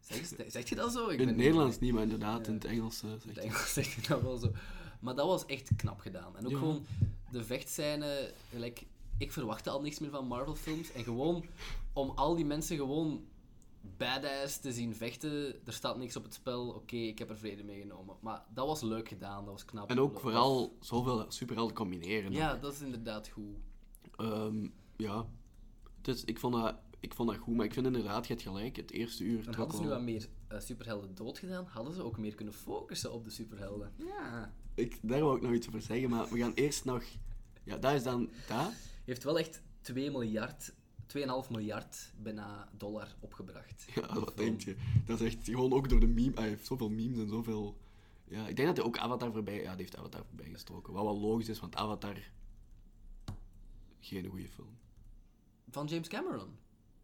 Zeg, zeg je dat zo? Ik
In
ben
het
niet-
Nederlands niet, maar inderdaad, in het Engels... eh, zegt-
Het (laughs) Engels zegt hij dat wel zo. Maar dat was echt knap gedaan. En ook
Ja.
gewoon de vechtscène. Like, ik verwachtte al niks meer van Marvel-films. En gewoon om al die mensen gewoon badass te zien vechten. Er staat niks op het spel. Oké, ik heb er vrede mee genomen. Maar dat was leuk gedaan. Dat was knap.
En ook
Dat
vooral zoveel superhelden combineren.
was- Ja, dat is inderdaad goed.
Ehm, ja. Dus ik vond, dat, ik vond dat goed, maar ik vind inderdaad, je hebt gelijk, het eerste uur
En
trok
hadden ze nu
wel-
aan meer eh, superhelden dood gedaan, hadden ze ook meer kunnen focussen op de superhelden. Ja.
Ik, daar wou ik nog iets over zeggen, maar we gaan eerst nog... Ja, dat is dan dat. (laughs)
Heeft wel echt 2 miljard, 2,5 miljard bijna dollar opgebracht.
(laughs) Ja, dat denk je. Dat is echt gewoon ook door de meme... Hij heeft zoveel memes en zoveel... Ja, ik denk dat hij ook Avatar voorbij... Ja, die heeft Avatar voorbij gestoken. Wat wel logisch is, want Avatar... Geen goede film.
Van James Cameron.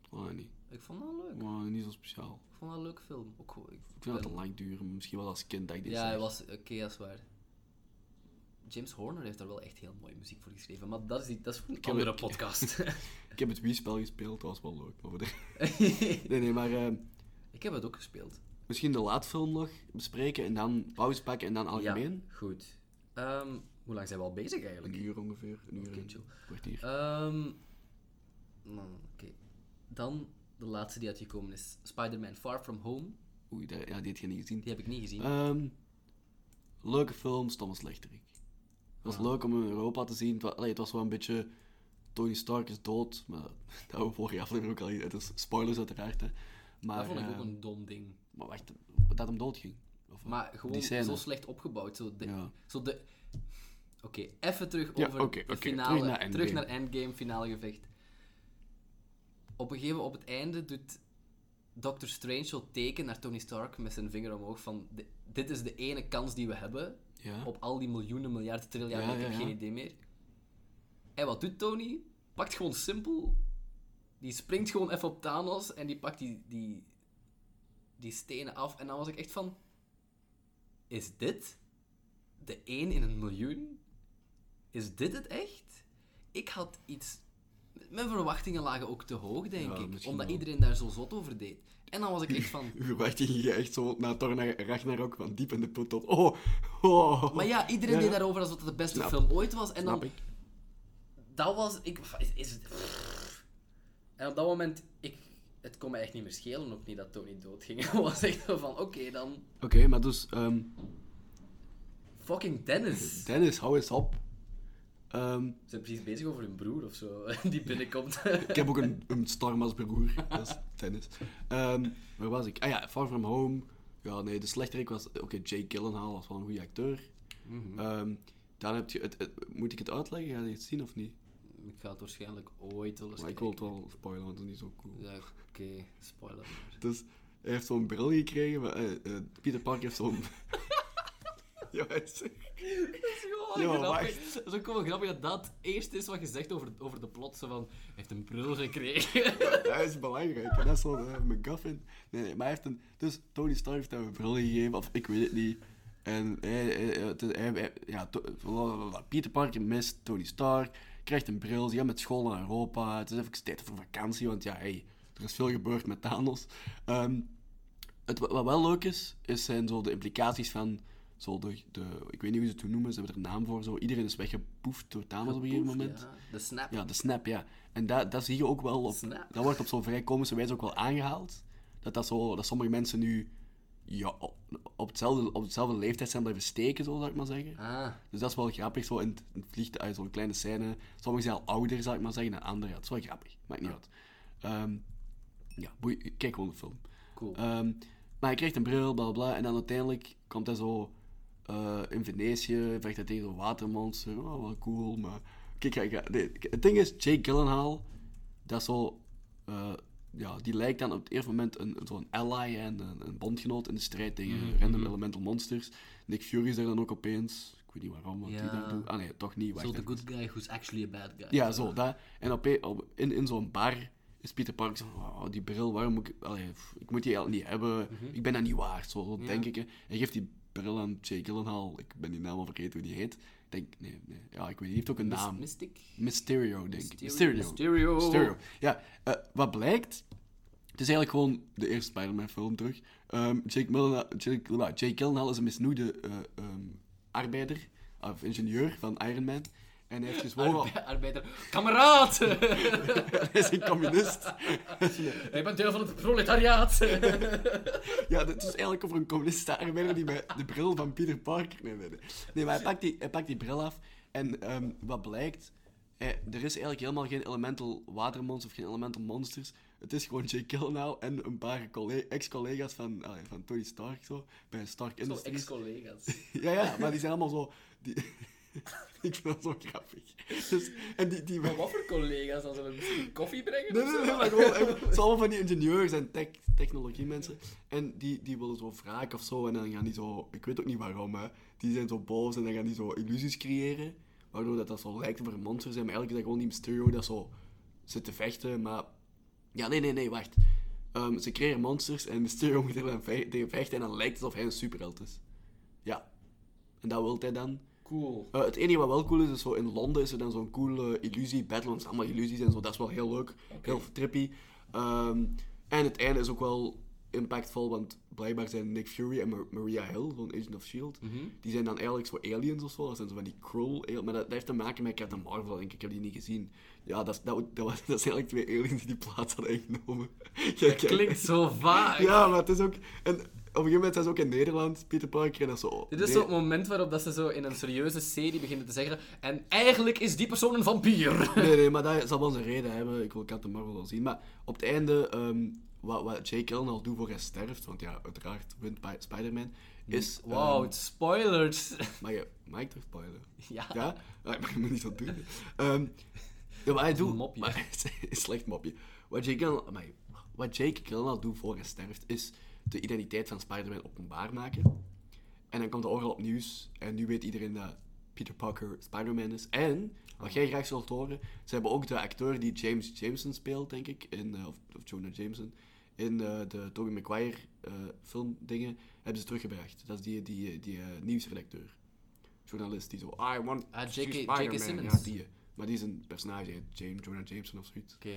Gewoon niet.
Ik vond dat leuk.
Gewoon Oh, niet zo speciaal.
Ik vond dat een leuke film. Ook, gewoon- ik
Ik vind dat te lang duren. Misschien wel als kind dat ik dit
Ja,
zag.
hij was... Oké, dat is waar. James Horner heeft daar wel echt heel mooie muziek voor geschreven. Maar dat is, die- dat is voor een
heb
andere
het- (laughs)
podcast. (laughs)
Ik heb het Wii-spel gespeeld, dat was wel leuk. Maar voor de- (laughs) Nee, nee, maar... ehm,
ik heb het ook gespeeld.
Misschien de laatfilm nog bespreken en dan pauze pakken en dan algemeen.
Ja, goed. Ehm, hoe lang zijn we al bezig eigenlijk?
Een uur ongeveer, een uur en
chill.
een kwartier.
Ehm, nou, Oké. Dan, de laatste die uitgekomen is Spider-Man Far From Home.
Oei, daar, ja, die had je niet gezien.
Die heb ik niet gezien.
Ehm, leuke film, stomme slechterik. Het
Ah.
was leuk om hem in Europa te zien. Het was, allee, het was wel een beetje Tony Stark is dood, maar (laughs) dat hebben we vorige aflevering ook al. Het is spoilers uiteraard, hè. Maar,
dat vond ik ook
eh,
een dom ding.
maar wacht, dat hem dood ging. Of, wat?
Maar
Die
gewoon
scène.
zo slecht opgebouwd. Zo de,
Ja.
zo de... Oké, even terug
Ja,
over
oké,
de
oké,
finale.
terug
Terug
naar
naar,
Endgame.
Endgame, finale gevecht. Op een gegeven moment, op het einde, doet Doctor Strange zo teken naar Tony Stark met zijn vinger omhoog van... "Di- Dit is de ene kans die we hebben
Ja. (laughs)
op al die miljoenen, miljarden, triljoen,
Ja,
ik heb
ja, ja.
geen idee meer. En wat doet Tony? Pakt gewoon simpel. Die springt gewoon even op Thanos en die pakt die, die, die stenen af. En dan was ik echt van... Is dit de één in een miljoen? Is dit het echt? Ik had iets... Mijn verwachtingen lagen ook te hoog, denk
Ja,
ik.
misschien
Omdat
wel.
iedereen daar zo zot over deed. En dan was ik echt
(laughs)
van...
Uw verwachting ging echt zo na Thor naar Ragnarok, van diep in de put tot... Oh, (laughs) oh.
Maar ja, iedereen
Ja,
deed
ja.
daarover alsof het de beste
Snap.
film ooit was. En
Snap
dan
ik.
dat was... Ik, is, is het, en op dat moment... Ik, het kon me echt niet meer schelen, ook niet (laughs) dat Tony doodging. Het was echt zo van, oké, dan...
Oké, maar dus... ehm,
Fucking Dennis.
Dennis, hou eens op. Ehm,
Ze zijn precies bezig over hun broer of zo, (laughs) die binnenkomt.
ik heb ook een, een storm als broer. (laughs) Dat is Dennis. Ehm, waar was ik? Ah ja, Far From Home. Ja, nee, de slechterik was... Oké, Jake Gyllenhaal was wel een goede acteur. Ehm, dan heb je... Het, het- moet ik het uitleggen? Ga je het zien of niet?
ik ga het waarschijnlijk ooit wel eens
Maar ik wil het wel spoilen, want het is niet zo cool.
Ja, oké, spoiler. maar.
Dus hij heeft zo'n bril gekregen. Maar, eh, eh, Peter Parker heeft zo'n... (laughs) ja, hij is-
(laughs) Dat is gewoon
Ja,
grappig. Dat is ook gewoon grappig dat dat eerst is wat je zegt over, over de plot. Zo van, hij heeft een brul
(laughs)
gekregen.
Dat is belangrijk. En dat is wel eh, MacGuffin. Nee, nee, maar hij heeft een... Dus Tony Stark heeft hem een bril gegeven, of ik weet het niet. En hij, hij- hij- het- hij- hij- ja, to- blablabla. Peter Parker mist Tony Stark, krijgt een bril, ze gaan met school naar Europa. Het is even tijd voor vakantie, want ja, hey, er is veel gebeurd met Thanos. Ehm, het, wa- wat wel leuk is, is zijn zo de implicaties van... Zo de, de, ik weet niet hoe ze het toen noemen, ze hebben er een naam voor. Zo. Iedereen is weggepoefd door Thanos op een gegeven moment.
Ja, de snap.
Ja, de snap, ja. En dat, dat zie je ook wel op...
Snap.
Dat wordt op zo'n vrij komische wijze ook wel aangehaald. Dat, dat, zo, dat sommige mensen nu ja, op, op hetzelfde, op hetzelfde leeftijd zijn blijven steken, zo, zou ik maar zeggen.
Ah,
Dus dat is wel grappig, zo in, het- in het vliegtuig, zo'n kleine scène. Sommigen zijn al ouder, zou ik maar zeggen, dan anderen. Ja, dat is wel grappig, maakt
Ah.
niet uit. Ehm, ja, boei- kijk gewoon de film.
cool.
Ehm, maar hij krijgt een bril, bla bla, bla. En dan uiteindelijk komt hij zo eh, in Venetië, vecht hij tegen zo'n watermonster. Oh, wel cool, maar... Kijk, kijk, kijk, nee, het ding is, Jake Gyllenhaal, dat is zo... eh, ja, die lijkt dan op het eerste moment een, een- zo'n ally en een, een bondgenoot in de strijd tegen
Mm-hmm.
random elemental monsters. Nick Fury is daar dan ook opeens... Ik weet niet waarom, wat die
Ja.
daar doet. Ah nee, toch niet. wacht
Zo
even.
the good guy who's actually a bad guy.
Ja, zo, dat. En op, op- in, in zo'n bar is Peter Parker zo van, "Oh, die bril, waarom moet ik... allee, pff, ik moet die eigenlijk niet hebben,
Mhm.
ik ben dat niet waard, zo, zo denk ik. hè. Hij geeft die bril aan Jake Gyllenhaal, ik ben die naam al vergeten hoe die heet. Ik denk, nee, nee, ja, ik weet niet, die heeft ook een
Mis-
naam.
Mystic?
Mysterio, denk ik.
Mysterio. Mysterio.
Mysterio. Mysterio. Ja, eh, wat blijkt... Het is eigenlijk gewoon de eerste Spider-Man-film terug. Ehm, Jake, Millenha- Jake, nou, Jake Gyllenhaal is een misnoegde eh, ehm, arbeider, of ingenieur van Iron Man. En
(laughs)
hij heeft gezworen... (laughs)
Arbe- arbeider. (laughs) Kameraad!
Hij is een communist. (laughs)
Ik ben deel van het proletariaat.
Ja, dit is eigenlijk over een communistische arbeider die met de bril van Peter Parker... Nee, nee, nee. Nee, maar hij pakt die, hij pakt die bril af en ehm, wat blijkt... eh, er is eigenlijk helemaal geen elemental watermonster of geen elemental monsters. Het is gewoon Jake Gyllenhaal en een paar colle- ex-collega's van, allee, van Tony Stark zo, bij Stark
Zo (laughs)
Industries.
ex-collega's.
(laughs) Ja, ja, maar die zijn allemaal zo... Die... (laughs) Ik vind dat zo grappig. Dus, en die, die,
Wat voor collega's? Dan zullen we misschien koffie brengen?
Nee,
of
nee,
zo?
nee, maar gewoon, eh, het zijn allemaal van die ingenieurs en tech, technologiemensen. En die, die willen zo wraak of zo. En dan gaan die zo, ik weet ook niet waarom, hè. Die zijn zo boos en dan gaan die zo illusies creëren. Waardoor dat, dat zo lijkt over monsters zijn. Maar eigenlijk is dat gewoon die Mysterio dat zo zit te vechten. Maar ja, nee, nee, nee, wacht. Ehm, ze creëren monsters en Mysterio moet er dan vei- tegen vechten. En dan lijkt het alsof hij een superheld is. Ja. En dat wil hij dan.
Cool.
Eh, het enige wat wel cool is, is zo in Londen is er dan zo'n coole illusie, battle, want het zijn allemaal illusies en zo, dat is wel heel leuk, heel trippy. Ehm, en het einde is ook wel impactvol, want blijkbaar zijn Nick Fury en Mar- Maria Hill van Agent of S.H.I.E.L.D., E
Mhm.
die zijn dan eigenlijk zo aliens of zo, dat zijn zo van die cruel aliens, maar dat, dat heeft te maken met Captain Marvel, denk ik, ik heb die niet gezien. Ja, dat, is- dat, dat, was- (laughs) dat zijn eigenlijk twee aliens die die plaats hadden ingenomen. (laughs) Ja, kijk.
Klinkt zo vaag.
Ja, maar het is ook... En op een gegeven moment zijn ze ook in Nederland, Peter Parker, en dat is zo...
Dit is
Nee.
zo'n moment waarop dat ze zo in een serieuze serie beginnen te zeggen. En eigenlijk is die persoon een vampier.
(laughs) Nee, nee, maar dat zal wel zijn reden hebben. Ik wil Captain Marvel wel zien. Maar op het einde, ehm, wat, wat Jake Gyllenhaal doet voor hij sterft, want ja, uiteraard wint Pi- Spider-Man, is... ehm,
Wow, Mm. het spoilers. (laughs)
mag, je, mag ik toch spoilen?
Ja.
Ja? Ah, maar je moet niet zo doen. Ehm, ja, wat hij doet...
mopje.
maar- (laughs) het is een slecht mopje. Wat Jake Gyllenhaal... amai, Wat Jake Gyllenhaal doet voor hij sterft, is de identiteit van Spider-Man openbaar maken. En dan komt er overal op nieuws. En nu weet iedereen dat Peter Parker Spider-Man is. En,
Oh.
wat jij graag zult horen, ze hebben ook de acteur die James Jameson speelt, denk ik, in, eh, of, of Jonah Jameson, in eh, de Tobey Maguire eh filmdingen, hebben ze teruggebracht. Dat is die, die, die, eh, nieuwsredacteur. Journalist die zo, I want
Ah,
to see
J.K.
Spider-Man."
Simmons.
Ja, die. eh. Maar die is een personage, die heet James, Jonah Jameson of zoiets.
Oké.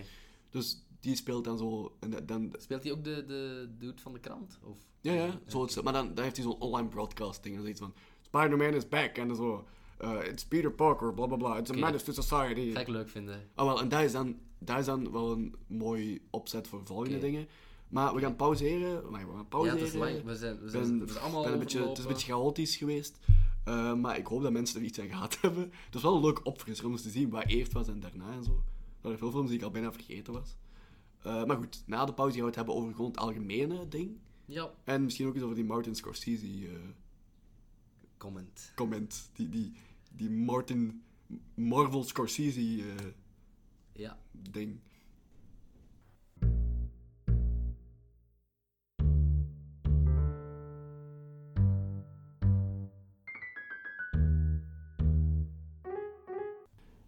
Dus die speelt dan zo, en da- dan
Speelt hij ook de, de dude van de krant? Of?
ja, ja. Zo, het- maar dan, dan heeft hij zo'n online broadcast ding. Dan zegt hij van, Spider-Man is back. En dan zo, eh, it's Peter Parker, bla bla bla. It's
Oké.
a menace to society.
Ga ik leuk vinden.
Ah, wel, en dat is, dan, dat is dan wel een mooi opzet voor volgende
Oké.
dingen. Maar we gaan pauzeren. Maar we gaan
Ja,
pauzeren.
het is lang. We zijn, we
Ik
zijn,
ben,
we zijn allemaal
ben een beetje, het is een
overlopen.
beetje chaotisch geweest. Eh, maar ik hoop dat mensen er iets aan gehad (laughs) hebben. Het was wel een leuk opfrisser om eens te zien wat eerst was en daarna en zo. Er waren veel films die ik al bijna vergeten was. Eh, maar goed, na de pauze gaan we het hebben over gewoon het algemene ding.
Ja,
En misschien ook eens over die Martin Scorsese eh,
comment.
comment. Die, die, die Martin Marvel Scorsese eh,
Ja.
ding.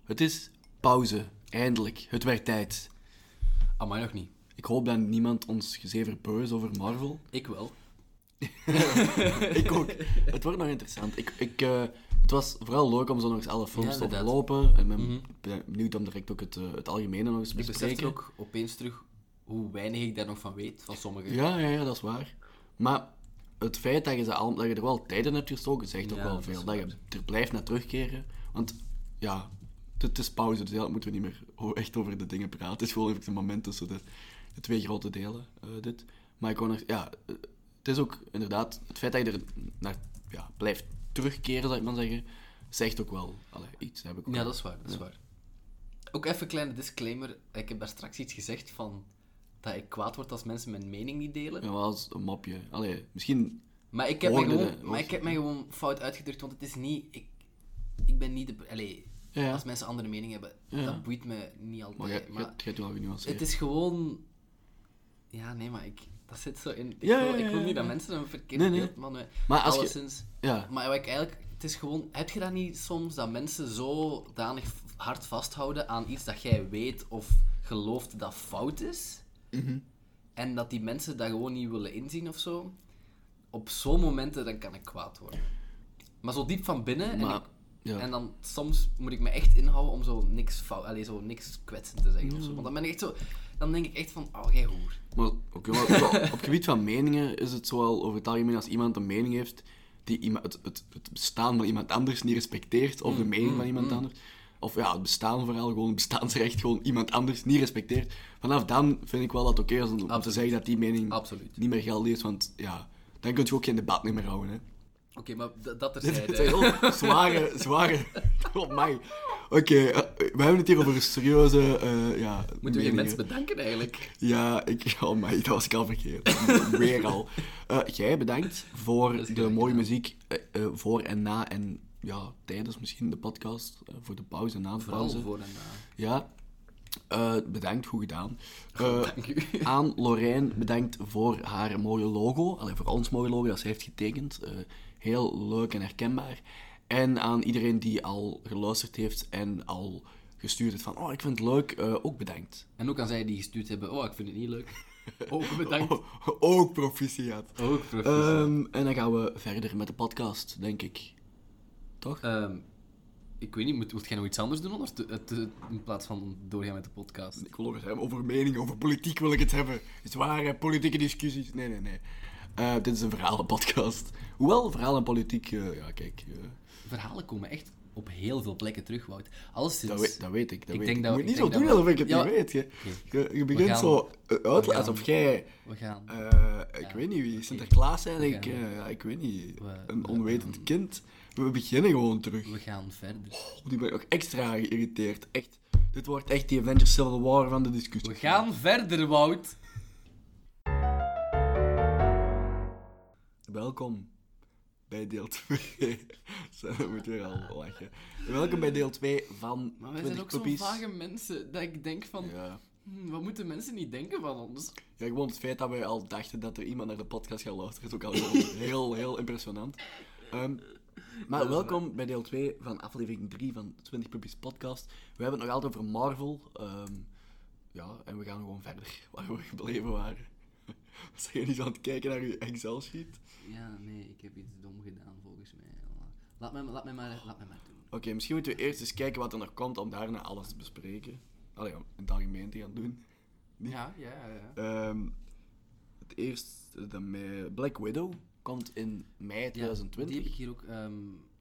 Het is pauze. Eindelijk. Het werd tijd.
Amai, nog niet.
Ik hoop dat niemand ons gezever beu is over Marvel.
Ik wel.
(laughs) ik ook. Het wordt nog interessant. Ik, ik, eh, het was vooral leuk om zo nog eens alle films
Ja,
te
inderdaad. Mhm.
overlopen. En ben ben benieuwd om direct ook het, eh, het algemene nog eens te
Dus Ik besef
bespreken.
ook opeens terug hoe weinig ik daar nog van weet, van sommige.
Ja, ja, ja, dat is waar. Maar het feit dat je, ze al, dat je er wel tijd in hebt gestoken, zegt ook
Ja,
wel
dat is
veel. Dat je er blijft naar terugkeren. Want ja, het, het is pauze, dus eigenlijk moeten we niet meer o- echt over de dingen praten. Het is gewoon even een moment tussen de, de twee grote delen, eh, dit. Maar ik wou nog... Ja, eh, het is ook inderdaad... Het feit dat je er naar ja, blijft terugkeren, zou ik maar zeggen, zegt ook wel allee, iets. Heb ik
Ja,
ook wel.
dat is waar, dat is waar. Ook even een kleine disclaimer. Ik heb daar straks iets gezegd van dat ik kwaad word als mensen mijn mening niet delen.
Ja, wel als een mopje. Allee, misschien...
Maar ik heb, mij
Hoorde
gewoon,
dat,
maar
of-
ik heb mij gewoon fout uitgedrukt, want het is niet... Ik, ik ben niet de... Allee,
Ja,
als mensen andere mening hebben,
Ja.
dat boeit me niet altijd.
maar jij- jij
maar
jij hebt wel genuanceerd.
het is gewoon... Ja, nee, maar ik... Dat zit zo in... Ik,
Ja,
wil,
ja,
ik
ja,
wil niet
ja.
dat mensen een verkeerd
Nee, nee.
beeld... Man,
Maar als je-
alleszins...
Ja.
Maar wat ik eigenlijk... Het is gewoon... Heb je dat niet soms, dat mensen zo danig v- hard vasthouden aan iets dat jij weet of gelooft dat fout is?
Mhm.
En dat die mensen dat gewoon niet willen inzien of zo? Op zo'n momenten, dan kan ik kwaad worden. Maar zo diep van binnen... en,
Maar,
ik-
ja.
en dan soms moet ik me echt inhouden om zo niks fout... Allee, zo niks kwetsend te zeggen of zo. Want dan ben ik echt zo... Dan denk ik echt van, oh, jij hoer.
Maar, oké, maar zo, op het gebied van meningen is het zoal over het algemeen als iemand een mening heeft die ima- het, het, het bestaan van iemand anders niet respecteert,
Mm,
of de mening van iemand anders, of ja, het bestaan vooral, gewoon het bestaansrecht, gewoon iemand anders niet respecteert, vanaf dan vind ik wel dat het oké is om, om te
Absoluut.
zeggen dat die mening
Absoluut.
niet meer geldig is, want ja, dan kun je ook geen debat niet meer houden. Hè.
Oké, maar d-
(laughs)
dat
Het
terzijde.
zijn heel zware,
(laughs)
zware... Oh my. Oké, eh, we hebben het hier over serieuze eh ja,
Moeten we geen
meningen.
mensen bedanken, eigenlijk?
Ja, ik, (laughs) oh my, dat was ik al verkeerd. Weer al. Eh, jij bedankt voor de
graag
mooie muziek eh, eh, voor en na en ja, tijdens misschien de podcast. eh, voor de pauze en na de
Vooral
pauze.
voor en na.
Ja, Eh, bedankt, goed
(laughs)
gedaan. Eh,
Oh, Dank u. (laughs)
aan Lorijn bedankt voor haar mooie logo. Allee, voor ons mooie logo dat ze heeft getekend. Eh, heel leuk en herkenbaar. En aan iedereen die al geluisterd heeft en al gestuurd heeft van oh, ik vind het leuk, eh, ook bedankt.
En ook aan zij die gestuurd hebben, oh, ik vind het niet
(laughs)
leuk. Ook bedankt.
Oh, (laughs) ook proficiat.
Ook professioneel.
Ehm, en dan gaan we verder met de podcast, denk ik. Toch?
Ehm, ik weet niet, moet, moet jij nog iets anders doen onder, te- te- in plaats van doorgaan met de podcast?
ik wil ook eens hebben over meningen, over politiek wil ik het hebben. Zware politieke discussies. Nee, nee, nee. Eh, dit is een verhalenpodcast. Hoewel, verhaal en politiek, eh, ja, kijk. eh,
Verhalen komen echt op heel veel plekken terug, Wout. Alleszins...
dat, weet, dat weet ik. Dat
Ik
weet
denk
ik.
dat-
je
ik
moet niet zo
denk
doen
dat we-
alsof ik het
Ja.
niet weet. Je, je,
We
je begint
gaan-
zo
we
uitleggen
gaan-
alsof jij.
We gaan...
eh, ik weet niet wie, Sinterklaas zijn, ik,
gaan-
eh, ja, ik weet niet,
We-
een
we-
onwetend kind. We beginnen gewoon terug.
We gaan verder.
Nu Oh, ben ik ook extra geïrriteerd. Echt. Dit wordt echt die Avengers Civil War van de discussie.
We gaan verder, Wout!
Welkom bij deel 2. (laughs) Zo, dat moet weer al lachen. Welkom bij deel 2 van
Maar wij
20
zijn ook zo'n
puppies.
vage mensen, dat ik denk van...
Ja.
"Hm, wat moeten mensen niet denken van ons?
ja, gewoon het feit dat wij al dachten dat er iemand naar de podcast gaat luisteren, is ook al heel, heel, heel impressionant. Ehm, maar welkom bij deel 2 van aflevering 3 van 20 Puppies Podcast. We hebben het nog altijd over Marvel. ehm, ja, en we gaan gewoon verder waar we gebleven waren. (laughs) Zijn jullie zo aan het kijken naar uw Excel-sheet?
Ja, nee, ik heb iets dom gedaan, volgens mij. Laat mij, laat mij, maar, laat mij maar doen.
Oké, misschien moeten we eerst eens kijken wat er nog komt om daarna alles te bespreken. Allee, om in het algemeen te gaan doen.
Ja, ja, ja.
Ehm, het eerste, de me- Black Widow, komt in mei
Ja,
2020.
Die heb ik hier ook ehm,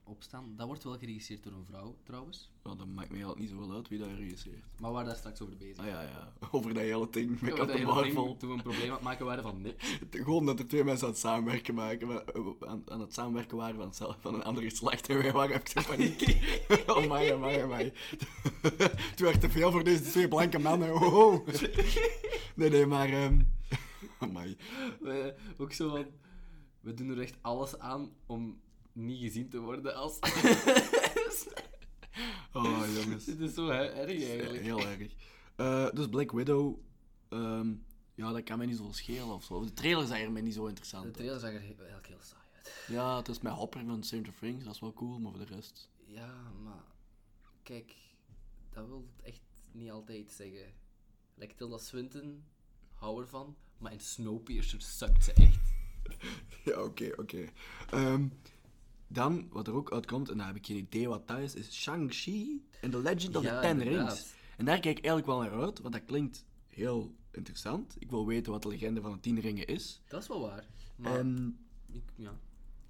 opstaan. Dat wordt wel geregisseerd door een vrouw, trouwens.
Nou, dat maakt mij altijd niet zo wel uit wie dat regisseert.
Maar waar daar straks over bezig.
Ah ja, ja. (laughs) Over dat hele ding met
Ja, dat
Captain
hele ding,
Marvel.
Toen we een probleem aan het maken waren van niks.
Gewoon dat er twee mensen aan het samenwerken, maken, maar, eh, aan, aan het samenwerken waren van, hetzelfde- van een ander geslacht. En wij waren even in
(laughs)
paniek. (laughs) oh my, oh my, oh my. (laughs) Toen werd te veel voor deze twee blanke mannen. Oh,
(laughs)
oh. Nee, nee, maar... ehm (laughs) oh my.
We, ook zo van... We doen er echt alles aan om niet gezien te worden als...
(laughs) Oh,
(laughs)
jongens.
Dit is zo hè, erg eigenlijk.
Heel erg. Eh, dus Black Widow... ehm, ja, dat kan mij niet zo schelen of zo. De trailer is eigenlijk mij niet zo interessant.
De trailer zag er he- eigenlijk heel saai uit.
Ja, het is met Hopper van Stranger of Things, dat is wel cool, maar voor de rest...
Ja, maar... Kijk, dat wil echt niet altijd zeggen. Like Tilda Swinton, hou ervan. Maar in Snowpiercer sukt ze echt.
(laughs) Ja, oké, oké. Ehm, dan, wat er ook uitkomt, en daar heb ik geen idee wat dat is, is Shang-Chi en The Legend of
Ja,
the Ten
inderdaad.
Rings. En daar kijk ik eigenlijk wel naar uit, want dat klinkt heel interessant. Ik wil weten wat de legende van de Tien Ringen is.
Dat is wel waar. Maar...
En,
ik- ja.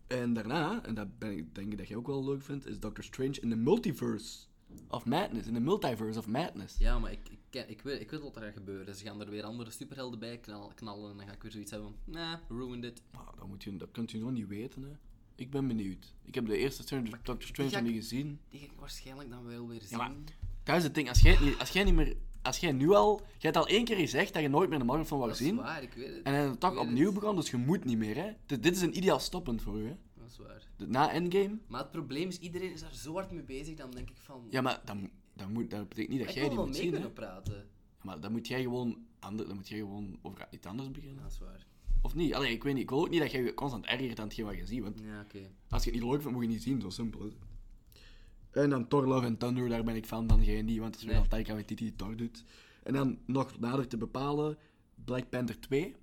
en daarna, en dat ben ik, denk ik dat jij ook wel leuk vindt, is Doctor Strange in the Multiverse of Madness. In the Multiverse of Madness.
Ja, maar ik, ik, ken- ik, weet, ik weet wat er gaat gebeuren. Ze gaan er weer andere superhelden bij knal- knallen. En dan ga ik weer zoiets hebben van... Nah, ruined it.
Nou, dat, moet je, dat kunt u nog niet weten, hè. Ik ben benieuwd. Ik heb de eerste Stranger- Doctor Strange nog
ga-
niet gezien.
Die ga ik waarschijnlijk dan wel weer zien.
Ja, maar dat is het ding. Als jij, het niet, als jij, niet meer, als jij nu al... Je hebt al één keer gezegd dat je nooit meer een Marvel film wou
dat is
zien.
waar, ik weet het.
En dan toch
weet het.
opnieuw begon, dus je moet niet meer, hè. Dit, dit is een ideaal stoppunt voor u, hè.
Dat is waar.
De- Na Endgame...
Maar het probleem is, iedereen is daar zo hard mee bezig, dan denk ik van...
Ja, maar dat, mo- dat, moet, dat betekent niet dat
ik
jij
wil
die
wel
moet
mee
zien, hè.
kunnen praten.
Maar dan moet jij gewoon... Ander, dan moet jij gewoon over iets anders beginnen.
Dat is waar.
Of niet? Allee, ik weet niet. Ik wil ook niet dat jij je constant ergert aan hetgeen wat je ziet. Want
Ja, oké.
als je het niet leuk vindt, moet je het niet zien. Zo simpel is het. En dan Thor Love and Thunder, daar ben ik fan van. Jij niet, want dat is weer
Nee.
al Taika Waititi die Thor doet. En dan, nog nader te bepalen, Black Panther 2.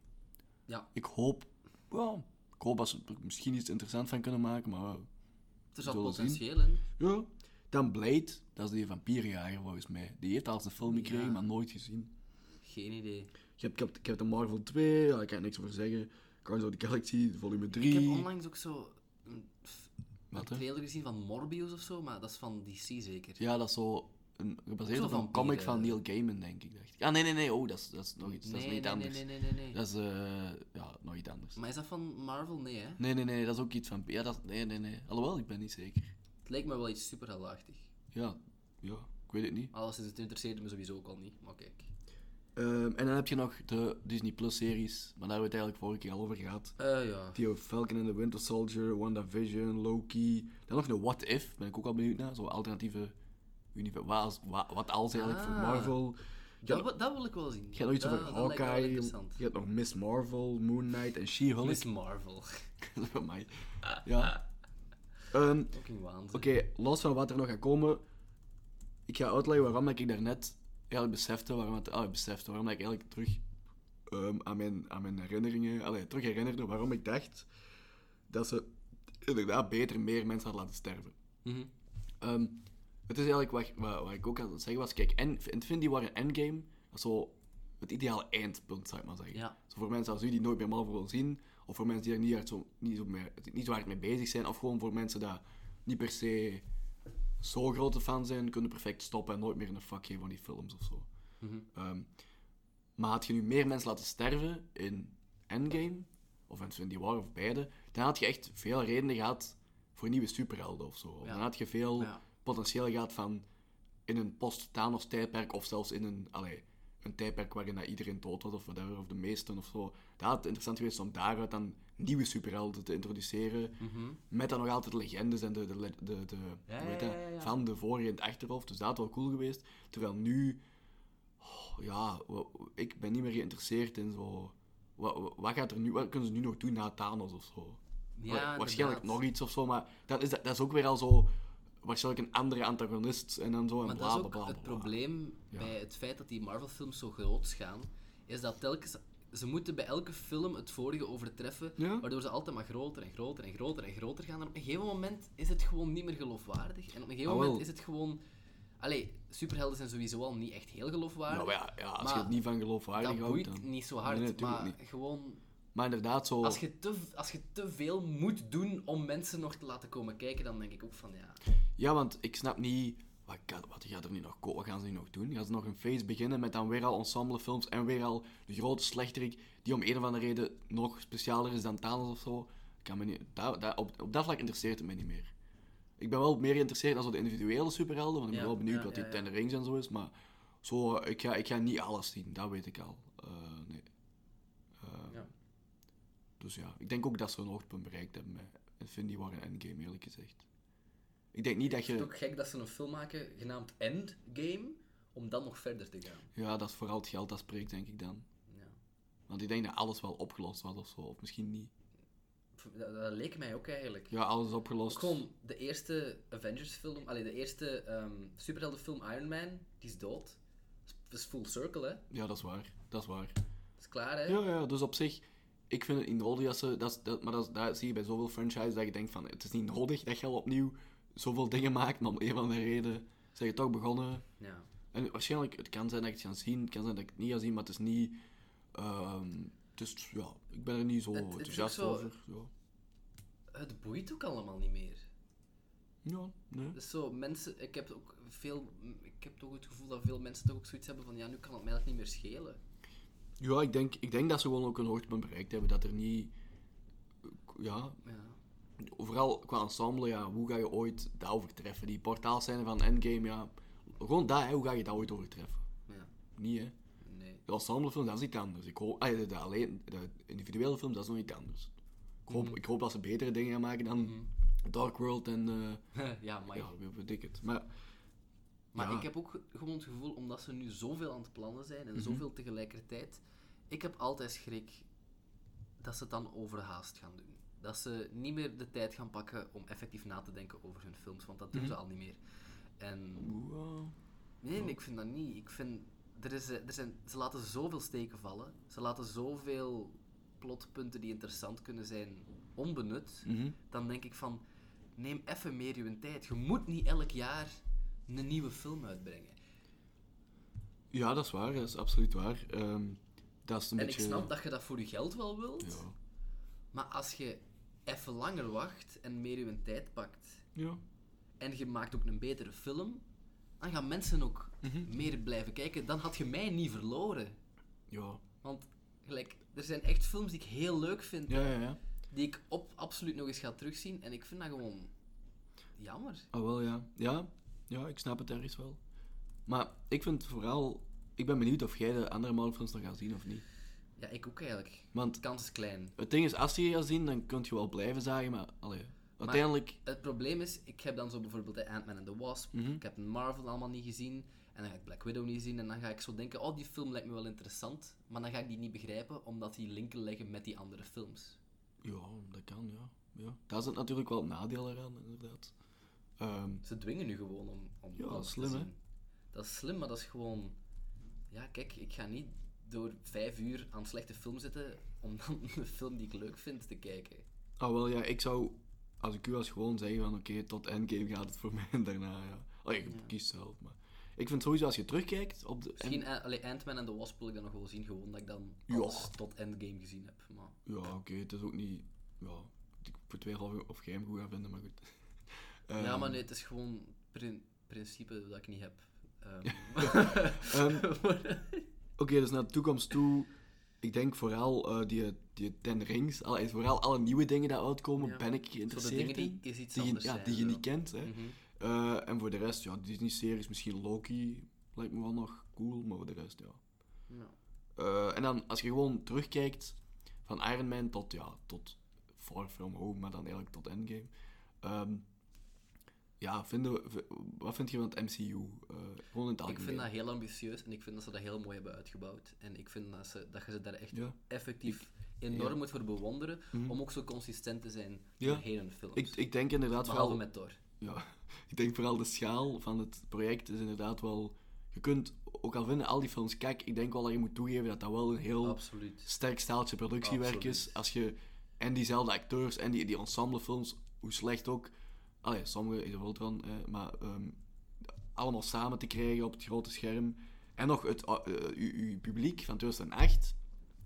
Ja,
Ik hoop... ja, ik hoop dat ze er misschien iets interessants van kunnen maken, maar... wel.
er zat
zullen zien.
potentieel in.
Ja. Dan Blade, dat is die vampierenjager volgens mij. Die heeft al zijn film gekregen,
Ja.
maar nooit gezien.
Geen idee.
Ik heb, ik heb, ik heb de Marvel 2, ja, ik kan er niks over zeggen. Guardians of the Galaxy, volume 3.
Ik heb onlangs ook zo een, f- een
Wat, hè? Dus
trailer gezien van Morbius of zo, maar dat is van DC zeker.
Ja, dat is zo een, gebaseerd
Ook
op
zo
een comic van
vampieren.
Neil Gaiman, denk ik. Dacht ik. Ah, nee, nee, nee. Oh, dat is, dat is nog iets. dat is
eh? nee,
niet
nee, nee,
anders.
nee, nee, nee, nee.
Dat is eh, ja, nog iets anders.
Maar is dat van Marvel? Nee, hè?
Nee, nee, nee. Dat is ook iets van... Ja, dat is... Nee, nee, nee. Alhoewel, ik ben niet zeker.
Het lijkt me wel iets superheldachtig.
Ja. Ja. Ik weet het niet.
Alles is het interesseerde me sowieso ook al niet, maar kijk.
Ehm, en dan heb je nog de Disney Plus-series. Maar daar hebben we het eigenlijk vorige keer al over gehad.
Eh ja.
Die over Falcon and the Winter Soldier, WandaVision, Loki. Dan nog een What If. Ben ik ook al benieuwd naar. Zo'n alternatieve... Universum. Wat, als- wa- wat als eigenlijk voor
Ah.
Marvel.
Dat, wi- dat wil ik wel zien.
Je hebt nog iets
dat,
over
dat lijkt me wel
Hawkeye.
interessant.
Je hebt nog Miss Marvel, Moon Knight en She-Hulk. (laughs)
Miss Marvel.
Voor mij. Ja. Ehm,
Fucking waanzin.
Oké, los van wat er nog gaat komen. Ik ga uitleggen waarom dat ik daarnet eigenlijk besefte, waarom, het, ah, besefte, waarom dat ik eigenlijk terug ehm, aan, mijn, aan mijn herinneringen, allee, terug herinnerde waarom ik dacht dat ze inderdaad beter meer mensen hadden laten sterven.
Mhm.
Ehm, het is eigenlijk wat, wat, wat ik ook aan het zeggen was, kijk, en, Infinity War en Endgame, dat is zo het ideale eindpunt, zou ik maar zeggen.
Ja.
Zo voor mensen als u die nooit meer Marvel willen zien, of voor mensen die er niet, hard zo, niet, zo meer, niet zo hard mee bezig zijn, of gewoon voor mensen die niet per se zo grote fan zijn, kunnen perfect stoppen en nooit meer in de fuck geven van die films of zo.
Mhm.
Ehm, maar had je nu meer mensen laten sterven in Endgame, of in Infinity War, of beide, dan had je echt veel redenen gehad voor nieuwe superhelden of zo.
Ja.
Dan had je veel
Ja.
potentieel gehad van in een post-Thanos tijdperk, of zelfs in een, allee, een tijdperk waarin dat iedereen dood was, of whatever, of de meesten of zo. Dat had interessant geweest om daaruit dan nieuwe superhelden te introduceren,
Mhm.
met dan nog altijd legendes en de, de, de, de, de-
Ja,
hoe heet
ja,
dat?
ja, ja.
van de voor- en het achterhoofd. Dus dat had wel cool geweest. Terwijl nu, oh, ja, wa- ik ben niet meer geïnteresseerd in zo. Wat, wat, gaat er nu, wat kunnen ze nu nog doen na Thanos of zo?
Ja,
Wa- waarschijnlijk
inderdaad.
nog iets of zo, maar dat is, dat, dat is ook weer al zo. Waarschijnlijk een andere antagonist en dan zo en
Maar
bla
dat is
bla
ook
bla.
het
bla, bla.
probleem
Ja.
bij het feit dat die Marvel-films zo groot gaan, is dat telkens... Ze moeten bij elke film het vorige overtreffen,
Ja.
waardoor ze altijd maar groter en groter en groter en groter gaan. En op een gegeven moment is het gewoon niet meer geloofwaardig. En op een gegeven
Ah, wel.
moment is het gewoon... Allee, superhelden zijn sowieso al niet echt heel geloofwaardig.
Nou ja, ja, als je
Maar
het niet van geloofwaardig
dat
houdt.
boeit
Dan...
niet zo hard,
Nee, natuurlijk
maar
niet. Oh.
gewoon...
Maar inderdaad, zo...
Als je, te, als je te veel moet doen om mensen nog te laten komen kijken, dan denk ik ook van ja.
Ja, want ik snap niet... Wat, gaat- wat gaat er nu nog ko- Wat gaan ze nu nog doen? Gaan ze nog een feest beginnen met dan weer al ensemblefilms en weer al de grote slechterik die om een of andere reden nog specialer is dan Thanos of zo? Ik Kan me niet, dat, dat- op, op dat vlak interesseert het mij niet meer. Ik ben wel meer geïnteresseerd als de individuele superhelden, want ik ben
Ja,
wel benieuwd
ja,
wat
ja,
die
ja.
Ten Rings en zo is, maar zo, eh, ik, ga, ik ga niet alles zien, dat weet ik al. Eh, nee. Eh,
Ja.
Dus ja, ik denk ook dat ze een hoogtepunt bereikt hebben met Infinity War en Endgame, eerlijk gezegd. Ik denk niet dat
Het is
je...
ook gek dat ze een film maken genaamd Endgame, om dan nog verder te gaan.
Ja, dat is vooral het geld dat spreekt, denk ik dan.
Ja.
Want ik denk dat alles wel opgelost was of zo, of misschien niet.
Dat, dat leek mij ook eigenlijk.
Ja, alles is opgelost.
Ook gewoon de eerste Avengers-film, allee, de eerste ehm, superheldenfilm Iron Man, die is dood. Dat is full circle, hè?
Ja, dat is waar. Dat is waar.
Dat is klaar, hè?
Ja, ja, dus op zich, ik vind het niet nodig dat ze... Dat, is- dat, maar dat, is- daar zie je bij zoveel franchises dat je denkt van, het is niet nodig dat je al opnieuw zoveel dingen maakt, maar om een of andere reden zijn je toch begonnen.
Ja.
En waarschijnlijk, het kan zijn dat ik het ga zien, het kan zijn dat ik het niet ga zien, maar het is niet... ehm, het is, ja, ik ben er niet zo
Het- het is
enthousiast
ook zo-
over. Ja.
Het boeit ook allemaal niet meer.
ja, nee.
Dus zo, mensen, ik heb ook veel, ik heb toch het gevoel dat veel mensen toch ook zoiets hebben van ja, nu kan het mij eigenlijk niet meer schelen.
Ja, ik denk, ik denk dat ze gewoon ook een hoogtepunt bereikt hebben. Dat er niet... Ja,
Ja.
vooral qua ensemble, ja, hoe ga je ooit dat overtreffen? Die portaalscène van Endgame, ja... Gewoon dat, hè, hoe ga je dat ooit overtreffen?
Ja.
Niet, hè?
Nee.
De ensemblefilm, dat is iets anders. Ik hoop, ah, de, de alleen, de individuele film, dat is nog iets anders. Ik hoop,
Mhm.
ik hoop dat ze betere dingen gaan maken dan Dark World en...
(laughs)
eh,
ja, maar,
ja, weet- weet ik het. Maar
maar
ja.
ik heb ook ge- gewoon het gevoel, omdat ze nu zoveel aan het plannen zijn en zoveel tegelijkertijd, ik heb altijd schrik dat ze het dan overhaast gaan doen. Dat ze niet meer de tijd gaan pakken om effectief na te denken over hun films, want dat doen ze al niet meer. En
Wow.
Nee, nee, ik vind dat niet. Ik vind, er is, eh, er zijn, ze laten zoveel steken vallen. Ze laten zoveel plotpunten die interessant kunnen zijn onbenut.
Mhm.
Dan denk ik van, neem even meer uw tijd. Je moet niet elk jaar een nieuwe film uitbrengen.
Ja, dat is waar. Dat is absoluut waar. Ehm, dat is een
en
beetje...
ik snap dat je dat voor je geld wel wilt.
Ja.
Maar als je even langer wacht en meer uw tijd pakt.
ja.
En je maakt ook een betere film. Dan gaan mensen ook
Mhm.
meer blijven kijken. Dan had je mij niet verloren.
Ja.
Want gelijk, er zijn echt films die ik heel leuk vind,
Ja, ja, ja.
die ik op, absoluut nog eens ga terugzien. En ik vind dat gewoon jammer.
Ah, wel ja. Ja, ja, ik snap het ergens wel. Maar ik vind vooral... Ik ben benieuwd of jij de andere Marvel-films nog gaat zien of niet.
Ja, ik ook eigenlijk.
Want
De kans is klein.
het ding is, als je je gaat zien, dan kun je wel blijven zagen, maar... Allee, uiteindelijk... Mhm.
Het probleem is, ik heb dan zo bijvoorbeeld de Ant-Man en the Wasp, ik heb Marvel allemaal niet gezien, en dan ga ik Black Widow niet zien, en dan ga ik zo denken, oh, die film lijkt me wel interessant, maar dan ga ik die niet begrijpen, omdat die linken leggen met die andere films.
Ja, dat kan, ja. ja. Dat is het natuurlijk wel het nadeel eraan, inderdaad. Ehm,
Ze dwingen nu gewoon om, om
Ja,
alles
slim,
te
hè?
zien. Dat is slim, maar dat is gewoon... Ja, kijk, ik ga niet door vijf uur aan slechte film zitten om dan (laughs) een film die ik leuk vind te kijken.
ah, wel ja, ik zou... Als ik u was gewoon zeggen van, oké, tot Endgame gaat het voor mij (laughs) en daarna, ja. Allee, je kiest zelf, maar... Ik vind sowieso, als je terugkijkt op de...
Misschien eh, allee, Ant-Man en de Wasp wil ik dan nog wel zien, gewoon dat ik dan
Ja.
alles tot Endgame gezien heb. Maar
Ja, oké, het is ook niet. Ja, ik betwijfel of- of jij hem goed gaat vinden, maar
(laughs)
goed. Ehm,
Ja, maar nee, het is gewoon prin- principe dat ik niet heb.
(laughs)
Ehm, (laughs)
ehm, oké, dus naar de toekomst toe. Ik denk vooral eh, die, die Ten Rings, al, en vooral alle nieuwe dingen die uitkomen, ben ik
zo de
geïnteresseerd
dingen die
in.
is iets
Die je,
anders
ja,
zijn,
die je
zo. Mm. Mhm.
niet kent. Hè. Eh, en voor de rest, ja, Disney-series, misschien Loki, lijkt me wel nog cool, maar voor de rest, ja.
Ja.
Eh, en dan, als je gewoon terugkijkt, van Iron Man tot, ja, tot Far From Home, maar dan eigenlijk tot Endgame. Ehm, ja, vinden we, v- wat vind je van het MCU? Eh, gewoon in
Ik
het algemeen.
vind dat heel ambitieus en ik vind dat ze dat heel mooi hebben uitgebouwd. En ik vind dat, ze, dat je ze daar echt
Ja. Mhm.
effectief enorm moet voor bewonderen. Om ook zo consistent te zijn
Ja.
doorheen hun films.
Ik, ik denk inderdaad
Behalve
vooral...
met Thor.
Ja, (laughs) ik denk vooral de schaal van het project is inderdaad wel... Je kunt, ook al vinden al die films kijk, ik denk wel dat je moet toegeven dat dat wel een heel...
Absoluut.
sterk staaltje productiewerk is. Als je en diezelfde acteurs en die, die ensemblefilms, hoe slecht ook. Allee, sommige is er wel van, eh, maar ehm, allemaal samen te krijgen op het grote scherm. En nog het, eh, eh, uw, uw publiek van 2008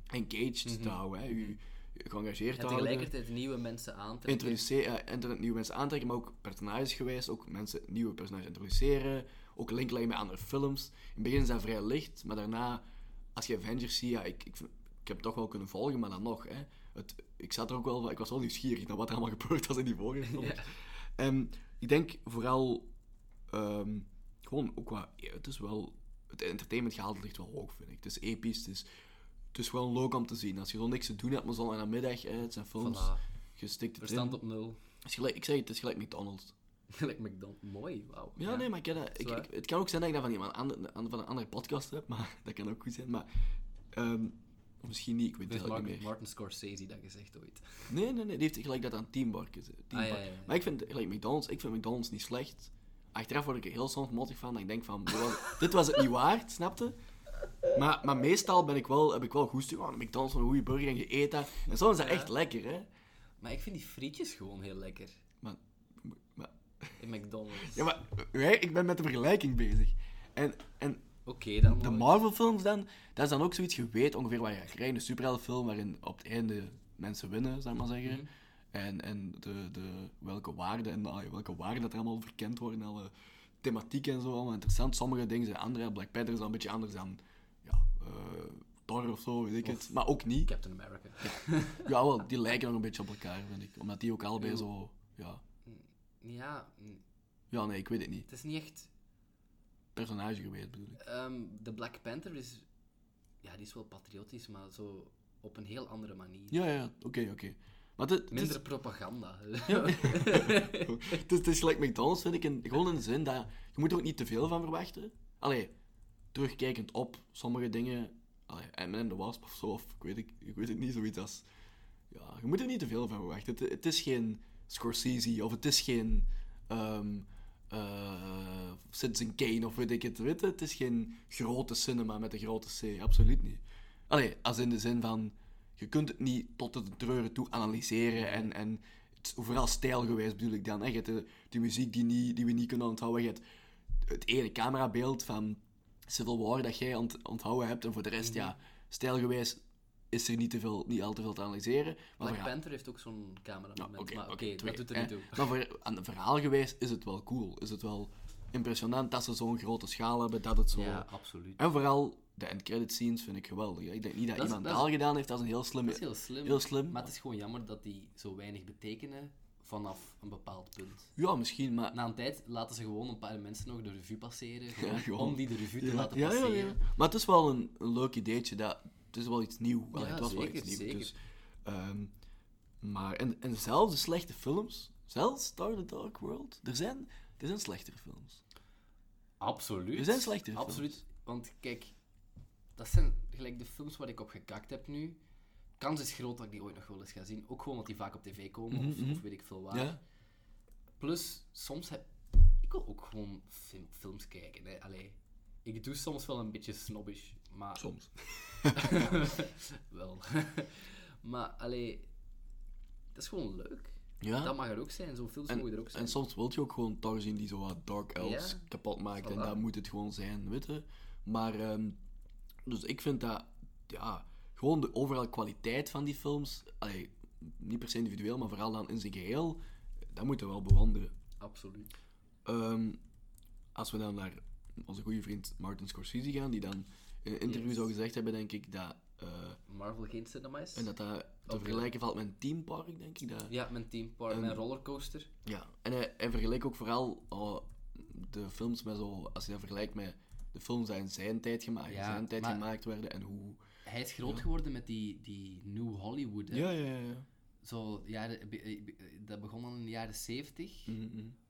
engaged te houden. Hè. Uw, geëngageerd
Mhm. En
te houden.
tegelijkertijd nieuwe mensen aantrekken.
Introduceren, eh, inter- nieuwe mensen aantrekken, maar ook personages geweest. Ook mensen, nieuwe personages introduceren. Ook link leggen met andere films. In het begin is dat vrij licht, maar daarna, als je Avengers ziet, ja, ik, ik, vind- ik heb het toch wel kunnen volgen, maar dan nog. Hè, het, ik, zat er ook wel, ik was wel nieuwsgierig naar wat er allemaal (laughs) gebeurd was in die vorige films.
Ja.
Ehm, ik denk vooral ehm, gewoon ook qua. ja, Het is wel. Het entertainmentgehalte ligt wel hoog, vind ik. Het is episch. Het is, het is gewoon leuk om te zien. Als je zo niks te doen hebt, maar zo aan de middag, hè, het zijn films.
Voilà.
Je stikt het
Verstand
in.
op nul. (laughs)
Het is gelijk, ik zeg het, het is gelijk McDonald's.
Gelijk McDonald's. Mooi, wauw.
Ja, nee, maar ik, ken dat. ik,
waar.
ik- het kan ook zijn dat ik dat van iemand ander, aan- van een andere podcast heb, maar (laughs) dat kan ook goed zijn. Maar, ehm, of misschien niet, ik weet het
Heeft
eigenlijk
Martin,
niet meer.
Martin Scorsese dat gezegd ooit?
Nee, nee, nee, die heeft gelijk dat aan teamwork. geze- teamwork.
Ah, ja, ja, ja.
Maar ik vind, gelijk McDonald's, ik vind McDonald's niet slecht. Achteraf word ik er heel soms mottig van, dat ik denk van, dit
(laughs)
was- dit was het niet waard, snapte? Maar, maar meestal ben ik wel, heb ik wel goed stuur. McDonald's van een goede burger en je eet dat. En soms is dat echt lekker, hè?
Maar ik vind die frietjes gewoon heel lekker.
Maar, maar,
In McDonald's.
ja, maar wij- ik ben met de vergelijking bezig. En, en
Oké, dan.
de
hoor.
Marvel-films dan, dat is dan ook zoiets, je weet ongeveer waar je gaat krijgen. Een superheldenfilm waarin op het einde mensen winnen, zou ik maar zeggen.
Mhm.
En, en de, de, welke waarden en ah, welke waarden dat er allemaal verkend worden, alle thematiek en zo, allemaal interessant. Sommige dingen zijn andere, Black Panther is dan een beetje anders dan ja, eh, Thor of zo, weet ik het. Maar ook niet.
Captain America.
Ja, wel, die lijken nog een beetje op elkaar, vind ik. Omdat die ook allebei zo, ja...
Ja, mm,
Ja, nee, ik weet het niet.
het is niet echt.
Personage geweest, bedoel ik.
ehm, de Black Panther is. Ja, die is wel patriotisch, maar zo op een heel andere manier.
Ja, ja, ja, oké, oké. Maar het, het, is, Oh,
Minder propaganda. (laughs)
(laughs) het, is, het is gelijk McDonald's, vind ik, in, gewoon in de zin dat... Je moet er ook niet te veel van verwachten. Allee, terugkijkend op sommige dingen... Allee, M&M de Wasp of zo, of ik weet, het- ik weet het niet, zoiets als... Ja, je moet er niet te veel van verwachten. Het, het is geen Scorsese, of het is geen... ehm eh, Citizen Kane, of weet ik het, weet je? Het is geen grote cinema met een grote C, absoluut niet. Allee, als in de zin van... Je kunt het niet tot het treuren toe analyseren en... en het is vooral stijlgewijs bedoel ik dan. Hè? Je hebt de, die muziek die, niet, die we niet kunnen onthouden. Je hebt het ene camerabeeld van Civil War dat jij ont- onthouden hebt. En voor de rest, ja, stijlgewijs is er niet, te veel, niet al te veel te analyseren. Maar
Black
verha-
Panther heeft ook zo'n cameraman.
Oké,
maar oké,
oké, twee,
dat doet er
hè.
niet toe.
Maar voor, aan de verhaalgewijs is het wel cool. Is het wel impressionant dat ze zo'n grote schaal hebben, dat het zo...
Ja, absoluut.
En vooral de end-credit scenes vind ik geweldig. hè. Ik denk niet dat,
Dat is-
iemand
dat
dat
is-
al gedaan heeft. Dat is een heel slim...
Dat is heel slim.
heel slim.
Maar het is gewoon jammer dat die zo weinig betekenen vanaf een bepaald punt.
Ja, misschien, maar...
Na een tijd laten ze gewoon een paar mensen nog de revue passeren. gewoon
Ja, gewoon.
Om die de revue te
Ja,
laten
ja, ja, ja.
passeren.
Maar het is wel een, een leuk ideetje. Dat, het is wel iets nieuw. Allee,
Ja,
het was wel
zeker,
iets nieuws.
zeker.
Dus, ehm, maar, en, en zelfs de slechte films, zelfs Star the Dark World, er zijn, er zijn slechtere films.
Absoluut.
Er zijn slechtere films.
Absoluut. Want kijk, dat zijn gelijk de films waar ik op gekakt heb nu. Kans is groot dat ik die ooit nog wel eens ga zien. Ook gewoon dat die vaak op tv komen of, of weet ik veel waar.
Mhm, Ja?
Plus, soms heb ik wil ook gewoon film- films kijken. Hè. Allee, ik doe soms wel een beetje snobbish, maar.
Soms.
(laughs) wel. (laughs) maar allee, dat is gewoon leuk.
Ja.
Dat mag er ook zijn, zo'n films mogen er ook zijn.
En soms wil je ook gewoon Thor zien die zo wat Dark Elves
Ja.
kapot maakt. En
Voilà.
dat moet het gewoon zijn, weet je. Maar, ehm, dus ik vind dat, ja, gewoon de overal kwaliteit van die films, allee, niet per se individueel, maar vooral dan in zijn geheel, dat moeten we wel bewonderen.
Absoluut.
Ehm, als we dan naar onze goede vriend Martin Scorsese gaan, die dan in een interview
Yes.
zou gezegd hebben, denk ik, dat, eh,
Marvel geen cinema is.
en dat dat te
Oké.
vergelijken valt met een teampark, denk ik. Dat,
Ja, mijn team, Power, mijn rollercoaster.
ja, en hij, hij vergelijkt ook vooral eh, de films met zo, als je dat vergelijkt met de films die in zijn tijd gemaakt, in
Ja,
zijn tijd
maar-
gemaakt werden en hoe.
Hij is groot geworden met die, die New Hollywood. Hè.
ja, ja.
Zo, jaren, be- be- dat begon al in de jaren 70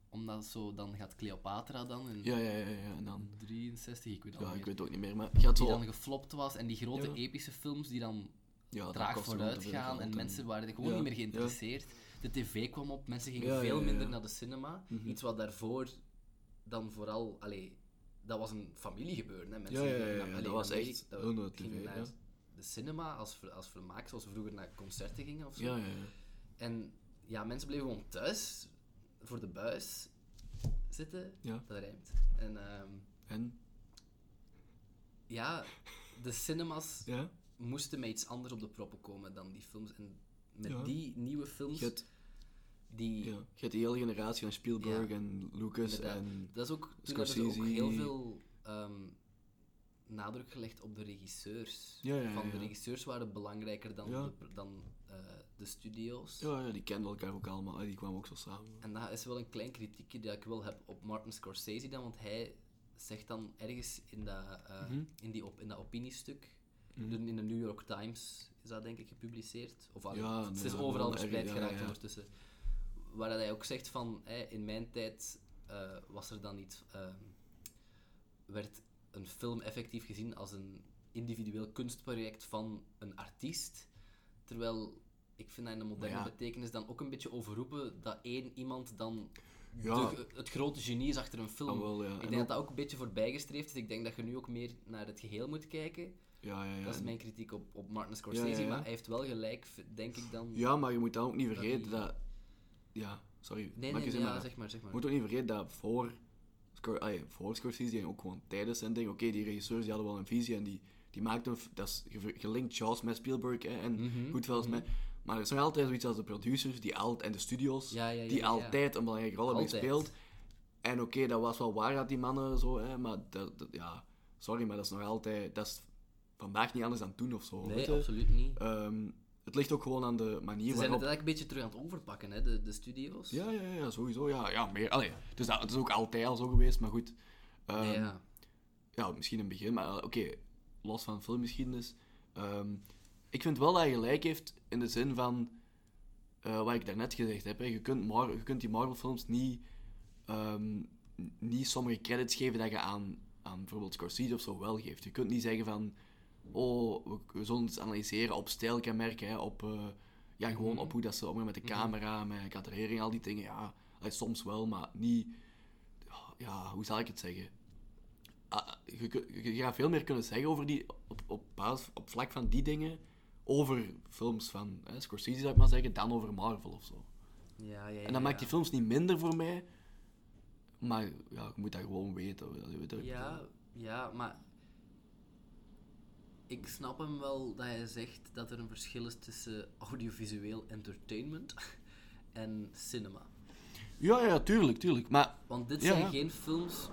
Omdat zo, dan gaat Cleopatra dan in
Hm. Mhm, Ja, ja, ja, ja. En dan,
63, ik weet het al
ja,
niet
ik weet
meer.
het ook niet meer, maar je had
Oh, Die
zo.
dan geflopt was en die grote
Ja.
epische films die dan
ja, dat
traag
kostte gewoon
vooruit
te veel
gaan
geld
en mensen waren er gewoon
Ja,
niet meer
ja.
geïnteresseerd. De tv kwam op, mensen gingen
Ja,
veel
ja, Mhm. ja,
minder
ja.
naar de cinema. Iets wat daarvoor dan vooral, allee, dat was een familiegebeuren. Hè. Mensen
Ja, ja,
gingen
ja,
naar-
ja,
allee,
dat was
in
echt
Amerika- dat-
hun, eh,
gingen
TV,
naar
ja.
de cinema als, ver- als vermaak, zoals we vroeger naar concerten gingen of zo.
Ja, ja, ja.
En ja, mensen bleven gewoon thuis voor de buis zitten.
Ja.
Dat rijmt. En ehm,
En?
ja, de cinemas
Ja?
moesten met iets anders op de proppen komen dan die films. En met
Ja.
die nieuwe films,
Je hebt,
die...
ja, je hebt die hele generatie aan Spielberg
Ja.
en Lucas
Inderdaad.
en...
Dat is ook, toen hebben ze ook
Scorsese.
heel veel ehm, nadruk gelegd op de regisseurs.
Ja, ja, ja,
Van de
ja.
regisseurs waren belangrijker dan,
Ja.
de, dan eh, de studio's.
Ja, ja, die kenden elkaar ook allemaal. Die kwamen ook zo samen.
En dat is wel een klein kritiekje dat ik wel heb op Martin Scorsese dan, want hij zegt dan ergens in dat, eh,
Mhm.
in die op, in dat opiniestuk, in de New York Times is dat denk ik gepubliceerd, of al-
Ja,
het is
inderdaad,
overal
wel
verspreid
erg, ja,
geraakt
ja.
ondertussen, waar dat hij ook zegt van, hè, in mijn tijd eh, was er dan niet, eh, werd een film effectief gezien als een individueel kunstproject van een artiest, terwijl... Ik vind dat in de moderne
Maar ja,
betekenis dan ook een beetje overroepen dat één iemand dan
Ja.
de- eh, het grote genie is achter een film.
Ah, wel, ja. En
Ik denk
dan-
dat dat ook een beetje voorbijgestreefd is. Ik denk dat je nu ook meer naar het geheel moet kijken.
Ja, ja, ja.
Dat is
En-
mijn kritiek op, op Martin Scorsese,
Ja, ja, ja.
maar hij heeft wel gelijk, v- denk ik dan.
Ja, maar je moet dan ook niet vergeten
die-
dat... Ja, sorry.
nee,
maar
nee,
ik
nee,
zeg
ja,
maar,
zeg maar, zeg
Je
maar.
eh, moet ook niet vergeten dat voor, Scor ay, voor Scorsese en ook gewoon tijdens zijn ding... Oké, die regisseurs die hadden wel een visie en die, die maakten... een f- Dat is ge- gelinkt Jaws met Spielberg hè, en
Mhm,
Goodfellas met... Maar er is nog altijd zoiets als de producers die al, en de studios...
Ja, ja, ja,
die
ja, ja.
altijd een belangrijke rol hebben
Altijd.
gespeeld. En oké, dat was wel waar dat die mannen zo... Hè, maar dat, dat- ja, sorry, maar dat is nog altijd... Dat is vandaag niet anders dan toen of zo. weet
Nee,
je?
absoluut niet.
Ehm, het ligt ook gewoon aan de manier
Ze zijn het
waarop...
eigenlijk een beetje terug aan het overpakken, hè, de, de studio's.
Ja, ja, ja, sowieso. Ja, ja meer. Allee, het, is, dat- het is ook altijd al zo geweest, maar goed. Ehm,
Ja,
ja.
ja.
misschien in het begin, maar eh, oké, los van filmgeschiedenis. Ehm, ik vind wel dat hij gelijk heeft in de zin van eh, wat ik daarnet gezegd heb. Hè. Je, kunt Mar- je kunt die Marvel-films niet, ehm, n- niet sommige credits geven dat je aan, aan bijvoorbeeld Scorsese of zo wel geeft. Je kunt niet zeggen van, oh, we, we zullen het analyseren op stijlkenmerken, hè, op, eh, ja, gewoon op hoe dat ze omgaan met de camera, met kadrering, al die dingen. Ja, eh, soms wel, maar niet... Ja, hoe zal ik het zeggen? Ah, je, kun- je gaat veel meer kunnen zeggen over die, op, op, basis, op vlak van die dingen, over films van hè, Scorsese, zou ik maar zeggen, dan over Marvel of zo.
ja, ja,
En dat
ja.
maakt die films niet minder voor mij, maar ja, je moet dat gewoon weten. dat- dat- dat-
Ja, ja, maar... Ik snap hem wel dat hij zegt dat er een verschil is tussen audiovisueel entertainment (laughs) en cinema.
ja, ja, tuurlijk, tuurlijk. Maar
Want dit
Ja,
zijn
ja.
geen films.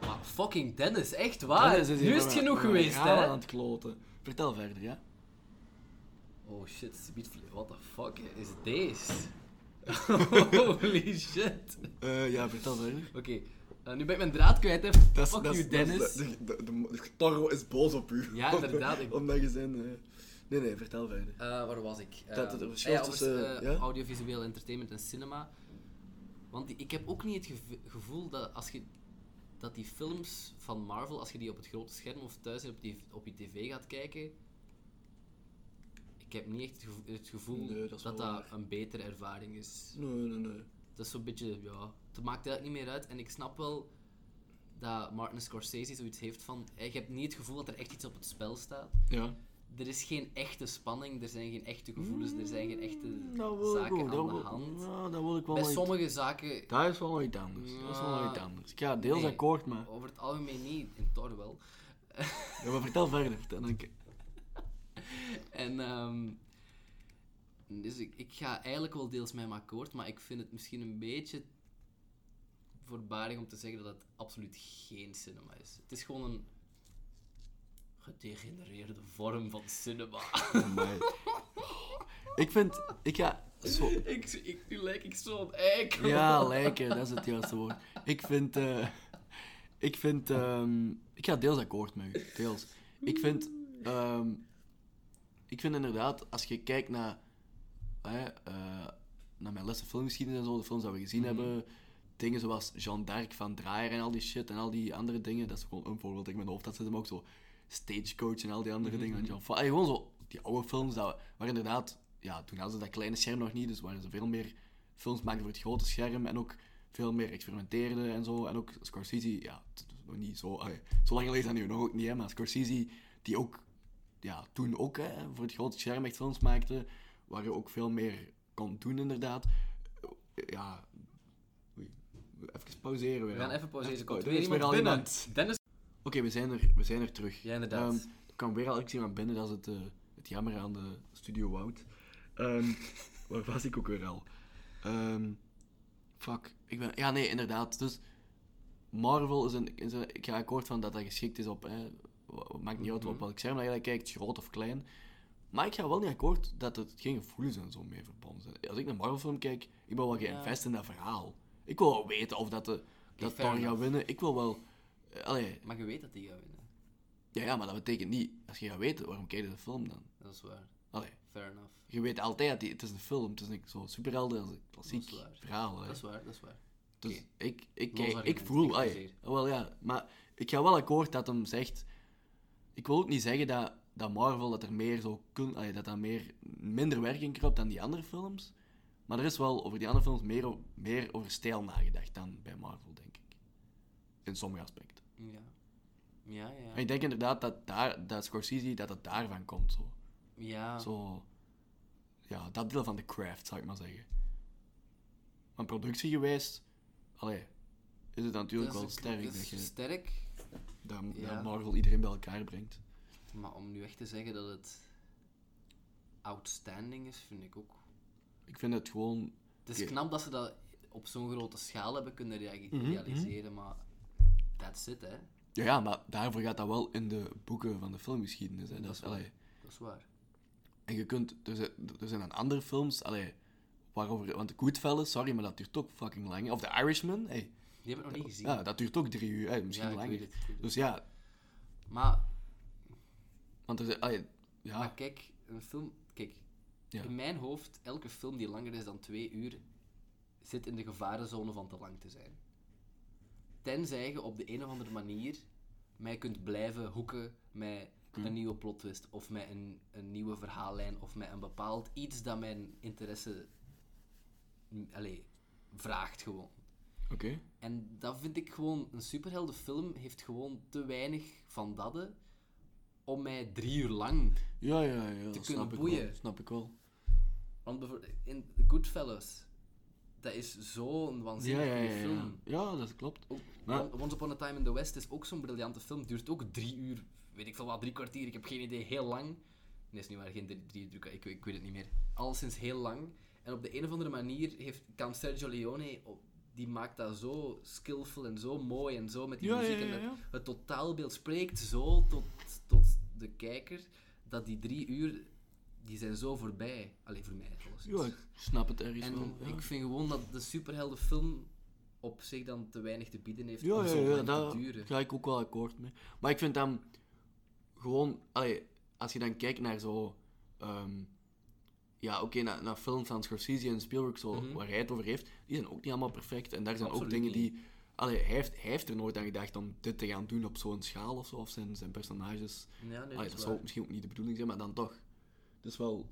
Maar fucking Dennis, echt waar? Ah, nu is het genoeg
Ja,
geweest,
ja,
hè?
aan het kloten. Vertel verder, ja.
Oh shit, Speed What the fuck is deze? (laughs) Holy shit. Oké,
Eh, ja, vertel verder.
eh, nu ben ik mijn draad kwijt, hè? fuck you, Dennis.
de, de, Taro is boos op u.
Ja, inderdaad, ik-
(laughs) Omdat je zijn... eh, nee, nee, vertel verder.
Eh, waar was ik? Eh,
Dat het een verschil
ah ja, over,
tussen,
eh,
ja?
Audiovisueel entertainment en cinema. Want die- ik heb ook niet het geve- gevoel dat als je dat die films van Marvel, als je die op het grote scherm of thuis op, die, op je tv gaat kijken, ik heb niet echt het gevo- het gevoel
Nee, dat
dat
is
dat,
wel waar.
een betere ervaring is.
Nee, nee, nee.
Dat is zo'n beetje, ja, het maakt eigenlijk niet meer uit. En ik snap wel dat Martin Scorsese zoiets heeft van, eh, je hebt niet het gevoel dat er echt iets op het spel staat
Ja.
er is geen echte spanning, er zijn geen echte gevoelens, er zijn geen echte
Mm, Dat wil ik
zaken
ook.
aan
Dat
de
wil,
hand.
ja, dat wil ik wel
Bij
niet.
sommige zaken,
Dat is wel iets anders. Dat is wel
Ja.
iets anders. Ik ga deels
Nee.
akkoord, maar...
over het algemeen niet, in Thor wel.
Ja, maar vertel verder. Vertel, dan ik-
(laughs) En ehm, dus ik, ik ga eigenlijk wel deels met hem akkoord, maar ik vind het misschien een beetje voorbarig om te zeggen dat het absoluut geen cinema is. Het is gewoon een gedegenereerde vorm van cinema.
Amai. (laughs) Ik vind... Ik ga... Zo...
(laughs) ik, ik, nu lijk ik zo'n eikel.
Ja, lijken. Dat is het juiste woord. Ik vind... eh, ik vind... ehm, ik ga deels akkoord met u. Deels. Ik vind... ehm, ik vind inderdaad, als je kijkt naar... hè, eh, naar mijn lessen filmgeschiedenis en zo, de films die we gezien hebben... Dingen zoals Jean d'Arc van Draaier en al die shit en al die andere dingen. Dat is gewoon een voorbeeld dat ik in mijn hoofd had zitten, maar ook zo Stagecoach en al die andere dingen. Jean Fa- Allee, gewoon zo die oude films, dat, we- waar inderdaad... Ja, toen hadden ze dat kleine scherm nog niet, dus waren ze veel meer films maken voor het grote scherm en ook veel meer experimenteerden en zo. En ook Scorsese, ja, t- t- nog niet zo... allee, zo lang geleden is dat nu nog ook niet, hè, maar Scorsese, die ook ja, toen ook hè, voor het grote scherm echt films maakte, waar je ook veel meer kon doen inderdaad. Ja, oei, even pauzeren weer.
We gaan
al.
even pauzeren, er komt
pau-
weer
is weer
iemand
al
binnen.
iemand.
Dennis
Oké, we, zijn er- we zijn er terug.
Ja, inderdaad.
Ehm, er kwam weer al iets iemand binnen, dat is het, eh, het jammer aan de Studio Wout. Ehm, (laughs) waar was ik ook weer al? Ehm, fuck. Ik ben, ja, nee, inderdaad. Dus Marvel is een, is een- Ik ga akkoord van dat dat geschikt is op. Hè, wa- maakt niet uit op welk scherm dat je dat kijkt, groot of klein. Maar ik ga wel niet akkoord dat het geen gevoelens en zo mee verbonden zijn. Als ik naar Marvel-film kijk, ik ben wel geïnvest in dat verhaal. Ik wil wel weten of dat, de,
fair
dat Thor gaat
enough.
winnen. Ik wil wel. eh, Allee,
Maar je weet dat die gaat winnen.
ja, ja, maar dat betekent niet. Als je gaat weten, waarom kijk je de film dan?
Dat is waar.
Allee.
Fair enough.
Je weet altijd, dat die- het is een film, het is niet zo superhelden als een klassiek
Dat is waar.
verhaal. Hè.
Dat is waar, dat is waar.
Dus
oké.
ik, ik,
Los
kijk, ik
argument,
voel,
ik
ai,
plezier.
wel ja, maar ik ga wel akkoord dat hem zegt, ik wil ook niet zeggen dat, dat Marvel dat er meer zo kun, ai, dat dat meer minder werk in kruipt dan die andere films, maar er is wel over die andere films meer, o- meer over stijl nagedacht dan bij Marvel, denk ik. In sommige aspecten.
Ja. Ja,
En
ja.
ik denk inderdaad dat, daar, dat Scorsese dat het daarvan komt, zo.
Ja.
Zo, ja, dat deel van de craft, zou ik maar zeggen. Maar productiegewijs, allee, is het natuurlijk wel
is-
sterk
dat
dat,
is
je
sterk,
dat,
ja.
dat Marvel iedereen bij elkaar brengt.
maar om nu echt te zeggen dat het outstanding is, vind ik ook.
Ik vind het gewoon,
Het is
Oké. Mhm,
knap dat ze dat op zo'n grote schaal hebben kunnen rea- realiseren, maar that's it, hè.
ja, ja, maar daarvoor gaat dat wel in de boeken van de filmgeschiedenis. Hè. Dat is, allee.
Dat is waar.
En je kunt, er zijn, er zijn dan andere films, allee, waarover, want Goodfellas, sorry, maar dat duurt ook fucking lang. Of The Irishman, hey,
Die heb ik nog niet gezien.
ja, dat duurt ook drie uur, hey, misschien
Ja, ik
langer.
weet het, ik weet het.
Dus ja,
Maar,
want er zijn, allee,
maar
ja,
kijk, een film... Kijk,
Ja.
in mijn hoofd, elke film die langer is dan twee uur, zit in de gevarenzone van te lang te zijn. Tenzij je op de een of andere manier mij kunt blijven hoeken met
Mm.
een nieuwe plot twist, of met een, een nieuwe verhaallijn, of met een bepaald iets dat mijn interesse mm, allee, vraagt gewoon.
oké.
En dat vind ik gewoon... Een superheldenfilm heeft gewoon te weinig van dat om mij drie uur lang...
Ja, ja, ja.
kunnen
snap Ik
boeien.
wel, snap ik wel.
Want bijvoorbeeld in Goodfellas, dat is zo'n
Ja,
waanzinnig
ja, ja,
goede
ja.
film.
ja, dat klopt.
Ook
Maar-
On- Once Upon a Time in the West is ook zo'n briljante film. Duurt ook drie uur, weet ik veel wat, drie kwartier, ik heb geen idee, heel lang. Nee, is niet waar, geen drie, drie uur, ik, ik weet het niet meer. Alleszins heel lang. En op de een of andere manier heeft, kan Sergio Leone, op- die maakt dat zo skillful en zo mooi en zo met die
Ja, ja,
muziek.
ja,
En
ja.
het, het totaalbeeld spreekt zo tot, tot de kijker, dat die drie uur, die zijn zo voorbij. Alleen voor mij, volgens
Ja, ik snap het ergens
en
wel. Ja,
ik vind gewoon dat de superheldenfilm op zich dan te weinig te bieden heeft
ja,
om
ja,
zo
ja,
lang
daar
te duren.
ga ik ook wel akkoord mee. Maar ik vind dan gewoon, allee, als je dan kijkt naar zo, ehm, ja, oké, naar, naar films van Scorsese en Spielberg, zo, waar hij het over heeft, die zijn ook niet allemaal perfect. En daar zijn
Mhm. Absoluut
ook dingen
niet.
die. Allee, hij, heeft, hij heeft er nooit aan gedacht om dit te gaan doen op zo'n schaal of zo, of zijn, zijn personages.
Ja, nee,
Allee,
dat
Ah,
is
dat zou
waar.
ook misschien ook niet de bedoeling zijn, maar dan toch. Dus wel,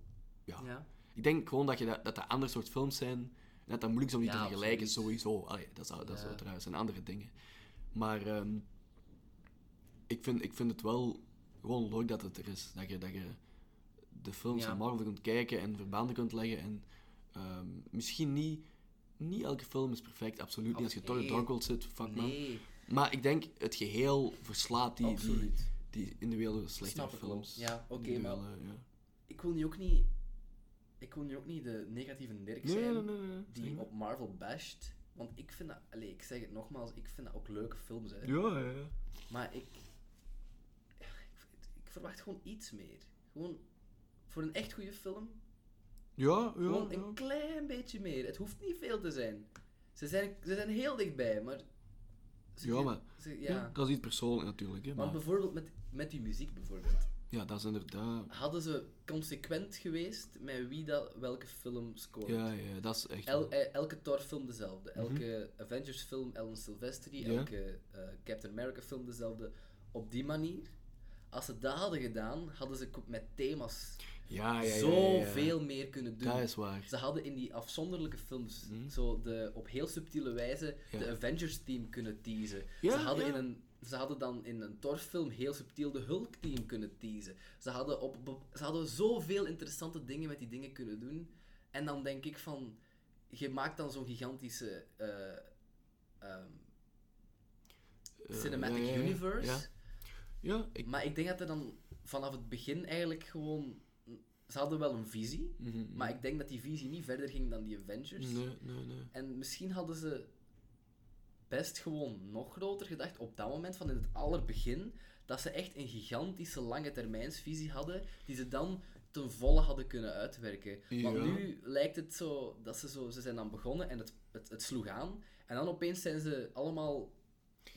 ja.
Ja.
Ik denk gewoon dat je dat, dat, dat andere soort films zijn. En dat dat moeilijk is om die
Ja,
te vergelijken,
absoluut.
sowieso. Allee, dat, is, dat is
Ja.
uiteraard zijn andere dingen. Maar ehm, ik, vind, ik vind het wel gewoon leuk dat het er is. Dat je, dat je de films
Ja.
van Marvel kunt kijken en verbanden kunt leggen. En ehm, misschien niet, niet elke film is perfect, absoluut niet. Als je toch
nee.
in Dark World zit, fuck man.
Nee,
Maar ik denk, het geheel verslaat die, die,
absoluut.
die individuele slechte
Snap ik wel.
films.
Ja, oké,
Individuele,
maar-
ja.
Ik wil nu ook niet... Ik wil nu ook niet de negatieve Dirk
Nee,
zijn
nee, nee, nee, nee. Zeg
die
maar.
op Marvel basht. Want ik vind dat... Allee, ik zeg het nogmaals, ik vind dat ook leuke films, hè.
Ja, ja, ja.
Maar ik, ik... Ik verwacht gewoon iets meer. Gewoon... Voor een echt goede film
Ja, ja,
Gewoon
ja.
een klein beetje meer. Het hoeft niet veel te zijn. Ze zijn, ze zijn heel dichtbij, maar... ze-
Ja, maar-
ze- ja.
Ja, dat is iets persoonlijk natuurlijk. Hè,
Maar
maar,
bijvoorbeeld met, met die muziek, bijvoorbeeld.
ja, dat is inderdaad.
Hadden ze consequent geweest met wie dat welke film scoort.
Ja, ja, dat is echt.
El- eh, elke Thor-film dezelfde. Elke Avengers-film Ellen Silvestri.
Ja.
Elke eh, Captain America-film dezelfde. Op die manier. Als ze dat hadden gedaan, hadden ze co- met thema's
Ah, ja, ja, ja, ja, ja.
zoveel meer kunnen doen.
Dat is waar.
Ze hadden in die afzonderlijke films zo de, op heel subtiele wijze
Mhm. Ja.
de Avengers-team kunnen teasen.
Ja,
ze, hadden
ja.
in een, ze hadden dan in een Thor-film heel subtiel de Hulk-team kunnen teasen. Ze hadden, op, op- ze hadden zoveel interessante dingen met die dingen kunnen doen. En dan denk ik van... Je maakt dan zo'n gigantische... eh, ehm,
Eh,
cinematic
ja, ja, ja.
universe...
Ja, ja ik,
Maar ik denk dat er dan vanaf het begin eigenlijk gewoon ze hadden wel een visie,
Mhm.
Mhm, maar ik denk dat die visie niet verder ging dan die Avengers.
Nee, nee, nee.
En misschien hadden ze best gewoon nog groter gedacht op dat moment van in het allerbegin, dat ze echt een gigantische lange termijnsvisie hadden, die ze dan ten volle hadden kunnen uitwerken. Want
Ja.
nu lijkt het zo dat ze zo, ze zijn dan begonnen en het, het, het sloeg aan, en dan opeens zijn ze allemaal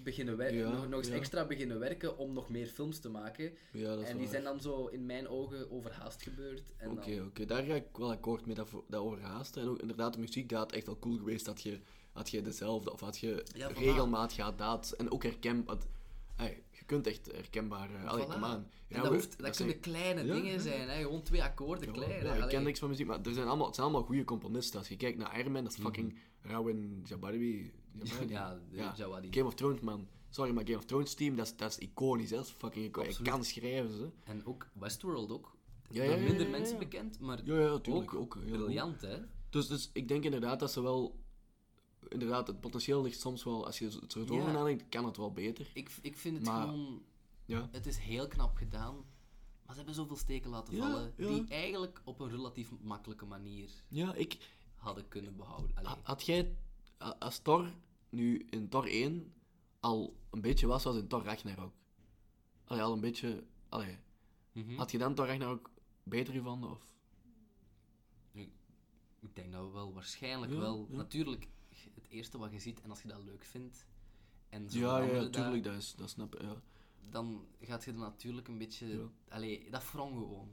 beginnen werken,
Ja,
nog, nog eens
ja.
extra beginnen werken om nog meer films te maken.
Ja, dat is
En die
waar.
zijn dan zo in mijn ogen overhaast gebeurd. En
Oké,
dan...
oké. Daar ga ik wel akkoord mee, dat, voor- dat overhaasten. En ook inderdaad, de muziek, dat had echt wel cool geweest dat je, had je dezelfde, of had je
Ja, voilà.
regelmaat gehad dat. En ook herkenbaar. je kunt echt herkenbaar... eh, allee,
Voilà.
come on.
En
Ja,
dat,
we-
hoeft, dat,
zijn-
kunnen kleine
Ja,
dingen
ja, ja.
zijn, hè? gewoon twee akkoorden,
Ja,
klein.
ja,
hè.
ik ken
Allee.
niks van muziek, maar er zijn allemaal, het zijn allemaal goede componisten. Als je kijkt naar Iron Man, dat is fucking Rawan Jabari. Jabari?
Mhm.
(laughs)
Ja, de Jawadi.
Game of Thrones, man. Sorry, maar Game of Thrones team, dat is, dat is iconisch. hè. Dat is fucking iconisch.
Absoluut.
Hij kan schrijven, ze.
En ook Westworld ook.
Ja,
Door
ja, ja,
minder
ja, ja,
mensen
ja.
bekend, maar
Ja, ja, natuurlijk.
ook,
Ook, heel goed.
briljant, hè?
Dus, dus ik denk inderdaad dat ze wel... Inderdaad, het potentieel ligt soms wel... Als je het zo door
Ja.
nadenkt, kan het wel beter.
Ik, ik vind het
Maar-
gewoon...
Ja.
Het is heel knap gedaan, maar ze hebben zoveel steken laten
Ja,
vallen
ja.
die eigenlijk op een relatief makkelijke manier
Ja, ik...
hadden kunnen behouden. Allee.
ha- Had jij... a- Als Thor nu in Thor 1 al een beetje was zoals in Thor Ragnarok... Allee, al een beetje... Allee,
Mhm.
had je dan Thor Ragnarok beter gevonden? Of?
Ik denk dat we wel waarschijnlijk
Ja,
wel...
ja.
Natuurlijk, het eerste wat je ziet, en als je dat leuk vindt... En zo
Ja, ja,
veranderen
ja,
dat-
tuurlijk, dat, is, dat snap ik. Ja.
dan gaat je er natuurlijk een beetje...
Ja.
Allee, dat wrong gewoon.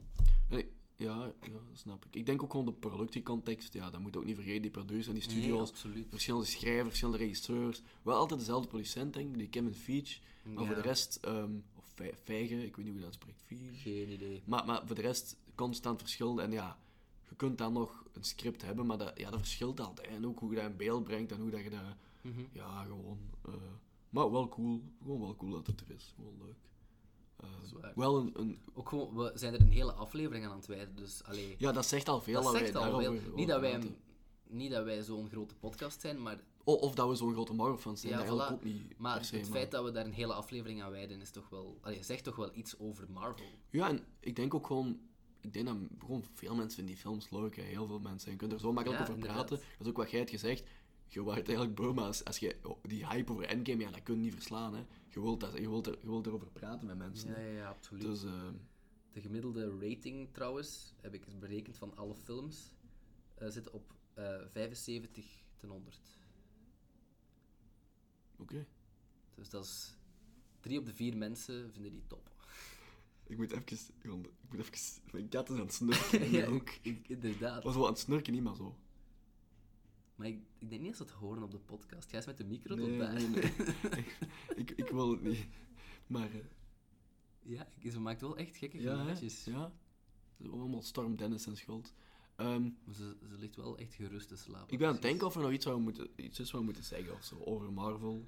Nee, ja, ja, dat snap ik. Ik denk ook gewoon de productiecontext. Ja, dat moet je ook niet vergeten. Die producers en die
Nee,
studio's.
absoluut.
verschillende schrijvers, verschillende regisseurs. Wel altijd dezelfde producent, denk ik. Die Kevin Feige. Maar voor de
Ja.
rest... ehm, of Fe- Feige, ik weet niet hoe je dat spreekt. Feige.
Geen idee.
Maar, maar voor de rest constant verschil. En ja, je kunt dan nog een script hebben, maar dat, ja, dat verschilt altijd. En ook hoe je dat in beeld brengt en hoe dat je dat...
Mhm.
Ja, gewoon... eh, maar wel cool. Gewoon wel cool dat het er is. Gewoon leuk. Eh,
is waar.
wel een, een...
Ook gewoon, we zijn er een hele aflevering aan aan het wijden, dus allee,
Ja, dat zegt al veel.
dat
wij
zegt al
daarover-
veel.
over
Niet dat wij,
praten.
hem- niet dat wij zo'n grote podcast zijn, maar,
O- Of dat we zo'n grote Marvel-fans zijn,
Ja,
dat eigenlijk
voilà.
ook niet
maar
per se,
het
maar-
feit dat we daar een hele aflevering aan wijden is toch wel, allee, zegt toch wel iets over Marvel.
Ja, en ik denk ook gewoon... Ik denk dat gewoon veel mensen vinden die films leuk, hè. heel veel mensen. Je kunt er zo makkelijk
Ja,
over
inderdaad.
praten. Dat is ook wat jij hebt gezegd. Je waart eigenlijk Burma. Als, als je oh, die hype over Endgame, ja, dat kun je niet verslaan. Hè. Je, wilt dat, je, wilt er, je wilt erover praten met mensen.
Ja,
hè.
ja, ja, absoluut.
Dus eh,
De gemiddelde rating trouwens, heb ik eens berekend van alle films, eh, zit op eh, 75 ten 100.
oké.
Dus dat is drie op de vier mensen vinden die top.
Ik moet even... Ron, Ik moet even... Mijn kat is aan het snurken.
(laughs)
(laughs) in de hoek.
ik- inderdaad.
Het was wel aan het snurken, niet maar zo.
Maar ik, ik denk niet dat ze het horen op de podcast. Jij is met de micro tot
Nee,
daar.
nee, nee.
(laughs)
ik, ik wil het niet. Maar... eh,
Ja, ik- ze maakt wel echt gekke
ja, hè.
geluidjes.
Ja. Allemaal Storm Dennis en schuld. Ehm,
Maar ze, ze ligt wel echt gerust te slapen.
Ik ben aan het denken of er nog iets, zou moeten, iets is wat we moeten zeggen of zo, over Marvel.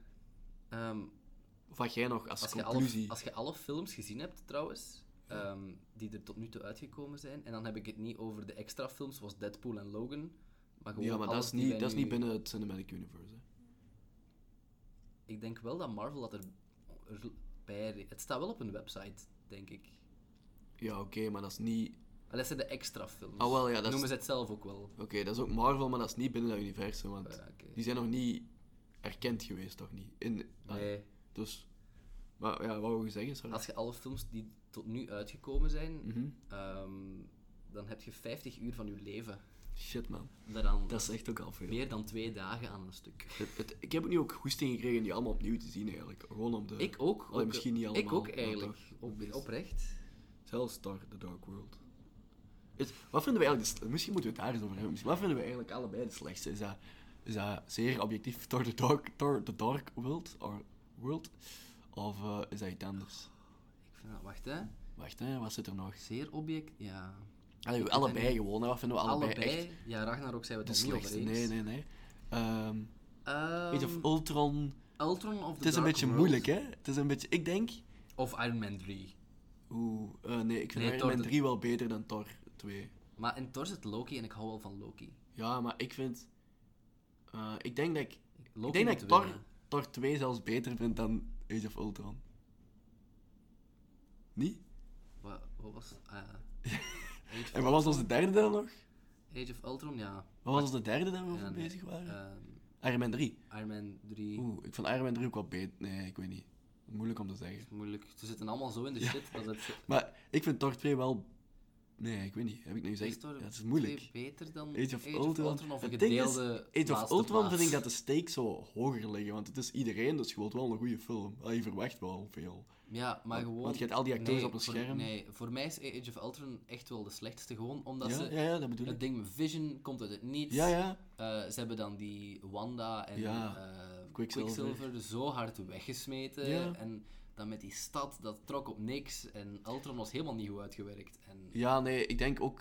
Ehm,
Of wat jij nog als,
als, je alle,
conclusie...
als je alle films gezien hebt, trouwens, ehm, die er tot nu toe uitgekomen zijn, en dan heb ik het niet over de extra films zoals Deadpool en Logan, maar gewoon
ja, maar dat
alles
is,
die
niet,
wij
dat is
nu-
niet binnen het Cinematic Universe. Hè.
Ik denk wel dat Marvel dat er, er bij... Het staat wel op een website, denk ik.
Ja, oké, maar dat is niet...
Maar dat zijn de extra films.
Ah, wel, ja, dat is-
Dus Noemen ze Eh. het zelf ook wel.
Oké, dat is ook Marvel, maar dat is niet binnen dat universum, want
Ja, oké.
die zijn nog niet erkend geweest, toch niet? In, ah,
Nee.
Dus... Maar ja, wat wil je zeggen, sorry?
Als je alle films die tot nu uitgekomen zijn,
Mhm.
ehm, dan heb je 50 uur van je leven.
Shit, man.
Daaraan
Dat is echt ook al veel.
meer dan twee dagen aan een stuk.
Het, het- ik heb nu ook goesting gekregen om die allemaal opnieuw te zien, eigenlijk. Gewoon om de...
Ik ook.
Allee,
ook-
Oh, misschien niet
Ik
allemaal,
ook
maar
eigenlijk.
toch,
Op,
meest.
oprecht.
Zelfs Star The Dark World. Is- wat vinden we eigenlijk... de sle- misschien moeten we het daar eens over hebben. Misschien- Wat vinden we eigenlijk allebei de slechtste? Is dat, is dat zeer objectief Thor The Dark, Thor the dark World? Or world? Of eh, is dat iets anders?
Ik vind dat, wacht hè.
Wacht, hè, wat zit er nog?
Zeer object. Ja.
Allee, allebei gewoon, hè. Wat vinden we allebei,
Allebei.
echt
Ja, Ragnarok zijn we
de
toch niet over
slechtste?
eens.
Nee, nee, nee. Ehm,
Ehm,
weet je, of Ultron...
Ultron of the
Het is een
Dark
beetje
World.
moeilijk, hè? Het is een beetje... Ik denk...
Of Iron Man 3.
Oeh, eh, nee, ik vind
Nee,
Iron
Thor
Man
the-
3 wel beter dan Thor 2.
Maar in Thor zit Loki en ik hou wel van Loki.
Ja, maar ik vind... eh, ik denk dat ik...
Loki
ik denk
moet
dat ik Thor,
winnen.
Thor 2 zelfs beter vind dan Age of Ultron. Niet? (laughs)
Wat, wat was... ah, ja. Age
En wat was onze derde dan nog?
Age of Ultron, ja.
Wat was onze derde daar we
Ja,
over
nee.
bezig waren?
Ehm,
Iron Man 3.
Iron Man 3.
Oeh, ik vond Iron Man 3 ook wel beter. Nee, ik weet niet. Moeilijk om te zeggen.
Moeilijk. Ze zitten allemaal zo in de shit dat het...
(laughs) Maar ik vind Thor 2 wel... Nee, ik weet niet. Heb ik nu gezegd?
Is Thor
Ja, het is moeilijk.
2 beter dan
Age of Ultron.
of een
Het ding is,
gedeelde
Age of
laatste
Ultron
plaats.
vind ik dat de stakes zo hoger liggen, want het is iedereen, dus je wilt wel een goede film. Ah, je verwacht wel veel.
Ja, maar gewoon...
Want je hebt al die acteurs
Nee,
op een
voor-
scherm.
Nee, voor mij is Age of Ultron echt wel de slechtste. Gewoon omdat
ja,
ze...
ja, ja, dat eh, bedoel
Het
ik.
ding met Vision komt uit het niets.
Ja, ja.
Eh, ze hebben dan die Wanda en
Ja,
eh,
Quicksilver.
zo hard weggesmeten.
Ja.
En dan met die stad, dat trok op niks. En Ultron was helemaal niet goed uitgewerkt. En
Ja, nee, ik denk ook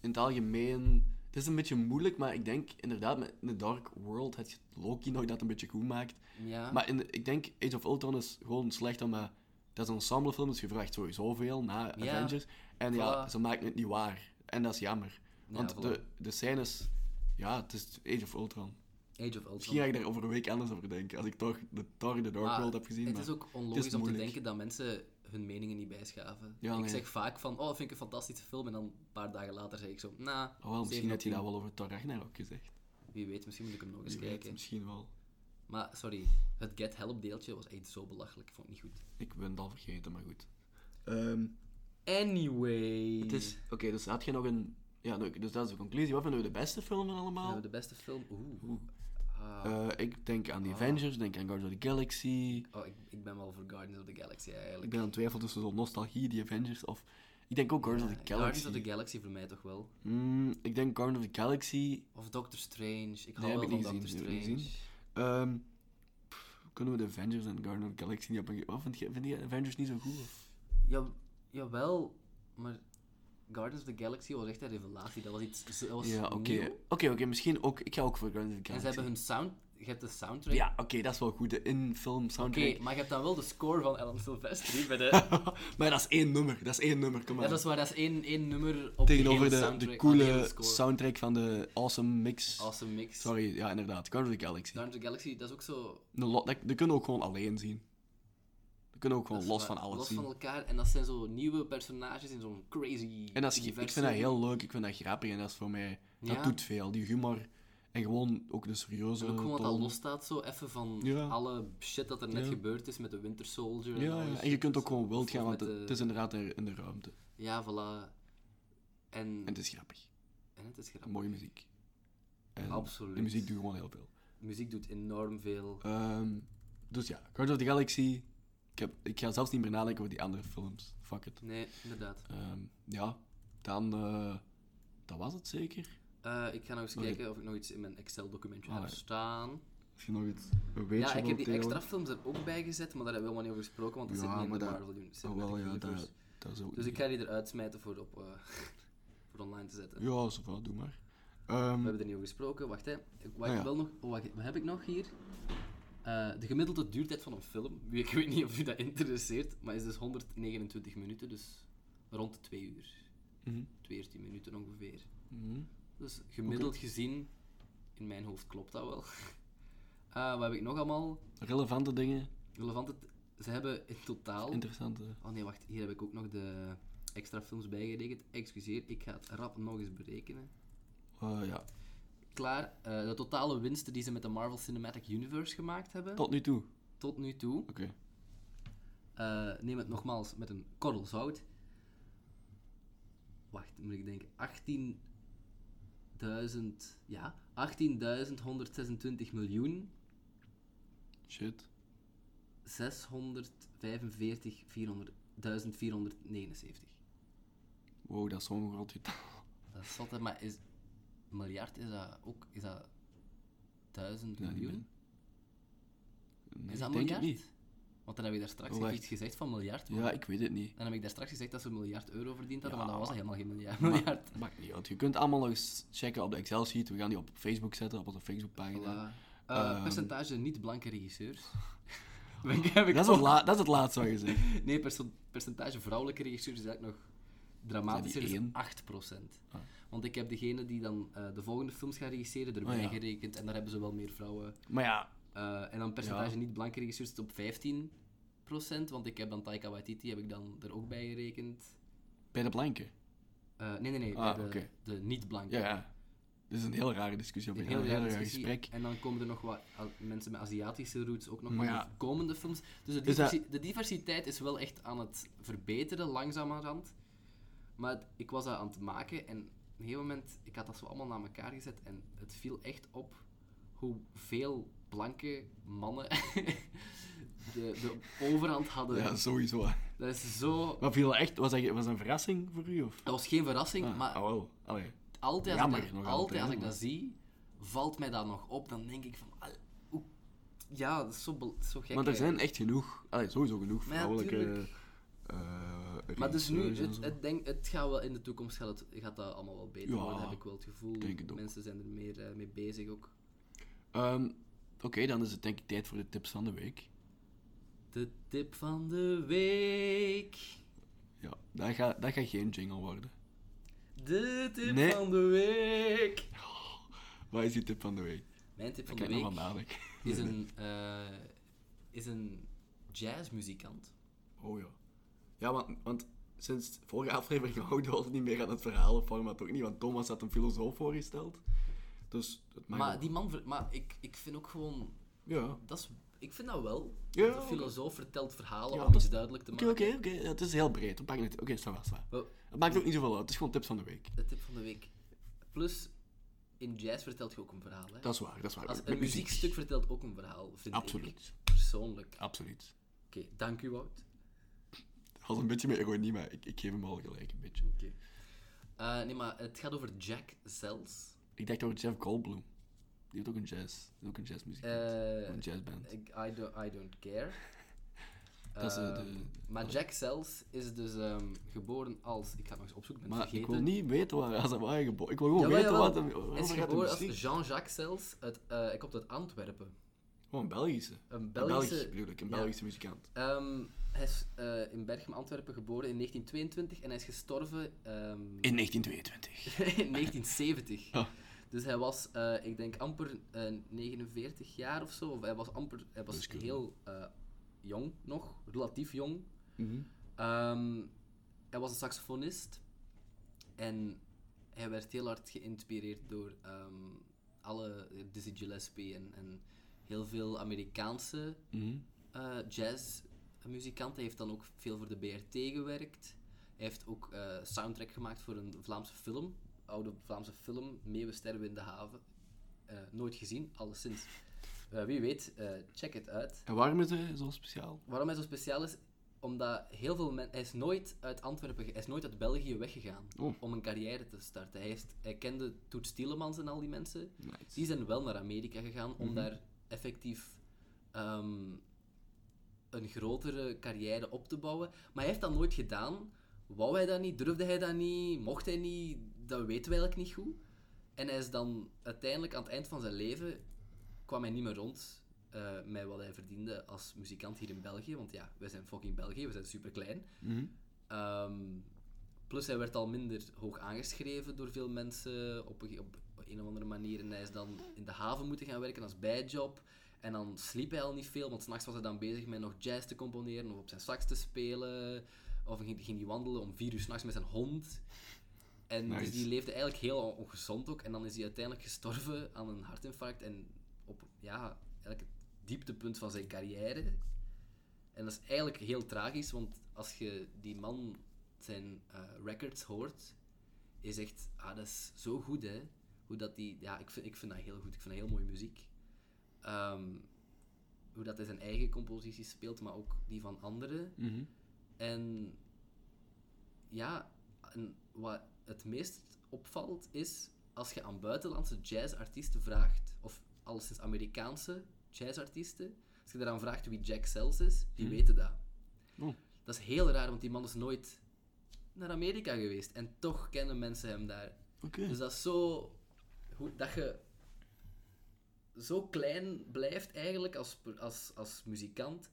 in het algemeen... Het is een beetje moeilijk, maar ik denk inderdaad, met in The Dark World had je Loki nog dat een beetje goed maakt.
ja,
Maar in, ik denk Age of Ultron is gewoon slecht, omdat dat is een ensemblefilm, dus je vraagt sowieso veel na
Ja.
Avengers. En ja,
Voilà.
ze maken het niet waar. En dat is jammer.
Ja,
Want
voilà.
de, de scènes... Ja, het is Age of Ultron.
Age of Ultron.
Misschien ga ik daar over een week anders over denken, als ik toch de Thor in the Dark
Maar
World heb gezien.
Ah, Het
maar-
is ook onlogisch om te
moeilijk.
denken dat mensen hun meningen niet bijschaven.
Ja,
ik
nee.
zeg vaak van, oh, vind ik een fantastische film. En dan een paar dagen later zeg ik zo, nou,
Oh, wel, misschien had je dat
dat
wel over Thor Ragnarok gezegd.
Wie weet, misschien moet ik hem nog eens
Wie weet,
kijken.
misschien wel.
Maar, sorry, het Get Help deeltje was echt zo belachelijk. Ik vond het niet goed.
Ik ben het al vergeten, maar goed.
Anyway.
het is... Oké, dus had je nog een... Ja, nou, dus dat is de conclusie. Wat vinden we de beste filmen allemaal?
Nou, de beste film. Oeh. Ah.
Eh, ik denk aan The Avengers, denk aan Guardians of the Galaxy.
Oh, ik, ik ben wel voor Guardians of the Galaxy eigenlijk.
Ik ben aan het twijfel tussen zo'n nostalgie, The Avengers, of... Ik denk ook Guardians of the Galaxy.
Guardians of the Galaxy voor mij toch wel.
Mm, ik denk Guardians of the Galaxy.
Of Doctor Strange. Ik
heb
hou
ik
wel
niet
van Doctor
gezien, die heb ik
Strange.
niet Ehm, pff, kunnen we de Avengers en Guardians of the Galaxy niet op een... Wat vind je, vind je Avengers niet zo goed? Of?
Ja, jawel, maar Guardians of the Galaxy was echt een revelatie. Dat was iets dat was
Ja, oké.
nieuw.
Oké, oké, misschien ook... Ik ga ook voor Guardians of the
En ze
Galaxy.
hebben hun sound... Je hebt de soundtrack.
Ja, oké, dat is wel goed. De in-film
Oké,
soundtrack.
maar je hebt dan wel de score van Alan
(laughs)
Silvestri bij de...
maar dat is één nummer. Dat is één nummer, kom maar.
Ja, dat is waar, dat is één, één nummer op die
Tegenover
hele
de,
soundtrack,
de
aan die
coole
hele score.
soundtrack van de Awesome Mix.
Awesome mix.
Sorry, ja, inderdaad. Guardians of the Galaxy.
Guardians of the Galaxy, dat is ook zo...
Een lot, dat, die kunnen we ook gewoon alleen zien. Die kunnen we ook gewoon
dat
los
is
van
waar,
alles
los
zien.
van elkaar. En dat zijn zo nieuwe personages in zo'n crazy
En dat is, ik vind
universum.
dat heel leuk, ik vind dat grappig en dat is voor mij... Dat
Ja.
doet veel, die humor. En gewoon ook de serieuze
En ook gewoon dat dat
toon.
los staat zo, even van
Ja.
alle shit dat er net
Ja.
gebeurd is met de Winter Soldier.
Ja,
alle
ja, en
shit
je kunt ook
zo.
gewoon wild
Of met
gaan, want het,
de- Mm.
het is inderdaad in, in de ruimte.
Ja, voilà. En,
En het is grappig.
en het is grappig.
Mooie muziek. En
Absoluut.
De muziek doet gewoon heel veel.
Muziek doet enorm veel.
Ehm, dus ja, Guardians of the Galaxy. Ik, heb, ik ga zelfs niet meer nadenken over die andere films. Fuck it.
Nee, inderdaad.
Ehm, ja, dan... eh, dat was het zeker.
Eh, ik ga nog eens
Nog
kijken of ik nog iets in mijn Excel-documentje heb
Allee.
staan.
Misschien nog iets... Een
Ja,
beetje
ik heb die
tegen-
extra films er ook bij gezet, maar daar hebben we helemaal niet over gesproken, want dat
Ja,
zit niet in
maar
de
dat-
Marvel Uni-
Oh,
Cinematic
wel, ja,
Universe.
dat, dat is ook...
Dus
niet-
ik ga die eruit smijten voor, op, eh, (laughs) voor online te zetten.
Ja, zoveel, doe maar.
We
Ehm,
hebben er niet over gesproken. Wacht, hè. Ik- Wat,
Ah,
ik
ja.
wel nog, oh, wacht, wat heb ik nog hier? Eh, de gemiddelde duurtijd van een film. (laughs) Wie- Ik weet niet of u dat interesseert, maar is dus 129 minuten, dus rond de 2 uur.
mhm,
2 uur 10 minuten ongeveer.
mhm.
Dus gemiddeld gezien, in mijn hoofd klopt dat wel. (laughs) Eh, wat heb ik nog allemaal?
Relevante dingen,
Relevante... t- Ze hebben in totaal...
interessante...
Oh nee, wacht. Hier heb ik ook nog de extra films bijgerekend. Excuseer, ik ga het rap nog eens berekenen.
eh, ja,
klaar eh, de totale winsten die ze met de Marvel Cinematic Universe gemaakt hebben, tot,
tot nu toe.
nu toe.
Oké.
eh, neem het nogmaals met een korrel zout. Wacht, moet ik denken. 18.000... Ja, 18.126 miljoen.
Shit.
645 479.
Wow, dat is zo'n groot getal.
Dat is zot, hè, maar is... Miljard is dat ook... Is dat... 1000
Ja, niet
miljoen?
(laughs) Nee,
Is dat
ik denk het
miljard?
niet.
Want dan heb ik daar straks
Oh,
heb ik
wacht.
iets gezegd van miljard.
Ja, ik weet het niet.
Dan heb ik daar straks gezegd dat ze een miljard euro verdiend hadden,
Ja,
maar dat was helemaal geen (laughs) miljard. miljard.
Maakt niet uit. Je kunt allemaal nog eens checken op de Excel-sheet. We gaan die op Facebook zetten, op onze Facebookpagina.
Voilà. Eh,
Ehm.
percentage niet-blanke regisseurs. (laughs) Ben ik- heb ik
Dat, is
ook-
het la- dat is het laatste wat je zegt. (laughs)
Nee, perso- percentage vrouwelijke regisseurs is eigenlijk nog dramatischer.
Zijn die
is
één?
8%.
Ah.
Want ik heb degene die dan eh, de volgende films gaat regisseren erbij
Oh, ja.
gerekend. En daar hebben ze wel meer vrouwen.
Maar ja,
Eh, en dan percentage
Ja.
niet-blanke regisseurs zit op 15%. Want ik heb dan Taika Waititi heb ik dan er ook bij gerekend.
bij de blanken.
Eh, Eh, nee, nee, nee.
Ah,
bij de,
oké.
de niet-blanke.
Ja, ja. Dit is een heel rare discussie op
Een
een
heel
heel,
rare
raar
discussie.
gesprek.
En dan komen er nog wat A- mensen met Aziatische roots ook nog
Maar
maar
ja.
komende films. Dus de,
Is dat-
diversi- de diversiteit is wel echt aan het verbeteren, langzamerhand. Maar het- ik was dat aan het maken en op een gegeven moment, ik had dat zo allemaal naar elkaar gezet en het viel echt op hoeveel blanke mannen (laughs) de, de overhand hadden.
Ja, sowieso.
Dat is zo...
Maar viel dat echt, was, dat, was dat een verrassing voor u? Of?
Dat was geen verrassing,
Ah,
maar
oh, wow. Allee.
altijd als,
Jammer,
ik, dat,
nog
altijd
altijd,
als
hè,
ik dat
maar-
zie, valt mij dat nog op. Dan denk ik van, al- hoe- ja, dat is zo, bel- zo gek.
Want er
hè.
zijn echt genoeg, allee, sowieso genoeg
Maar ja,
vrouwelijke.
tuurlijk.
eh,
Maar dus nu,
regisseurs
het,
en zo.
het, denk, het gaat wel in de toekomst gaat, het, gaat dat allemaal wel beter
Ja,
worden, heb ik wel het gevoel.
denk het ook.
Mensen zijn er meer eh, mee bezig ook.
Ehm, Oké, dan is het denk ik tijd voor de tips van de week.
De tip van de week.
Ja, dat gaat dat gaat geen jingle worden.
De tip
Nee.
van de week.
Wat is die tip van de week?
Mijn tip van
Ik
de
kijk nog
week
van nadenken.
(laughs) is een, eh, is een jazzmuzikant.
(laughs) Oh ja. Ja, want, want sinds vorige aflevering (laughs) houden we ons niet meer aan het verhalenformat ook niet, want Thomas had een filosoof voorgesteld. Dus het maakt
Maar
ook-
die man, ver- maar ik, ik vind ook gewoon
Ja.
Dat is, ik vind dat wel.
Ja,
Want
oké.
een filosoof vertelt verhalen
Ja,
om
dat
iets
is-
duidelijk te
Oké,
maken.
oké, oké. Ja, Het is heel breed. We pakken het. Oké, ça va, ça va.
Wel,
Het maakt ook niet zoveel uit. Het is gewoon tips van de week.
de tip van de week. Plus, in jazz vertelt je ook een verhaal. Hè?
Dat is waar, dat is waar.
Als
Met
een muziekstuk vertelt ook een verhaal, vind ik.
Absoluut.
Persoonlijk. Oké,
Absoluut.
dank u Wout.
Dat was een beetje meer ironie, maar ik, ik geef hem al gelijk een beetje.
Oké. Eh, nee, maar het gaat over Jack Zells.
Ik dacht over Jeff Goldblum. Die heeft ook een jazz. Die heeft ook een jazzmuziek.
Eh,
een jazzband.
Ik- I, don't, I don't care.
Dat is, eh, de-
Ehm, maar Jack Zells is dus ehm, geboren als... Ik ga het nog eens opzoeken, ik ben het
Maar ik
vergeten.
wil niet weten waar als dat waar geboren. Ik wil gewoon
Jawel,
weten
jawel.
wat hem
Hij is
over gaat de
geboren als
muziek.
Jean-Jacques Zells. Uit, eh ik komt uit Antwerpen.
Gewoon een Belgische.
Een
Een
Belgische...
Belgisch bedoel ik, een
ja.
Belgische muzikant.
Ehm, hij is eh, in Berchem, Antwerpen geboren in 1922 en hij is gestorven ehm,
In 1922.
(laughs) in 1970.
Oh.
Dus hij was, eh, ik denk, amper eh, 49 jaar of zo. Of hij was amper, hij was
Dat is cool.
heel eh, jong nog, relatief jong. Mhm. Ehm, hij was een saxofonist en hij werd heel hard geïnspireerd door ehm, alle Dizzy Gillespie en, en heel veel Amerikaanse
Mhm.
eh jazzmuzikant. Hij heeft dan ook veel voor de BRT gewerkt. Hij heeft ook eh, soundtrack gemaakt voor een Vlaamse film. Oude Vlaamse film, Meeuwen sterven in de haven. Eh, nooit gezien, alleszins. Eh, wie weet, eh, check het uit.
En waarom is hij zo speciaal?
Waarom hij zo speciaal is, omdat heel veel mensen... Hij is nooit uit Antwerpen, ge- hij is nooit uit België weggegaan
Oh.
om een carrière te starten. Hij, heeft, hij kende Toet Stielemans en al die mensen.
Nice.
Die zijn wel naar Amerika gegaan om daar effectief ehm, een grotere carrière op te bouwen. Maar hij heeft dat nooit gedaan. Wou hij dat niet? Durfde hij dat niet? Mocht hij niet? Dat weten we eigenlijk niet goed. En hij is dan uiteindelijk aan het eind van zijn leven kwam hij niet meer rond eh, met wat hij verdiende als muzikant hier in België. Want ja, wij zijn fucking België, we zijn super klein.
Mhm.
Ehm, plus hij werd al minder hoog aangeschreven door veel mensen op een, ge- op een of andere manier. En hij is dan in de haven moeten gaan werken als bijjob. En dan sliep hij al niet veel, want s'nachts was hij dan bezig met nog jazz te componeren of op zijn sax te spelen. Of hij ging, ging hij wandelen om vier uur s'nachts met zijn hond. En dus
Nice.
die leefde eigenlijk heel on- ongezond ook. En dan is hij uiteindelijk gestorven aan een hartinfarct. En op ja, eigenlijk het dieptepunt van zijn carrière. En dat is eigenlijk heel tragisch, want als je die man zijn eh, records hoort, is echt, ah, dat is zo goed hè. Hoe dat die, ja, ik vind, ik vind dat heel goed, ik vind dat heel mooie muziek. Ehm, hoe dat hij zijn eigen composities speelt, maar ook die van anderen.
Mhm.
En ja, en wat het meest opvalt is als je aan buitenlandse jazzartiesten vraagt, of alleszins Amerikaanse jazzartiesten, als je daaraan vraagt wie Jack Sells is, die weten dat.
Oh.
Dat is heel raar, want die man is nooit naar Amerika geweest en toch kennen mensen hem daar.
Oké.
Dus dat is zo. Hoe, dat je zo klein blijft eigenlijk als, per- als, als muzikant,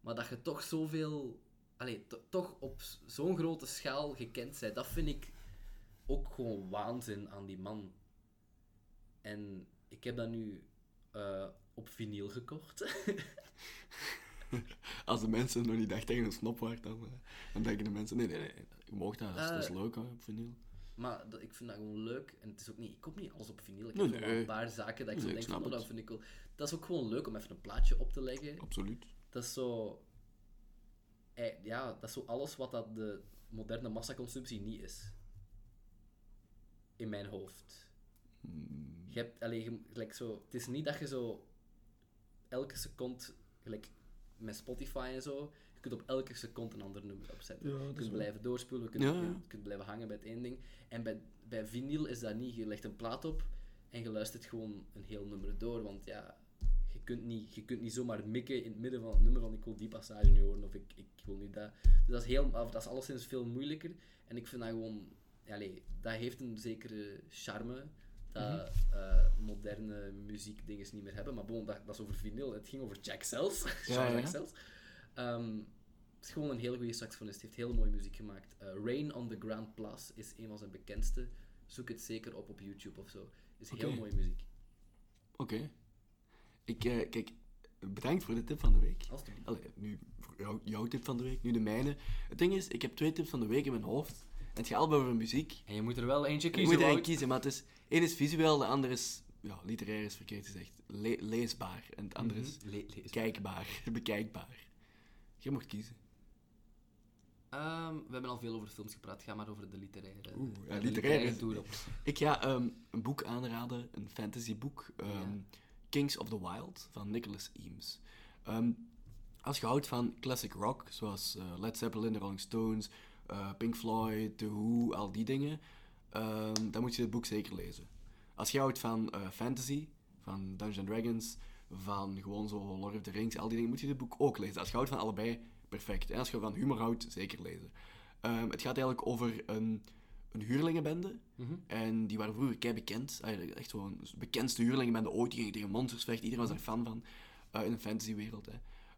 maar dat je toch zoveel. Allee, to- toch op s- zo'n grote schaal gekend bent. Dat vind ik ook gewoon waanzin aan die man. En ik heb dat nu eh, op vinyl gekocht. (laughs)
Als de mensen nog niet echt tegen een snop waren, dan, eh, dan denken de mensen: nee, nee, nee, je mag dat, dat is- dat is leuk hoor, op vinyl.
Maar dat, ik vind dat gewoon leuk. En het is ook niet, ik koop niet alles op vinyl. Ik
Nee,
heb wel
nee.
een paar zaken dat ik
Nee,
zo
ik
denk
snap
van, oh,
het.
dat vind ik cool. Dat is ook gewoon leuk om even een plaatje op te leggen.
Absoluut.
Dat is zo... eh, Ja, dat is zo alles wat dat de moderne massaconsumptie niet is. In mijn hoofd.
Mm,
Je hebt, allee, je- gelijk zo, het is niet dat je zo elke seconde, gelijk met Spotify en zo, je kunt op elke seconde een ander nummer opzetten.
Ja, dat
je
is
kunt
waar.
blijven doorspoelen, je kunt,
Ja, ja.
je kunt blijven hangen bij het één ding. En bij, bij vinyl is dat niet. Je legt een plaat op en je luistert gewoon een heel nummer door, want ja, je kunt niet, je kunt niet zomaar mikken in het midden van het nummer van ik wil die passage nu horen of ik, ik wil nu dat. Dus dat is, heel, of dat is alleszins veel moeilijker. En ik vind dat gewoon, ja, allee, dat heeft een zekere charme dat
Mhm.
eh, moderne muziekdinges niet meer hebben. Maar bon, dat, dat is over vinyl. Het ging over Jack Sells. (laughs) Charles
ja.
Jack Sells. Ehm, het is gewoon een hele goede saxofonist. Heeft hele mooie muziek gemaakt. Eh, Rain on the Grand Place is een van zijn bekendste. Zoek het zeker op op YouTube of zo. Is heel
Oké.
mooie muziek.
Oké. Ik, eh, kijk, bedankt voor de tip van de week.
Alsjeblieft.
Allee, nu voor jou, jouw tip van de week, nu de mijne. Het ding is, ik heb twee tips van de week in mijn hoofd. En het gaat allemaal over muziek.
En je moet er wel eentje
Ik moet
kiezen.
eigenlijk kiezen, maar het is... Eén is visueel, de andere is... Ja, literair is verkeerd gezegd. Le- leesbaar. En het andere
Mhm.
is kijkbaar. (laughs) Bekijkbaar. Je mag kiezen.
Ehm, we hebben al veel over films gepraat. Ga maar over de literaire.
Oeh, ja,
de
literaire is-
toer op.
Ik ga ehm, een boek aanraden, een fantasyboek. ehm, Kings of the Wild van Nicholas Eames. Ehm, als je houdt van classic rock, zoals eh, Led Zeppelin, de Rolling Stones, eh, Pink Floyd, The Who, al die dingen, ehm, dan moet je dit boek zeker lezen. Als je houdt van eh, fantasy, van Dungeons and Dragons, van gewoon zo Lord of the Rings, al die dingen, moet je dit boek ook lezen. Als je houdt van allebei, perfect. En als je van humor houdt, zeker lezen. Ehm, het gaat eigenlijk over een, een huurlingenbende. En die waren vroeger kei bekend. Eigenlijk echt gewoon de bekendste huurlingenbende ooit. Die gingen tegen monsters vechten. Iedereen was daar fan van. eh, in een fantasywereld. Hè.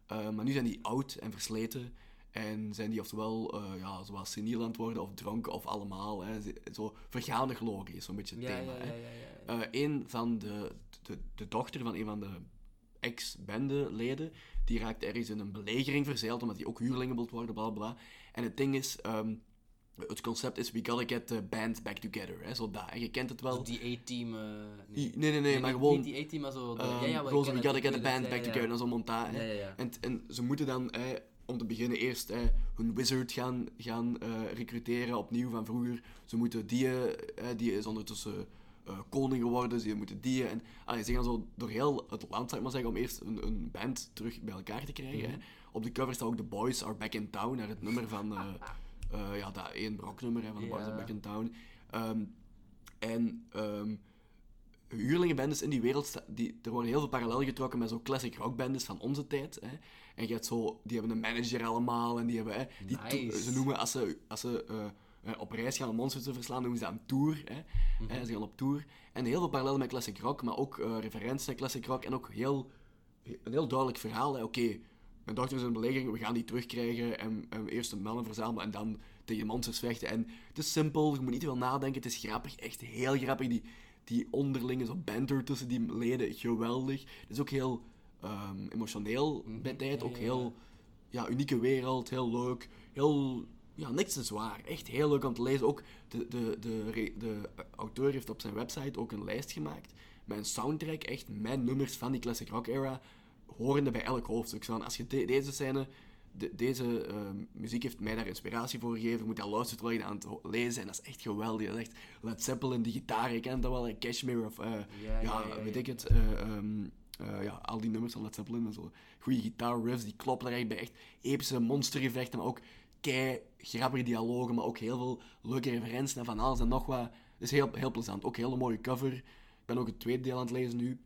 Eh, maar nu zijn die oud en versleten. En zijn die oftewel eh ja, zoals seniel aan het worden of dronken of allemaal. Hè. Ze- Zo vergaande glorie is zo'n beetje het
Ja,
thema.
ja, ja,
hè.
ja, ja, ja.
Eh, een van de, de, de dochter van een van de ex-bendeleden, die raakt ergens in een belegering verzeild, omdat die ook huurlingen wilt worden, bla bla. bla. En het ding is, ehm, het concept is, we gotta get the band back together, hè, zo dat. En je kent het wel.
Die A-team. eh,
Nee, nee, nee, maar
niet-
gewoon...
Niet die A-team, maar zo. De, ja,
Ehm,
ja, wel, ik
gewoon zo,
ken
we
het,
gotta
ik
get the
weet het,
band
ja,
back
ja,
together, dat is een montage. hè.
Ja, ja, ja.
En, en ze moeten dan, eh, om te beginnen, eerst eh, hun wizard gaan, gaan eh, recruteren, opnieuw van vroeger. Ze moeten die, eh, die is ondertussen eh, koning geworden, ze moeten die. En, allee, ze gaan zo door heel het land, zou ik maar zeggen, om eerst een, een band terug bij elkaar te krijgen.
Mhm.
hè. Op de cover staat ook The Boys Are Back in Town, naar het nummer van... eh, eh, ja, dat één broknummer hè, van The Boys
Ja.
Are Back in Town. Ehm, en... ehm, huurlingenbendes in die wereld, sta- die, er worden heel veel parallel getrokken met zo'n classic rockbendes van onze tijd. Hè. En je hebt zo, die hebben een manager allemaal en die hebben, hè, die to-
Nice.
ze noemen als ze, als ze eh, eh, op reis gaan om monsters te verslaan, noemen ze dat een tour. Hè.
Mhm.
Hè, ze gaan op tour. En heel veel parallel met classic rock, maar ook eh, referenties naar classic rock en ook heel, een heel duidelijk verhaal. hè. Oké, mijn dochter is in een belegering, we gaan die terugkrijgen en, en eerst de mannen verzamelen en dan tegen monsters vechten. En het is simpel, je moet niet te veel nadenken, het is grappig, echt heel grappig. Die, die onderlinge zo banter tussen die leden, geweldig. Het is ook heel ehm, emotioneel bij tijd,
Mhm. ja,
ook
ja,
heel ja, unieke wereld, heel leuk, heel... Ja, niks te zwaar. Echt heel leuk om te lezen. Ook de, de, de, re- de auteur heeft op zijn website ook een lijst gemaakt met een soundtrack. Echt mijn nummers van die classic rock era horende bij elk hoofdstuk. Zo van, als je de- deze scène, de- deze eh, muziek heeft mij daar inspiratie voor gegeven, je moet dat luisteren terwijl je dat aan het ho- lezen en dat is echt geweldig. Dat is echt Led Zeppelin, die gitaar, je kent dat wel, hè, Cashmere of eh, ja,
ja, ja, ja.
weet ik het. eh, ehm, eh, ja, al die nummers van Led Zeppelin en zo. Goede gitaarriffs, die kloppen daar echt bij. Echt epische monstergevechten, maar ook kei grappige dialogen, maar ook heel veel leuke referenties en van alles en nog wat. Dus heel, heel plezant. Ook een hele mooie cover. Ik ben ook het tweede deel aan het lezen nu.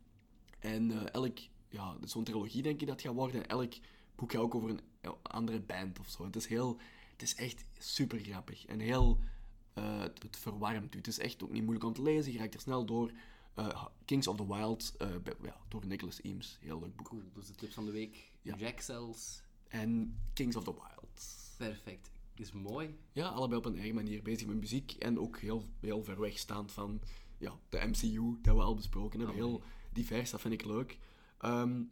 En eh, elk, ja, dus zo'n trilogie denk ik dat het gaat worden. En elk boek gaat ook over een eh, andere band of zo. En het is heel, het is echt super grappig. En heel, eh, het, het verwarmt u. Het is echt ook niet moeilijk om te lezen. Je raakt er snel door. Eh, Kings of the Wild, eh, bij- ja, door Nicholas Eames. Heel leuk boek.
Cool, dus de tips van de week.
Ja.
Jack Cells.
En Kings of the Wild.
Perfect. Is mooi.
Ja, allebei op een eigen manier bezig met muziek. En ook heel, heel ver weg staand van ja, de MCU, dat we al besproken hebben. Heel divers, dat vind ik leuk. Ehm,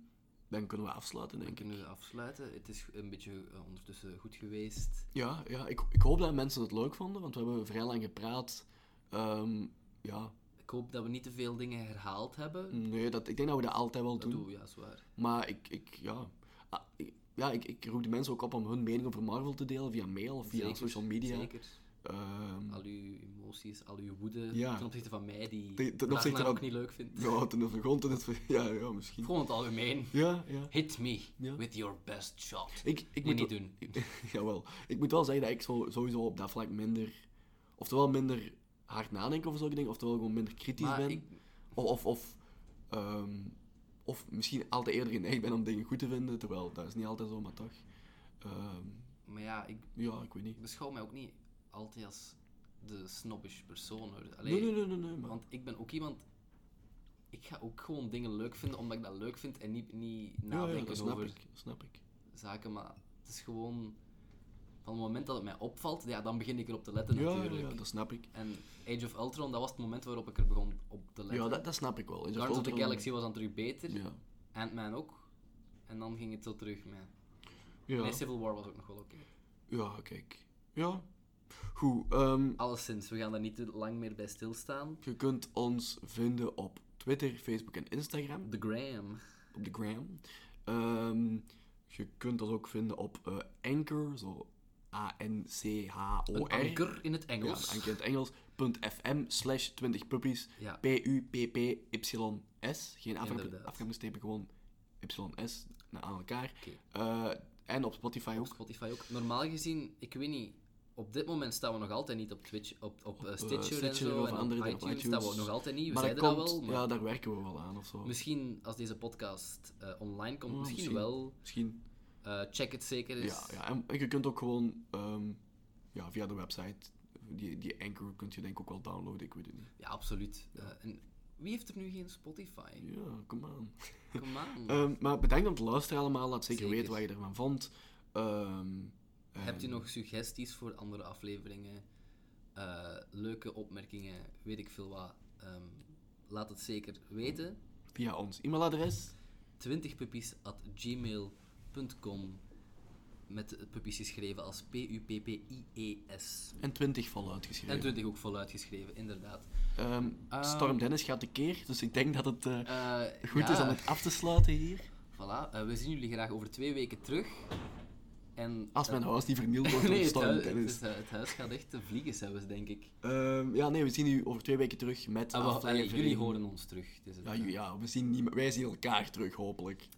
dan kunnen we afsluiten, denk
Dan
ik.
kunnen we afsluiten. Het is een beetje eh, ondertussen goed geweest.
Ja, ja ik, ik hoop dat mensen het leuk vonden, want we hebben vrij lang gepraat. Ehm, ja,
Ik hoop dat we niet te veel dingen herhaald hebben.
nee, dat, ik denk dat we dat altijd wel
Dat
doen.
doen we, ja, zwaar.
Maar ik, ik ja... Ah, ik, ja, ik, ik roep de mensen ook op om hun mening over Marvel te delen via mail of via
Zeker,
social media.
Zeker.
Ehm,
Al uw emoties, al uw woede
Ja.
ten opzichte van mij, die
Ten- ten
Ragnar
opzichte van-
ook niet leuk vindt.
ja, ten overgrond en het... (laughs) Ja, ja, misschien.
Gewoon in het algemeen.
Ja, ja.
Hit me
Ja.
with your best shot.
Ik, ik
nee,
moet
niet
wel-
doen.
(laughs) Jawel. Ik moet wel zeggen dat ik zo- sowieso op dat vlak minder... Oftewel minder hard nadenken over zulke dingen, oftewel gewoon minder kritisch
Maar
ben.
ik,
Of, of, of, ehm, of misschien altijd eerder geneigd ben om dingen goed te vinden, terwijl dat is niet altijd zo, maar toch. Ehm,
maar ja, ik
ja, ik weet niet.
beschouw mij ook niet altijd als de snobbish persoon. hoor. Allee,
Nee, nee, nee, nee, nee, maar...
Want ik ben ook iemand... Ik ga ook gewoon dingen leuk vinden omdat ik dat leuk vind en niet, niet
Ja, ja,
nadenken
dat snap
over
ik, dat snap ik.
zaken. Maar het is gewoon... Van het moment dat het mij opvalt, ja, dan begin ik erop te letten
Ja, ja,
natuurlijk.
ja, dat snap ik.
En Age of Ultron, dat was het moment waarop ik er begon op te letten.
Ja, dat, dat snap ik wel. Is dat
Guardians of the
Ultron-
Galaxy was dan terug beter.
Ja.
Ant-Man ook. En dan ging het zo terug met...
Ja.
Nee, Civil War was ook nog wel oké.
ja, kijk. Ja. Goed, ehm,
Alleszins, we gaan daar niet te lang meer bij stilstaan.
je kunt ons vinden op Twitter, Facebook en Instagram.
The
Oh,
Graham.
op de gram. Ehm, je kunt ons ook vinden op eh, Anchor, zo
Een
A-N-C-H-O-R.
anker in het
Ja,
Engels.
Anchor in het Engels. .fm slash 20 puppies.
Ja.
P-U-P-P-Y-S. Geen
Inderdaad.
afgesteken, gewoon YS na- aan elkaar.
Oké.
Eh, en op Spotify
Op
ook.
Spotify ook. Normaal gezien, ik weet niet... Op dit moment staan we nog altijd niet op Twitch, op, op, eh,
eh,
Stitcher, en
Stitcher
zo.
of
en op
andere dingen,
iTunes,
op
staan we
iTunes.
nog altijd niet. We
maar dat
zeiden dat
komt,
wel, maar
ja, daar werken we wel aan of zo.
misschien als deze podcast eh, online komt,
Ja,
misschien,
Oh, misschien.
wel.
Misschien.
Eh, check het zeker eens.
Ja, ja. En, en je kunt ook gewoon ehm, ja, via de website, die, die Anchor kun je denk ik ook wel downloaden, ik weet het niet.
Ja, absoluut. Eh, en wie heeft er nu geen Spotify?
Ja, come on.
Come on.
Ehm, maar bedankt aan het luisteren allemaal. Laat zeker,
Zeker.
weten wat je ervan vond. Ehm,
Hebt u
en-
nog suggesties voor andere afleveringen? Eh, leuke opmerkingen, weet ik veel wat. Ehm, laat het zeker weten.
Via ons e-mailadres.
20puppies.gmail.com Met het puppies geschreven als P-U-P-P-I-E-S.
En 20 vol
E En
uitgeschreven.
20 ook voluit geschreven, inderdaad.
Ehm,
Ehm.
Storm Dennis gaat tekeer, dus ik denk dat het eh,
Eh,
goed is
ja,
om het af te sluiten hier.
Voilà, eh, we zien jullie graag over twee weken terug. En,
Als
eh,
mijn huis niet vernield
(laughs)
wordt dus- door
nee, het,
Storm
hui- het,
Dennis.
is, eh, het huis gaat echt te vliegen zelfs, denk ik.
Ehm, ja, nee, we zien u over twee weken terug met
Ah, wel, allee,
aflevering-
jullie horen ons terug. het is het,
Ja,
eh.
ju- ja we zien niet, wij zien elkaar terug, hopelijk.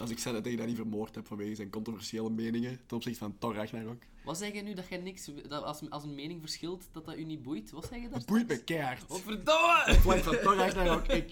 Als ik zei dat ik dat niet vermoord heb vanwege zijn controversiële meningen ten opzichte van Thor Ragnarok.
Wat zeg je nu dat jij niks... Dat als, als een mening verschilt, dat dat u niet boeit? Wat zeg je daar?
Het boeit me keihard.
Oh, verdomme!
Vlak van Thor Ragnarok, ik...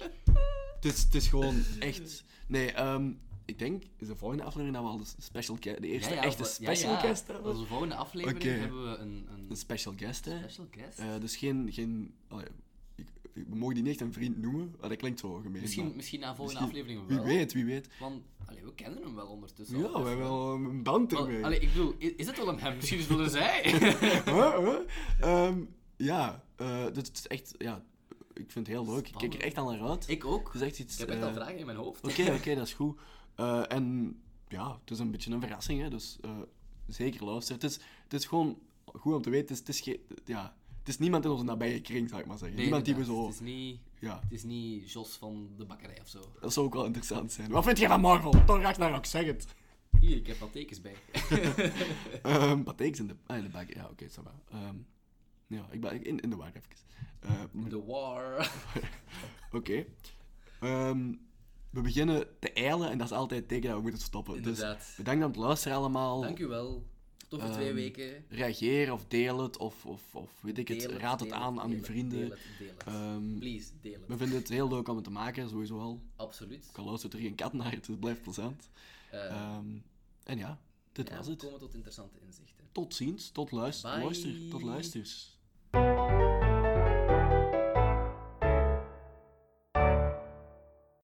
Het is, het is gewoon echt... Nee, ehm, ik denk, is de volgende aflevering dat we al de special guest... De eerste echte
wa-
special guest hebben?
Onze volgende aflevering
Oké. Dus-
hebben we een, een
Een special guest, hè.
special guest.
Eh, dus geen... geen oh ja, ik, ik- we mogen die niet echt een vriend noemen, maar dat klinkt zo gemeen.
misschien,
maar-
misschien na volgende
misschien-
aflevering wel.
Wie weet, wie weet.
Want allee, we kennen hem wel ondertussen.
Ja, we
al, dus-
hebben wel een band
Wel,
ermee. (laughs)
allee, ik bedoel, i- is het wel een hem? Misschien is het wel een zij.
Huh, huh? Ehm, ja, eh, dit is echt... Ja, ik vind het heel leuk. Ik kijk er echt al naar uit.
ik ook.
Het is echt iets...
Ik heb echt
eh,
al vragen in mijn hoofd.
Oké,
(laughs)
oké, dat is goed. Eh, en ja, het is een beetje een verrassing, hè, dus eh, zeker luisteren. Het is, het is gewoon goed om te weten, het is, het is, ge- ja, het is niemand in onze nabije kring, zou ik maar zeggen.
Nee,
niemand die we
inderdaad,
zo...
Het is, niet,
Ja,
het is niet Jos van de bakkerij of zo.
dat zou ook wel interessant zijn. Wat vind je van Marvel? Toch raak naar ook, zeg
(laughs)
het.
Hier, ik heb wat tekens
(laughs)
bij.
Ehm Pathé in de, ah, in de bak, ja, oké, ça va. Ehm, ja, ik ben in, in de war even. Eh,
The War.
oké. Ehm, we beginnen te eilen en dat is altijd het teken dat we moeten stoppen.
Inderdaad.
Dus bedankt aan het luisteren allemaal.
Dank u wel. Tot over twee
Ehm,
weken.
reageer of deel het of, of, of weet ik het,
Deel
raad het
deel
aan aan
deel
uw
het,
vrienden.
Deel het, deel het.
Ehm,
Please, deel het.
we vinden het heel leuk om het te maken, sowieso al.
Absoluut.
Ik luistert er geen kat naar, dus het blijft plezant.
Eh,
Ehm, en ja, dit
ja,
was
we
het.
komen tot interessante inzichten.
Tot ziens, tot luister,
Bye.
luister, tot luisters.